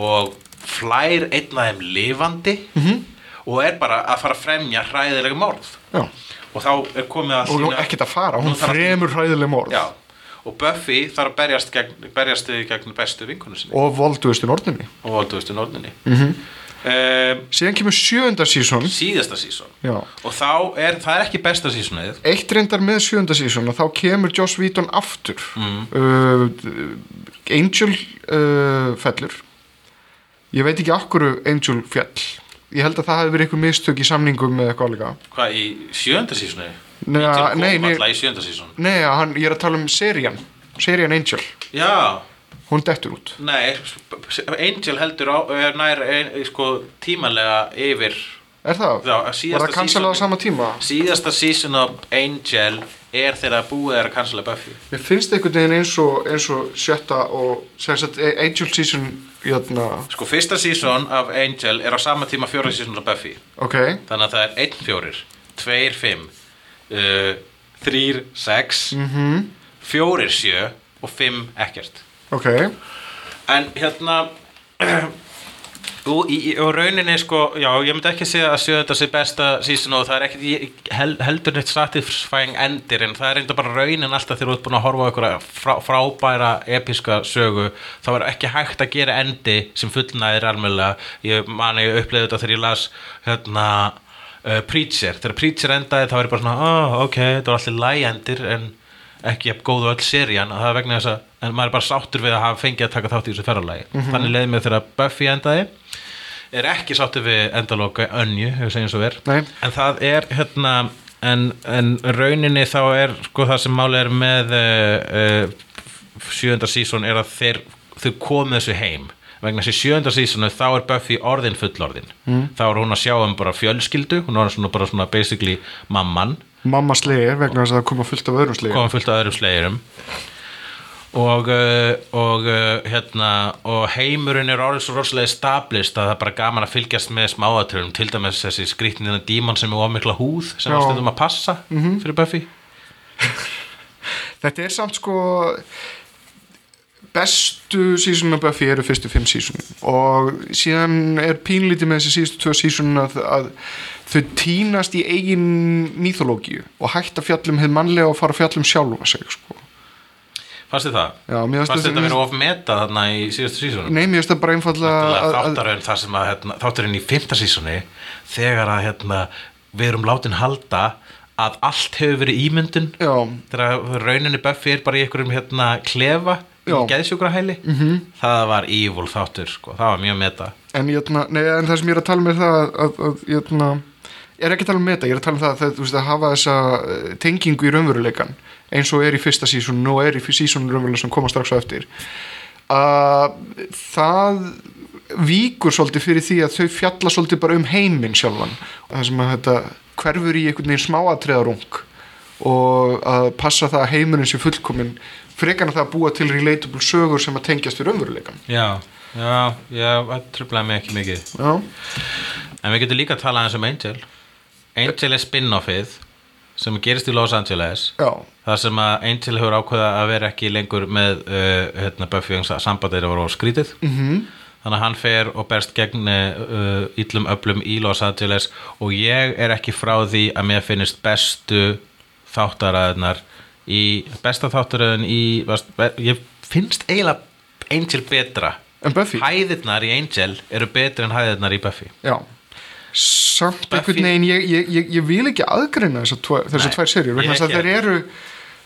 A: og flær einn af þeim lifandi
B: Mhm.
A: -hmm. og er bara að fara að fremja hræðilega morð
B: Já.
A: og þá er komið að
B: og hún
A: sýna-
B: ekkert að fara, hún
A: Nú þarf að-
B: fremur hræðileg morð
A: Já, og Buffy þarf að berjast gegn, berjast gegn bestu vinkonu sinni
B: og volduðust í norðinni
A: og volduðustu norninni mm
B: Mhm.
A: -hmm.
B: síðan kemur sjöunda sísón
A: síðasta sísón
B: Já.
A: og þá er, það er ekki besta sísónið
B: eitt reyndar með sjönda sísón og þá kemur Joss Whedon aftur uh, Angel uh, fellur ég veit ekki akkur Angel fjall ég held að það hefði verið einhver mistök í samningum með eitthvað líka
A: hvað í sjönda sísónið
B: Nei, nei, nei.
A: alltaf í sjönda sísón
B: nei, hann, ég er að tala um serían serían Angel,
A: já,
B: hún dettur út
A: nei, Angel heldur á, er nær ein, sko, tímanlega yfir
B: er það?
A: Já, síðasta
B: var það kansalað á
A: seasonið-
B: sama tíma?
A: síðasta sísón af Angel er þegar búið er að cancela Buffy
B: Mér finnst einhvern veginn eins og, eins og sjötta og sem sagt, Angel season hérna, jötna,
A: sko fyrsta sísón af Angel er á sama tíma fjóra sísón af Buffy
B: ok
A: þannig að það er 1 fjórir eh, 2 5 3 6
B: Mhm,
A: 4 7 og 5 ekkert
B: ok,
A: en hérna og, í, í- og rauninni sko já, ég myndi ekki segja að sjöða þetta sé besta season og það er ekkert ég- hel, heldur neitt satisfying endir en það er reynda bara raunin alltaf þegar þú ert búin að horfa á einhverja frá, frábæra episka sögu þá er ekki hægt að gera endi sem fullnæðir almennilega ég man að ég uppleiði þetta þegar ég las hérna uh, Preacher, þegar Preacher endaði þá er ég bara svona, oh, ok, þetta var allir lægendir en ekki jafn góð og öll serían að það er vegna þess að en maður er bara sáttur við að hafa fengið að taka þátt í þessu ferralagi þannig leiði mig þegar Buffy endaði er ekki sáttur við endaloka önju, hefur segjum svo ver
B: Nei.
A: en það er hérna en, en rauninni þá er sko það sem máli er með uh, uh, sjöunda sísón er að þeir, þau komið þessu heim vegna þessi sjönda sísonu þá er Buffy orðin fullorðin mm. þá er hún að sjá um bara fjölskyldu hún var svona bara svona basically mamman
B: mamma slegir vegna þess að það koma fullt af öðrum slegir
A: komum fullt af öðrum slegjurum og, uh, og uh, hérna og heimurinn er orðið svo rosalega stablist að það er bara gaman að fylgjast með smáatörum til dæmis þessi skrýtnina díman sem er ofmikla húð sem
B: Já. Mhm.
A: það stundum að passa fyrir Buffy
B: Þetta er samt sko bestu sísunum Buffy eru fyrstu fimm sísunum og síðan er pínlítið með þessi síðustu tvö sísunum að, að þau týnast í eigin mýþológíu og hætt að fjallum hefð mannlega og fara að fjallum sjálfa sig sko.
A: fannst þið það?
B: Já, mér fannst
A: fannst
B: þetta-
A: þetta verið ofmeta þarna í síðustu sísunum?
B: Nei, mér finnst það bara einfallega að, að,
A: þáttaröðin þar sem að hérna, þáttaröðin í fymtasísunni þegar að hérna, við erum látin halda að allt hefur verið ímyndun
B: Já.
A: þegar að rauninni Buffy er bara í einhverjum hérna, klefa
B: Já.
A: í geðsjúkrahæli -hmm. það var evil þáttur sko. það var mjög meta
B: en, jötna, nei, en það sem ég er að tala með það að, að, að jötna, ég er ekki að tala um þetta, ég er að tala um það að, það, þú veist, að hafa þessa eh, tengingu í raunveruleikan eins og er í fyrsta sísónu og er í sísónu raunveruleikan sem koma strax á eftir að það víkur svolítið fyrir því að þau fjalla svolítið bara um heiminn sjálfan það sem að þetta hverfur í einhvern veginn smáatriðarung og að passa það að heimurinn sé fullkomin frekar en það að búa til relatable sögur sem að tengjast við raunveruleikan
A: já, já, já, það tröflaði mig ekki mikið
B: Já,
A: en við getum líka að tala aðeins um Angel Angel er spin-offið sem gerist í Los Angeles
B: já
A: þar sem að Angel hefur ákveða að vera ekki lengur með uh, hérna, Buffy og sambandir voru á skrítið
B: Mhm.
A: -hmm. þannig að hann fer og berst gegn uh, illum öflum í Los Angeles og ég er ekki frá því að mér finnist bestu þáttaraðnar í besta þáttaraðin í varst, be, ég finnst eiginlega Angel betra
B: En Buffy?
A: hæðirnar í Angel eru betri en hæðirnar í Buffy
B: Já Samt
A: Buffy-
B: einhvern veginn, ég, ég, ég, ég vil ekki aðgreina þessar tvo- þessar
A: Nei,
B: tvær serjur vegna
A: ég
B: þess að
A: ekki
B: þeir eru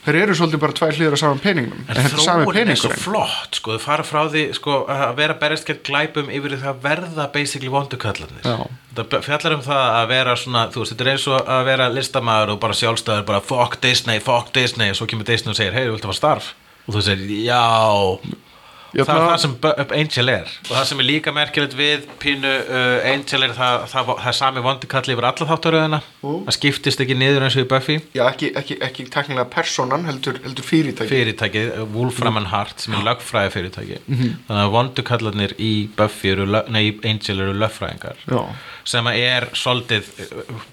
D: þeir eru svolítið bara tvær hliður á saman peningum en, þetta er sami
A: þróunin er svo
D: peningurinn
A: flott sko, þau fara frá því sko, að vera berist gett glæpum yfir í það að verða basically vondukallarnir
D: Já.
A: þetta fjallar um það að vera svona þú veist, þetta er eins og að vera listamaður og bara sjálfstæður bara fuck Disney, fuck Disney og svo kemur Disney og segir, hei, viltu að fara starf og þú segir, já
D: Ég
A: það er
D: ætla-
A: það sem Bu- Up Angel er og það sem er líka merkilegt við pínu uh, Angel er það, það, það er sami vondukall yfir alla þáttaröðina það skiptist ekki niður eins og í Buffy
B: Já, ekki, ekki, ekki teknilega personan, heldur, heldur fyrirtæki
A: fyrirtækið, Wolfram and Hart sem er lögfræði fyrirtæki þannig að vondukallarnir í Buffy eru, lög- nei, í Angel eru lögfræðingar
D: Já.
A: sem að er soldið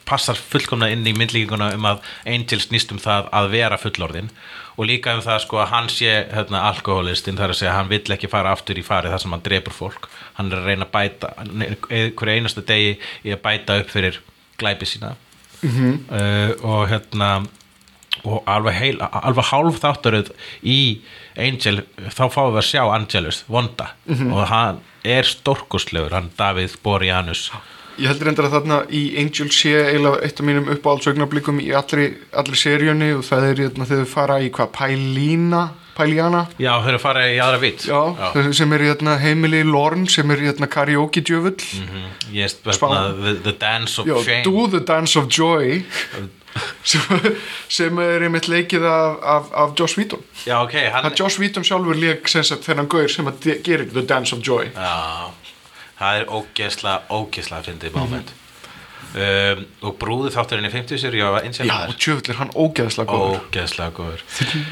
A: passar fullkomna inn í myndlíkinguna um að Angel snýst um það að vera fullorðin og líka um það sko að hann sé hérna, alkoholistinn þar að segja að hann vill ekki fara aftur í farið þar sem hann drepur fólk hann er að reyna að bæta hann er hverju einasta degi í að bæta upp fyrir glæpi sína uh, og hérna og alveg, heil, alveg hálf þáttaröð í Angel þá fáum við að sjá Angelus, Vonda og hann er stórkustlegur hann Davíð Borjanus
B: Ég heldur endur að þarna í Angel sé eiginlega eitt af mínum uppáhaldsögnablikum í allri, allri seríunni og það er hérna, þegar þau fara í hvað, Pælína Pælíana,
A: já, þau eru að fara í aðra vitt
B: já, já. sem er hérna, heimili Lorne, sem er hérna, karaoke djöfull
A: mhm. ég veist
B: Spán.
A: the, the Dance of
B: Já,
A: Shame
B: Do the Dance of Joy sem, sem er einmitt leikið af, af, af Joss Whedon
A: já, ok, hann
B: það Joss Whedon sjálfur leik sem sagt þennan gaur sem að de- gerir The Dance of Joy
A: já, það er ógesla ógesla fyndið moment um, og brúði þátturinn í 50 sér, já, Angel
B: Mhm. Já, djöfull er hann ógeðslega góður
A: ógeðslega góður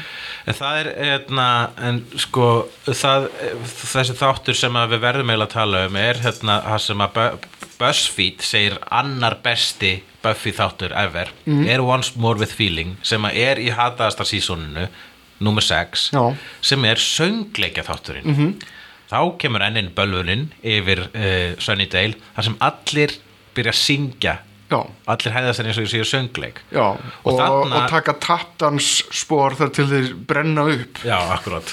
A: en það er hérna, en sko það, þessi þáttur sem að við verðum eiginlega að tala um er hérna það sem að Bu- BuzzFeed segir annar besti Buffy þáttur ever
B: Mhm.
A: er Once More With Feeling sem að er í hataðasta sísóninu nummer 6
B: Já. Mhm.
A: sem er söngleikja þátturinn þá kemur ennin bölvunin yfir uh, Sunnydale þar sem allir byrja að syngja
B: Já.
A: allir hæðast henni eins og ég séu söngleik
B: Já, og,
A: og,
B: og,
A: þarna
B: taka tappdans spór þar til þeir brenna upp
A: Já, akkurat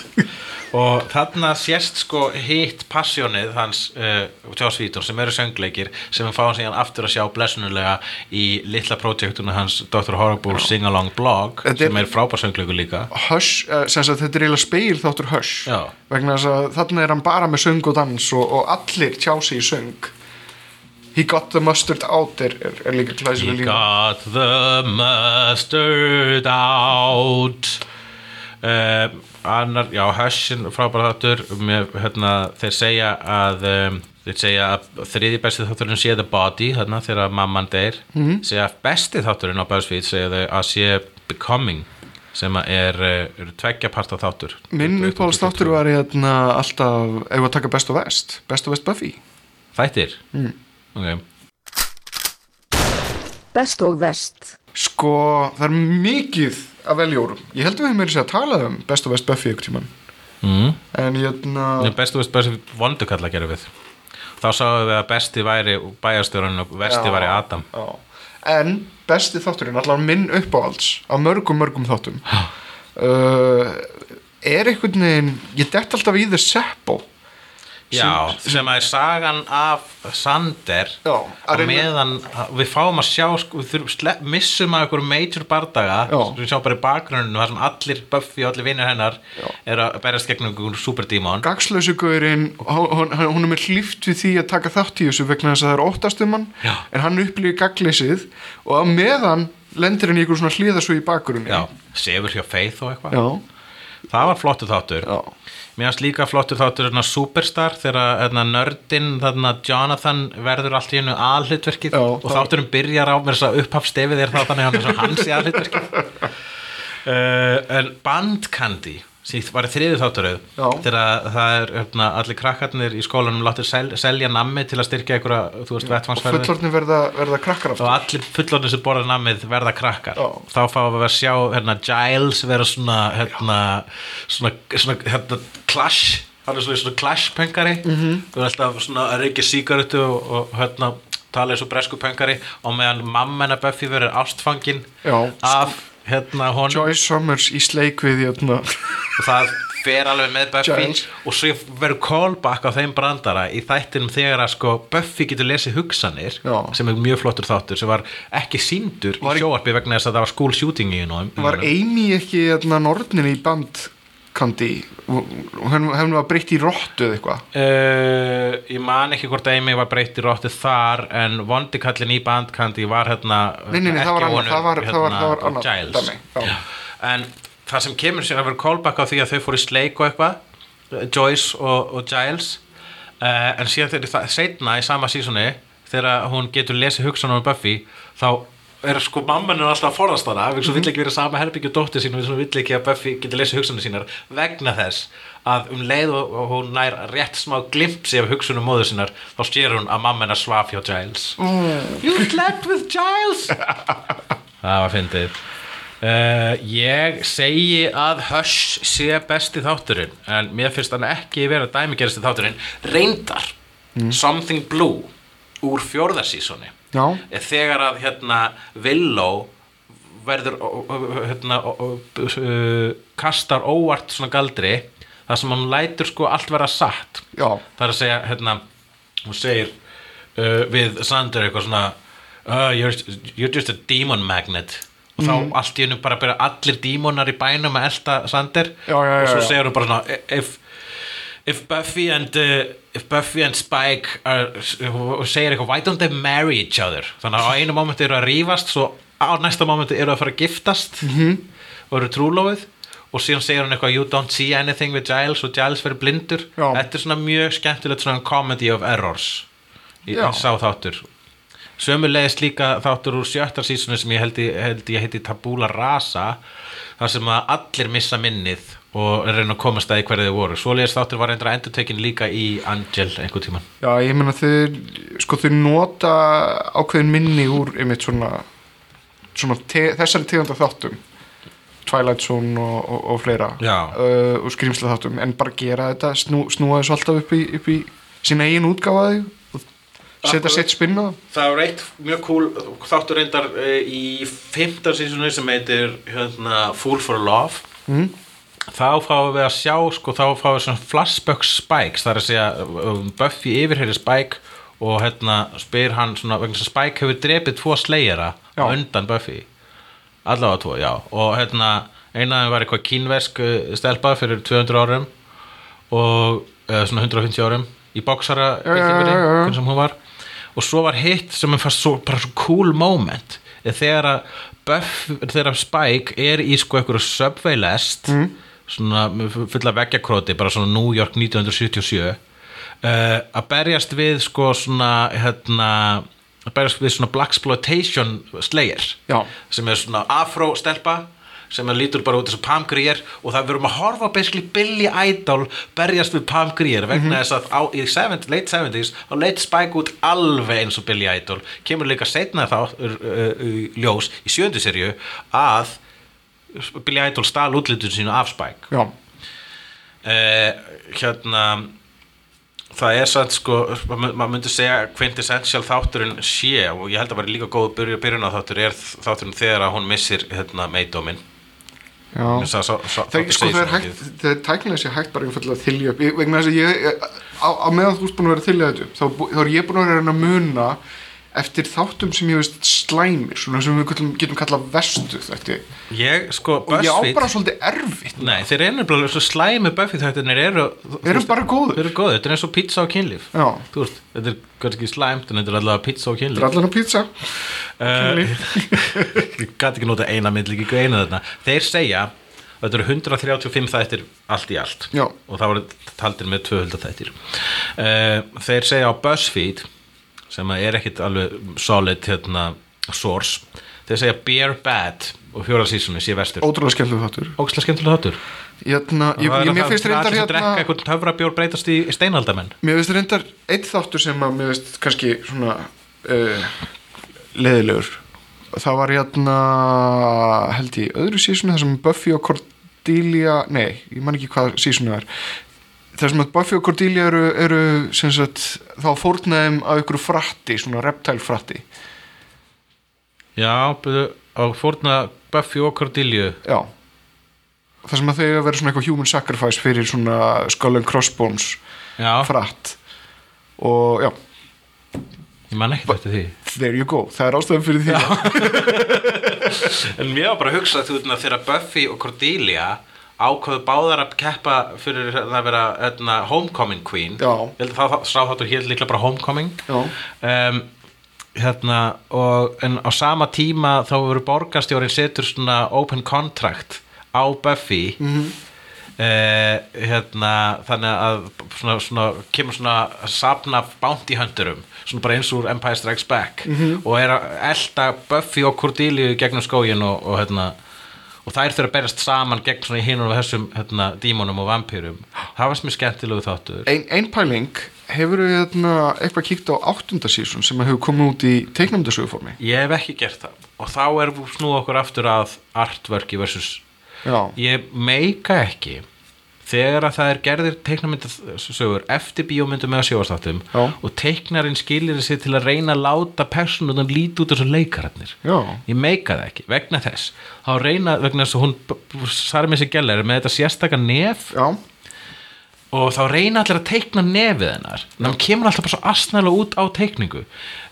A: og þarna sést sko hitt passjónið hans uh, Joss Vítor sem eru söngleikir sem við fáum síðan aftur að sjá blessunulega í litla projektuna hans Dr. Horrible Sing Along blog
B: Þetta er-
A: sem er frábær söngleikur líka
B: Hush, uh, sem sagt þetta er eiginlega speil þáttur Hush
A: Já.
B: vegna þess að þarna er hann bara með söng og dans og, og allir tjá sig í söng He got the mustard out er, er, er líka
A: He
B: glæsileg lína
A: got the mustard out um, annar, já, Hushin frábæra þáttur með, hérna, þeir segja að um, þeir segja að þriði besti þátturinn sé The Body hérna, þegar mamman deyr
B: Mhm.
A: mm. segja að besti þátturinn á BuzzFeed segja þau að sé Becoming sem að er, er tveggja parta þáttur
B: Minn uppáhalds þáttur var hérna alltaf, ef við að taka Best of West Best of West Buffy
A: Þættir? Mm. Ok,
C: Best og vest.
B: Sko, það er mikið að velja úr Ég held að við hefum meira sér að tala um Best of West Buffy ykkur tíman
A: mm.
B: En hérna,
A: Nei, bestu veist bestu vondukalla gerum við þá sáum við að besti væri bæjarstjórun og vesti væri Adam
B: já En besti þátturinn, allan minn uppáhalds Af mörgum, mörgum þáttum uh, Er einhvern veginn Ég dett alltaf í The Seppo
A: Já, sem að er sagan af Sander
B: Já, að
A: og
B: reyna-
A: meðan við fáum að sjá sko, við þurfum, slepp, missum að einhver major bardaga
B: Já.
A: sem við sjáum bara í bakgruninu þar sem allir Buffy og allir vinnir hennar eru að berjast gegnum einhvern superdímon
B: Gagslösu gaurinn, hún, hún hún er með hlýft við því að taka þátt í þessu vegna þess að það er óttast um hann
A: Já.
B: En hann upplýði gaglýsið Og á meðan lendir hann í einhver svona hlýðasvið í bakgrunni
A: Já, sefur hjá Faith og eitthvað
B: Já,
A: Það var flottu þáttur
B: já.
A: Mér finnst líka flottur þáttur hérna, Superstar þegar hérna, nördin þarna, Jonathan verður allt í hennu aðhlutverkið
B: Já,
A: og
B: það-
A: þátturum byrjar á mér þess að upphafstefið er það þannig að hann er svo hans í aðhlutverkið uh, En Band Candy sítt var í þriði þátturauð
B: Já.
A: þegar það er hérna, allir krakkarnir í skólanum láttu sel, selja nammi til að styrkja einhverja, þú veist,
B: Og
A: vettvangsferðir
B: fullorðni verða, verða krakkar aftur
A: og allir fullorðin sem borða namið verða krakkar
B: Já.
A: þá fáum við að sjá hérna, Giles vera svona hérna, svona, svona hérna, clash hann er svona, svona clash pengari mm -hmm.
B: Mhm.
A: og alltaf svona að reykja sígarettu og, og hérna, tala eins og bresku pengari og meðan mamma hennar Buffy verður ástfangin
B: Já.
A: af hérna honum
B: Joy Summers í sleik við hérna.
A: og það fer alveg með Buffy
B: Giles.
A: og svo verður callback á þeim brandara í þættinum þegar að sko Buffy getur lesið hugsanir
B: Já.
A: sem er mjög flottur þáttur sem var ekki síndur
B: Var-
A: í sjóarpi vegna þess að það var school shooting í honum
B: var Amy ekki hérna, nornin í bandkandi henni henn var breytt í rottu eða eitthvað
A: Uh, ég man ekki hvort Amy var breytt í róttu þar en vondi kallin í bandkandi var hérna
B: Nei, nei, nei,
A: ekki
B: það var annað,
A: honum, hérna,
B: það var- það var- það var
A: og
B: annað
A: Giles
B: dæmi, já.
A: en það sem kemur sér að vera callback á því að þau fóru í sleik og eitthvað eh, Joyce og, og Giles uh, en síðan þegar það setna í sama sísoni þegar hún getur lesið hugsanum um Buffy þá er sko mamman er alltaf að forðast hana vegna svo vill ekki vera í sama herbyggju dóttir sín og vill ekki að Buffy getur lesið hugsanum sínar vegna þess að um leið og, og hún nær rétt smá glimpsi af hugsunum móður sínar þá sér hún að mamman er svaf hjá Giles You slept with Giles Það var fyndið uh, Ég segi að Hush sé besti þátturinn en mér finnst hann ekki vera dæmigerðasti þátturinn Reyndar Mm. Something Blue úr fjórðarsísoni
B: Já.
A: Þegar að hérna Willow verður ó- ó- hérna, ó- ó- uh, kastar óvart svona galdri þar sem hann lætur sko allt vera satt
B: Já.
A: það er að segja hérna, hún segir uh, við Sander eitthvað svona uh, you're, you're just a demon magnet og þá
B: Mhm.
A: allt í hennu bara byrja allir dímonar í bænum að elta Sander
B: Já, já, já,
A: og svo
B: já.
A: segir hún bara svona if, if Buffy and uh, if Buffy and Spike are, og segir eitthvað why don't they marry each other þannig að á einu momentu eru að rífast svo á næsta momentu eru að fara að giftast -hmm. og eru trúlófið og síðan segir hann eitthvað you don't see anything with Giles og Giles verður blindur
B: Já.
A: þetta er svona mjög skemmtilegt svona comedy of errors í
B: Já.
A: sá þáttur sömulegist líka þáttur úr sjötta sísunum sem ég held, ég- held ég heiti Tabula Rasa þar sem að allir missa minnið og reyna að komast að í hverju þau voru svoleiðist þáttur var reyndra endurtekin líka í Angel einhver tíman
B: já, ég meina þeir sko þeir nota ákveðin minni úr einmitt svona, svona te, þessari tegunda þáttum Twilight Zone og, og, og fleira
A: Já.
B: uh, og skrýmsla þáttum en bara gera þetta, snú, snúa þessu alltaf upp í, upp í sína eigin útgáfaði og setja
A: Akkurat.
B: sitt spinn á það.
A: Það var eitt mjög cool þáttur reyndar eh, í fimmta sísunni sem heitir hérna, Fool for Love mm. þá fáum við að sjá sko, þá fáum við svona flashback Spikes það er að segja um, Buffy yfirheyri Spike og hérna spyr hann svona, vegna þess að Spike hefur drepið tvo slegjara
B: Já.
A: undan Buffy allavega tvo, já og hérna einaðum var eitthvað kínversk eh, stelpa fyrir 200 árum og eða svona 150 árum í boksara
B: já, já, já.
A: hvernig sem hún var og svo var hitt sem mér fannst svo, bara svo cool moment er þegar að Buff, þegar að Spike er í sko einhverju subway lest mm. svona fulla veggjakróti bara svona New York 1977 uh, að berjast við sko svona hérna að berjast við svona blaxploitation slayer
B: Já.
A: sem er svona afró stelpa sem er lítur bara út eins og Pam Grier og það verum að horfa á basically Billy Idol berjast við Pam Grier vegna þess að á, í 70, late 70s þá leit Spike út alveg eins og Billy Idol kemur líka setna þá uh, uh, ljós í sjöndu serju að Billy Idol stal útlitun sínu af Spike
B: Já,
A: uh, hérna það er satt sko maður ma myndi segja quintessential þátturinn sé og ég held að vera líka góð byrja byrjun á þáttur er þátturinn þegar að hún missir hérna meidómin
B: já. Þeir,
A: þegar
B: sko, það er hægt, það er tæknilega sér hægt bara einfallega að þylja upp, Ég- vegna þess að ég, á, á meðan þú ert búin að vera að þylja þetta upp, þá, bú- þá er ég búin að vera að reyna að muna eftir þáttum sem ég veist slæmir, svona sem við getum, getum kallað vestu þetta,
A: ég sko
B: og ég á
A: BuzzFeed
B: bara svolítið erfitt,
A: nei þeir eru nefnilega svo slæmi BuzzFeed þættirnir eru
B: erum bara
A: þeir
B: góður,
A: eru góðið þetta er eins og pizza og kynlíf
B: Já.
A: þú veist þetta er kannski slæmt en þetta er allavega pizza og kynlíf
B: drallan og pizza,
A: ég gæti ekki nota eina mynd líka eina þarna þeir segja að þetta eru 135 þættir allt í allt
B: Já.
A: og það voru taldir með 200 þættir uh, þeir segja á BuzzFeed sem að er ekkit alveg solid hérna, source þeir segja Beer Bad og fjóra sísunni sé vestur
B: ótrúlega skemmtileg þáttur,
A: ógislega skemmtilega þáttur
B: hérna,
A: Það er
B: ég, ég,
A: það-
B: mér finnst
A: það er
B: reyndar
A: allir sem drekka
B: hérna,
A: eitthvað töfrabjór breytast í í steinaldamenn
B: mér finnst reyndar eitt þáttur sem að mér finnst kannski svona uh, leðilegur það var hérna held ég öðru sísonu þar sem Buffy og Cordelia nei, ég man ekki hvað sísonu það er þar sem að Buffy og Cordelia eru, eru sem sagt, þá fórnaðum að ykkur fratti, svona reptile fratti
A: já, byrju, á fórna Buffy og Cordelia
B: já, það sem að þau eiga að vera svona eitthvað human sacrifice fyrir svona skull and crossbones
A: Já,
B: fratt og já,
A: ég man ekkert eftir því
B: there you go það er ástæðan fyrir því
A: En mér var bara að hugsa þú veitna þegar Buffy og Cordelia ákvaðu báðar að keppa fyrir hérna að vera hérna, homecoming queen
B: Já.
A: ég held að það- það sá þáttur hér líklega bara homecoming
B: Já.
A: um, hérna og en á sama tíma þá voru borgarstjórin setur svona open contract á Buffy mm -hmm. hérna þannig að svona, svona, kemur svona að sapna bounty hunterum svona bara eins úr Empire Strikes Back -hmm. og er að elta Buffy og Cordelia gegnum skógin og, og hérna og þær þurfa að berjast saman gegn svona hinum og þessum hérna, dímonum og vampýrum það var sem er skemmtilegu þáttur
B: ein, ein pæling, hefur við hérna, eitthvað kíkt á áttunda sísun sem hefur komið út í teiknumdasöguformi
A: Ég hef ekki gert það og þá er snúð okkur aftur að artworki versus
B: já,
A: ég meika ekki þegar að það er gerðir teiknamyndasögur eftir bíómyndum eða sjóastáttum
B: Já.
A: og teiknarinn skilir sér til að reyna að láta personunum líti út þessu leikararnir
B: Já.
A: ég meika það ekki, vegna þess þá reyna, vegna þess að hún Sarmissi Geller er með þetta sérstaka nef
B: já,
A: og þá reyna allir að teikna nefið hennar en hann kemur alltaf bara svo astnæðlega út á teikningu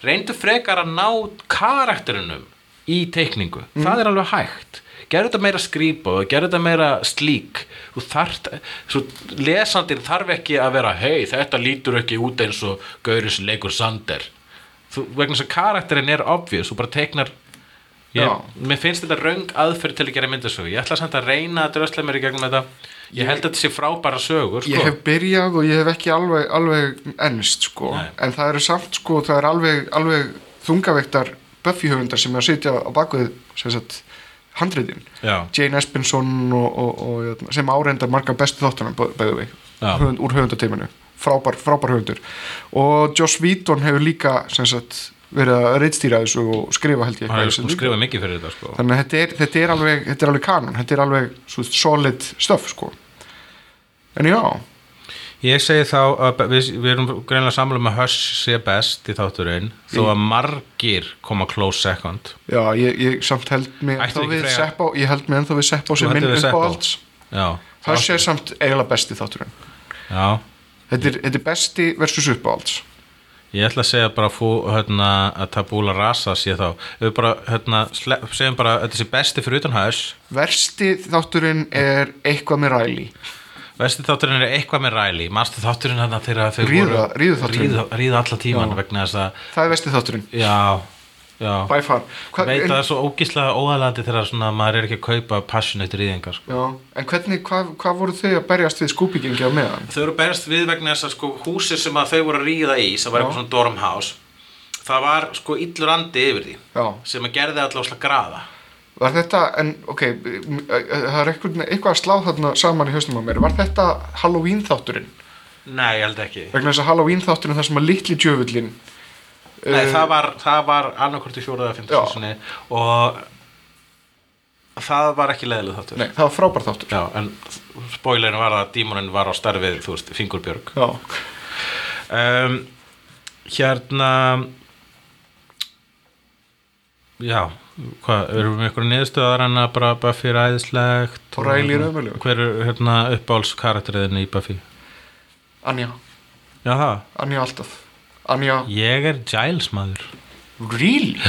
A: reyndu frekar að ná karakterinum í teikningu það er alveg hægt gerðu þetta meira skrýpa og gerðu þetta meira slík þú þart svo lesandinn þarf ekki að vera hei þetta lítur ekki út eins og Gauris leikur Sander þú, vegna þess að karakterin er obvious þú bara teiknar ég,
B: Já.
A: mér finnst þetta röng aðferð til að gera myndasögu ég ætla samt að reyna að drösla mér í gegnum þetta ég held að þetta sé frábæra sögur sko.
B: ég hef byrjað og ég hef ekki alveg, alveg ennst sko,
A: Nei.
B: en það eru samt sko, það eru alveg, alveg þungaveiktar Buffy höfundar sem er að sitja á bakvið sem sagt, handriðin
A: Já.
B: Jane Espenson og, og, og, hérna, sem áreindar margar bestu þáttunum bæðu við,
A: Já.
B: höfund, úr höfundateiminu frábær, frábær höfundur og Joss Whedon hefur líka sem sagt, verið að reitstýra þessu og skrifa held ég
A: hann hefur
B: eitthvað í þessu
A: hún
B: líka.
A: skrifað mikið fyrir þetta sko.
B: þannig að þetta er, þetta er alveg þetta er alveg kanon, þetta er alveg svo, solid stöf sko en já,
A: ég segi þá að við, við erum greinlega samlega með Hush sé best í þátturinn þó að margir koma close second
B: Já, ég, ég samt held mig
A: Ættu
B: ennþá
A: ekki
B: við
A: Freyja?
B: Seppá ég held mig ennþá við Seppá
A: Þú
B: sem minn
A: heldur við
B: upp á
A: Seppó?
B: alls
A: já,
B: það sé samt eiginlega besti þátturinn
A: já.
B: þetta er, þetta er besti versus upp á alls
A: ég ætla að segja bara fú, hérna, að Tabula Rasa sé þá við bara, hérna, sle- segjum bara að þetta sé besti fyrir utan Hush
B: versti þátturinn er eitthvað með ræli
A: Vesti þátturinn er eitthvað með ræli Manstu þátturinn hann að þeirra þau
B: Ríða-
A: voru
B: ríðuþátturinn.
A: Ríða, ríða alla tíman
B: Já.
A: vegna þess að
B: það er versti þátturinn,
A: Já, já
B: by far Hva,
A: Veit að það
B: en,
A: er svo ógislega óðalandi þegar svona, maður er ekki að kaupa passionate ríðingar sko.
B: já, en hvernig, hvað hva voru þau að berjast við skúpigengi á meðan?
A: Þau eru berst við vegna þess að sko, húsið sem að þau voru að ríða í sem var eitthvað svona dormhouse það var sko illur andi yfir því
B: Já.
A: sem að gerði allavega slag graða
B: Var þetta, en ok, m- ö- ö- það er eitthvað, eitthvað að slá þarna saman í hausnum á mér, var þetta Halloween þátturinn?
A: Nei, ég held ekki
B: Vegna þess að Halloween þátturinn þar sem að litli eh, djöfullin
A: Nei, það var, það var annarkvort í fjóraða að finna
B: Já.
A: sinni og það var ekki leðileg þáttur
B: Nei, það var frábær þáttur
A: Já, en spoilerin var að dímonin var á starfið, þú veist, fingurbjörg
B: Já.
A: um, Hérna Já, hvað, erum við með einhverju niðurstöðar en að bara Buffy er æðislegt
B: Og Riley er ömurlegur.
A: Hver er hérna uppáhalds karakteriðinni í Buffy?
B: Anja,
A: Já, það
B: Anja alltaf Anja,
A: Ég er Giles maður
B: really?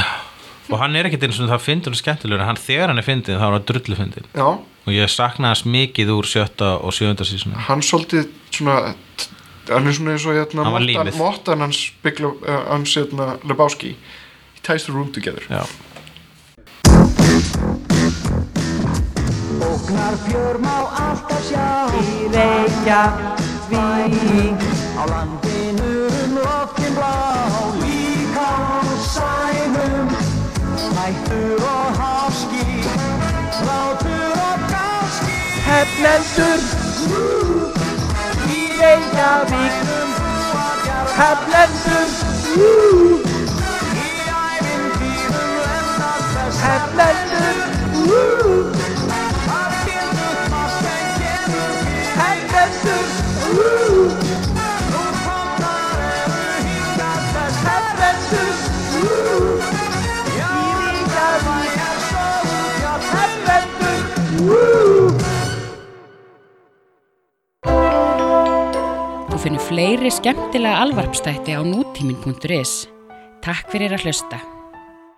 A: Og hann er ekkert eins og það fyndur hann skemmtilegur en hann þegar hann er fyndin þá er hann drullu fyndin
B: Já,
A: og ég sakna hans mikið úr sjötta og sjöfunda sísuna
B: hann svolítið svona hann er svona eins og hérna
A: Hann var
B: mottan-
A: límið.
B: mottan hans Big Le, uh, hans hérna Lebowski He ties the room together
A: Já
E: Óknar fjör má alltaf sjá Í Reykjavík Á landinu um loftin blá Líka á sænum Hættur og háski Látur og gáski Hefnendur Í Reykjavík Hefnendur Í ævintýrum lennast þess Hefnendur Úúú
F: og finnum fleiri skemmtilega alvarpstætti á nútímin.is. Takk fyrir að hlusta.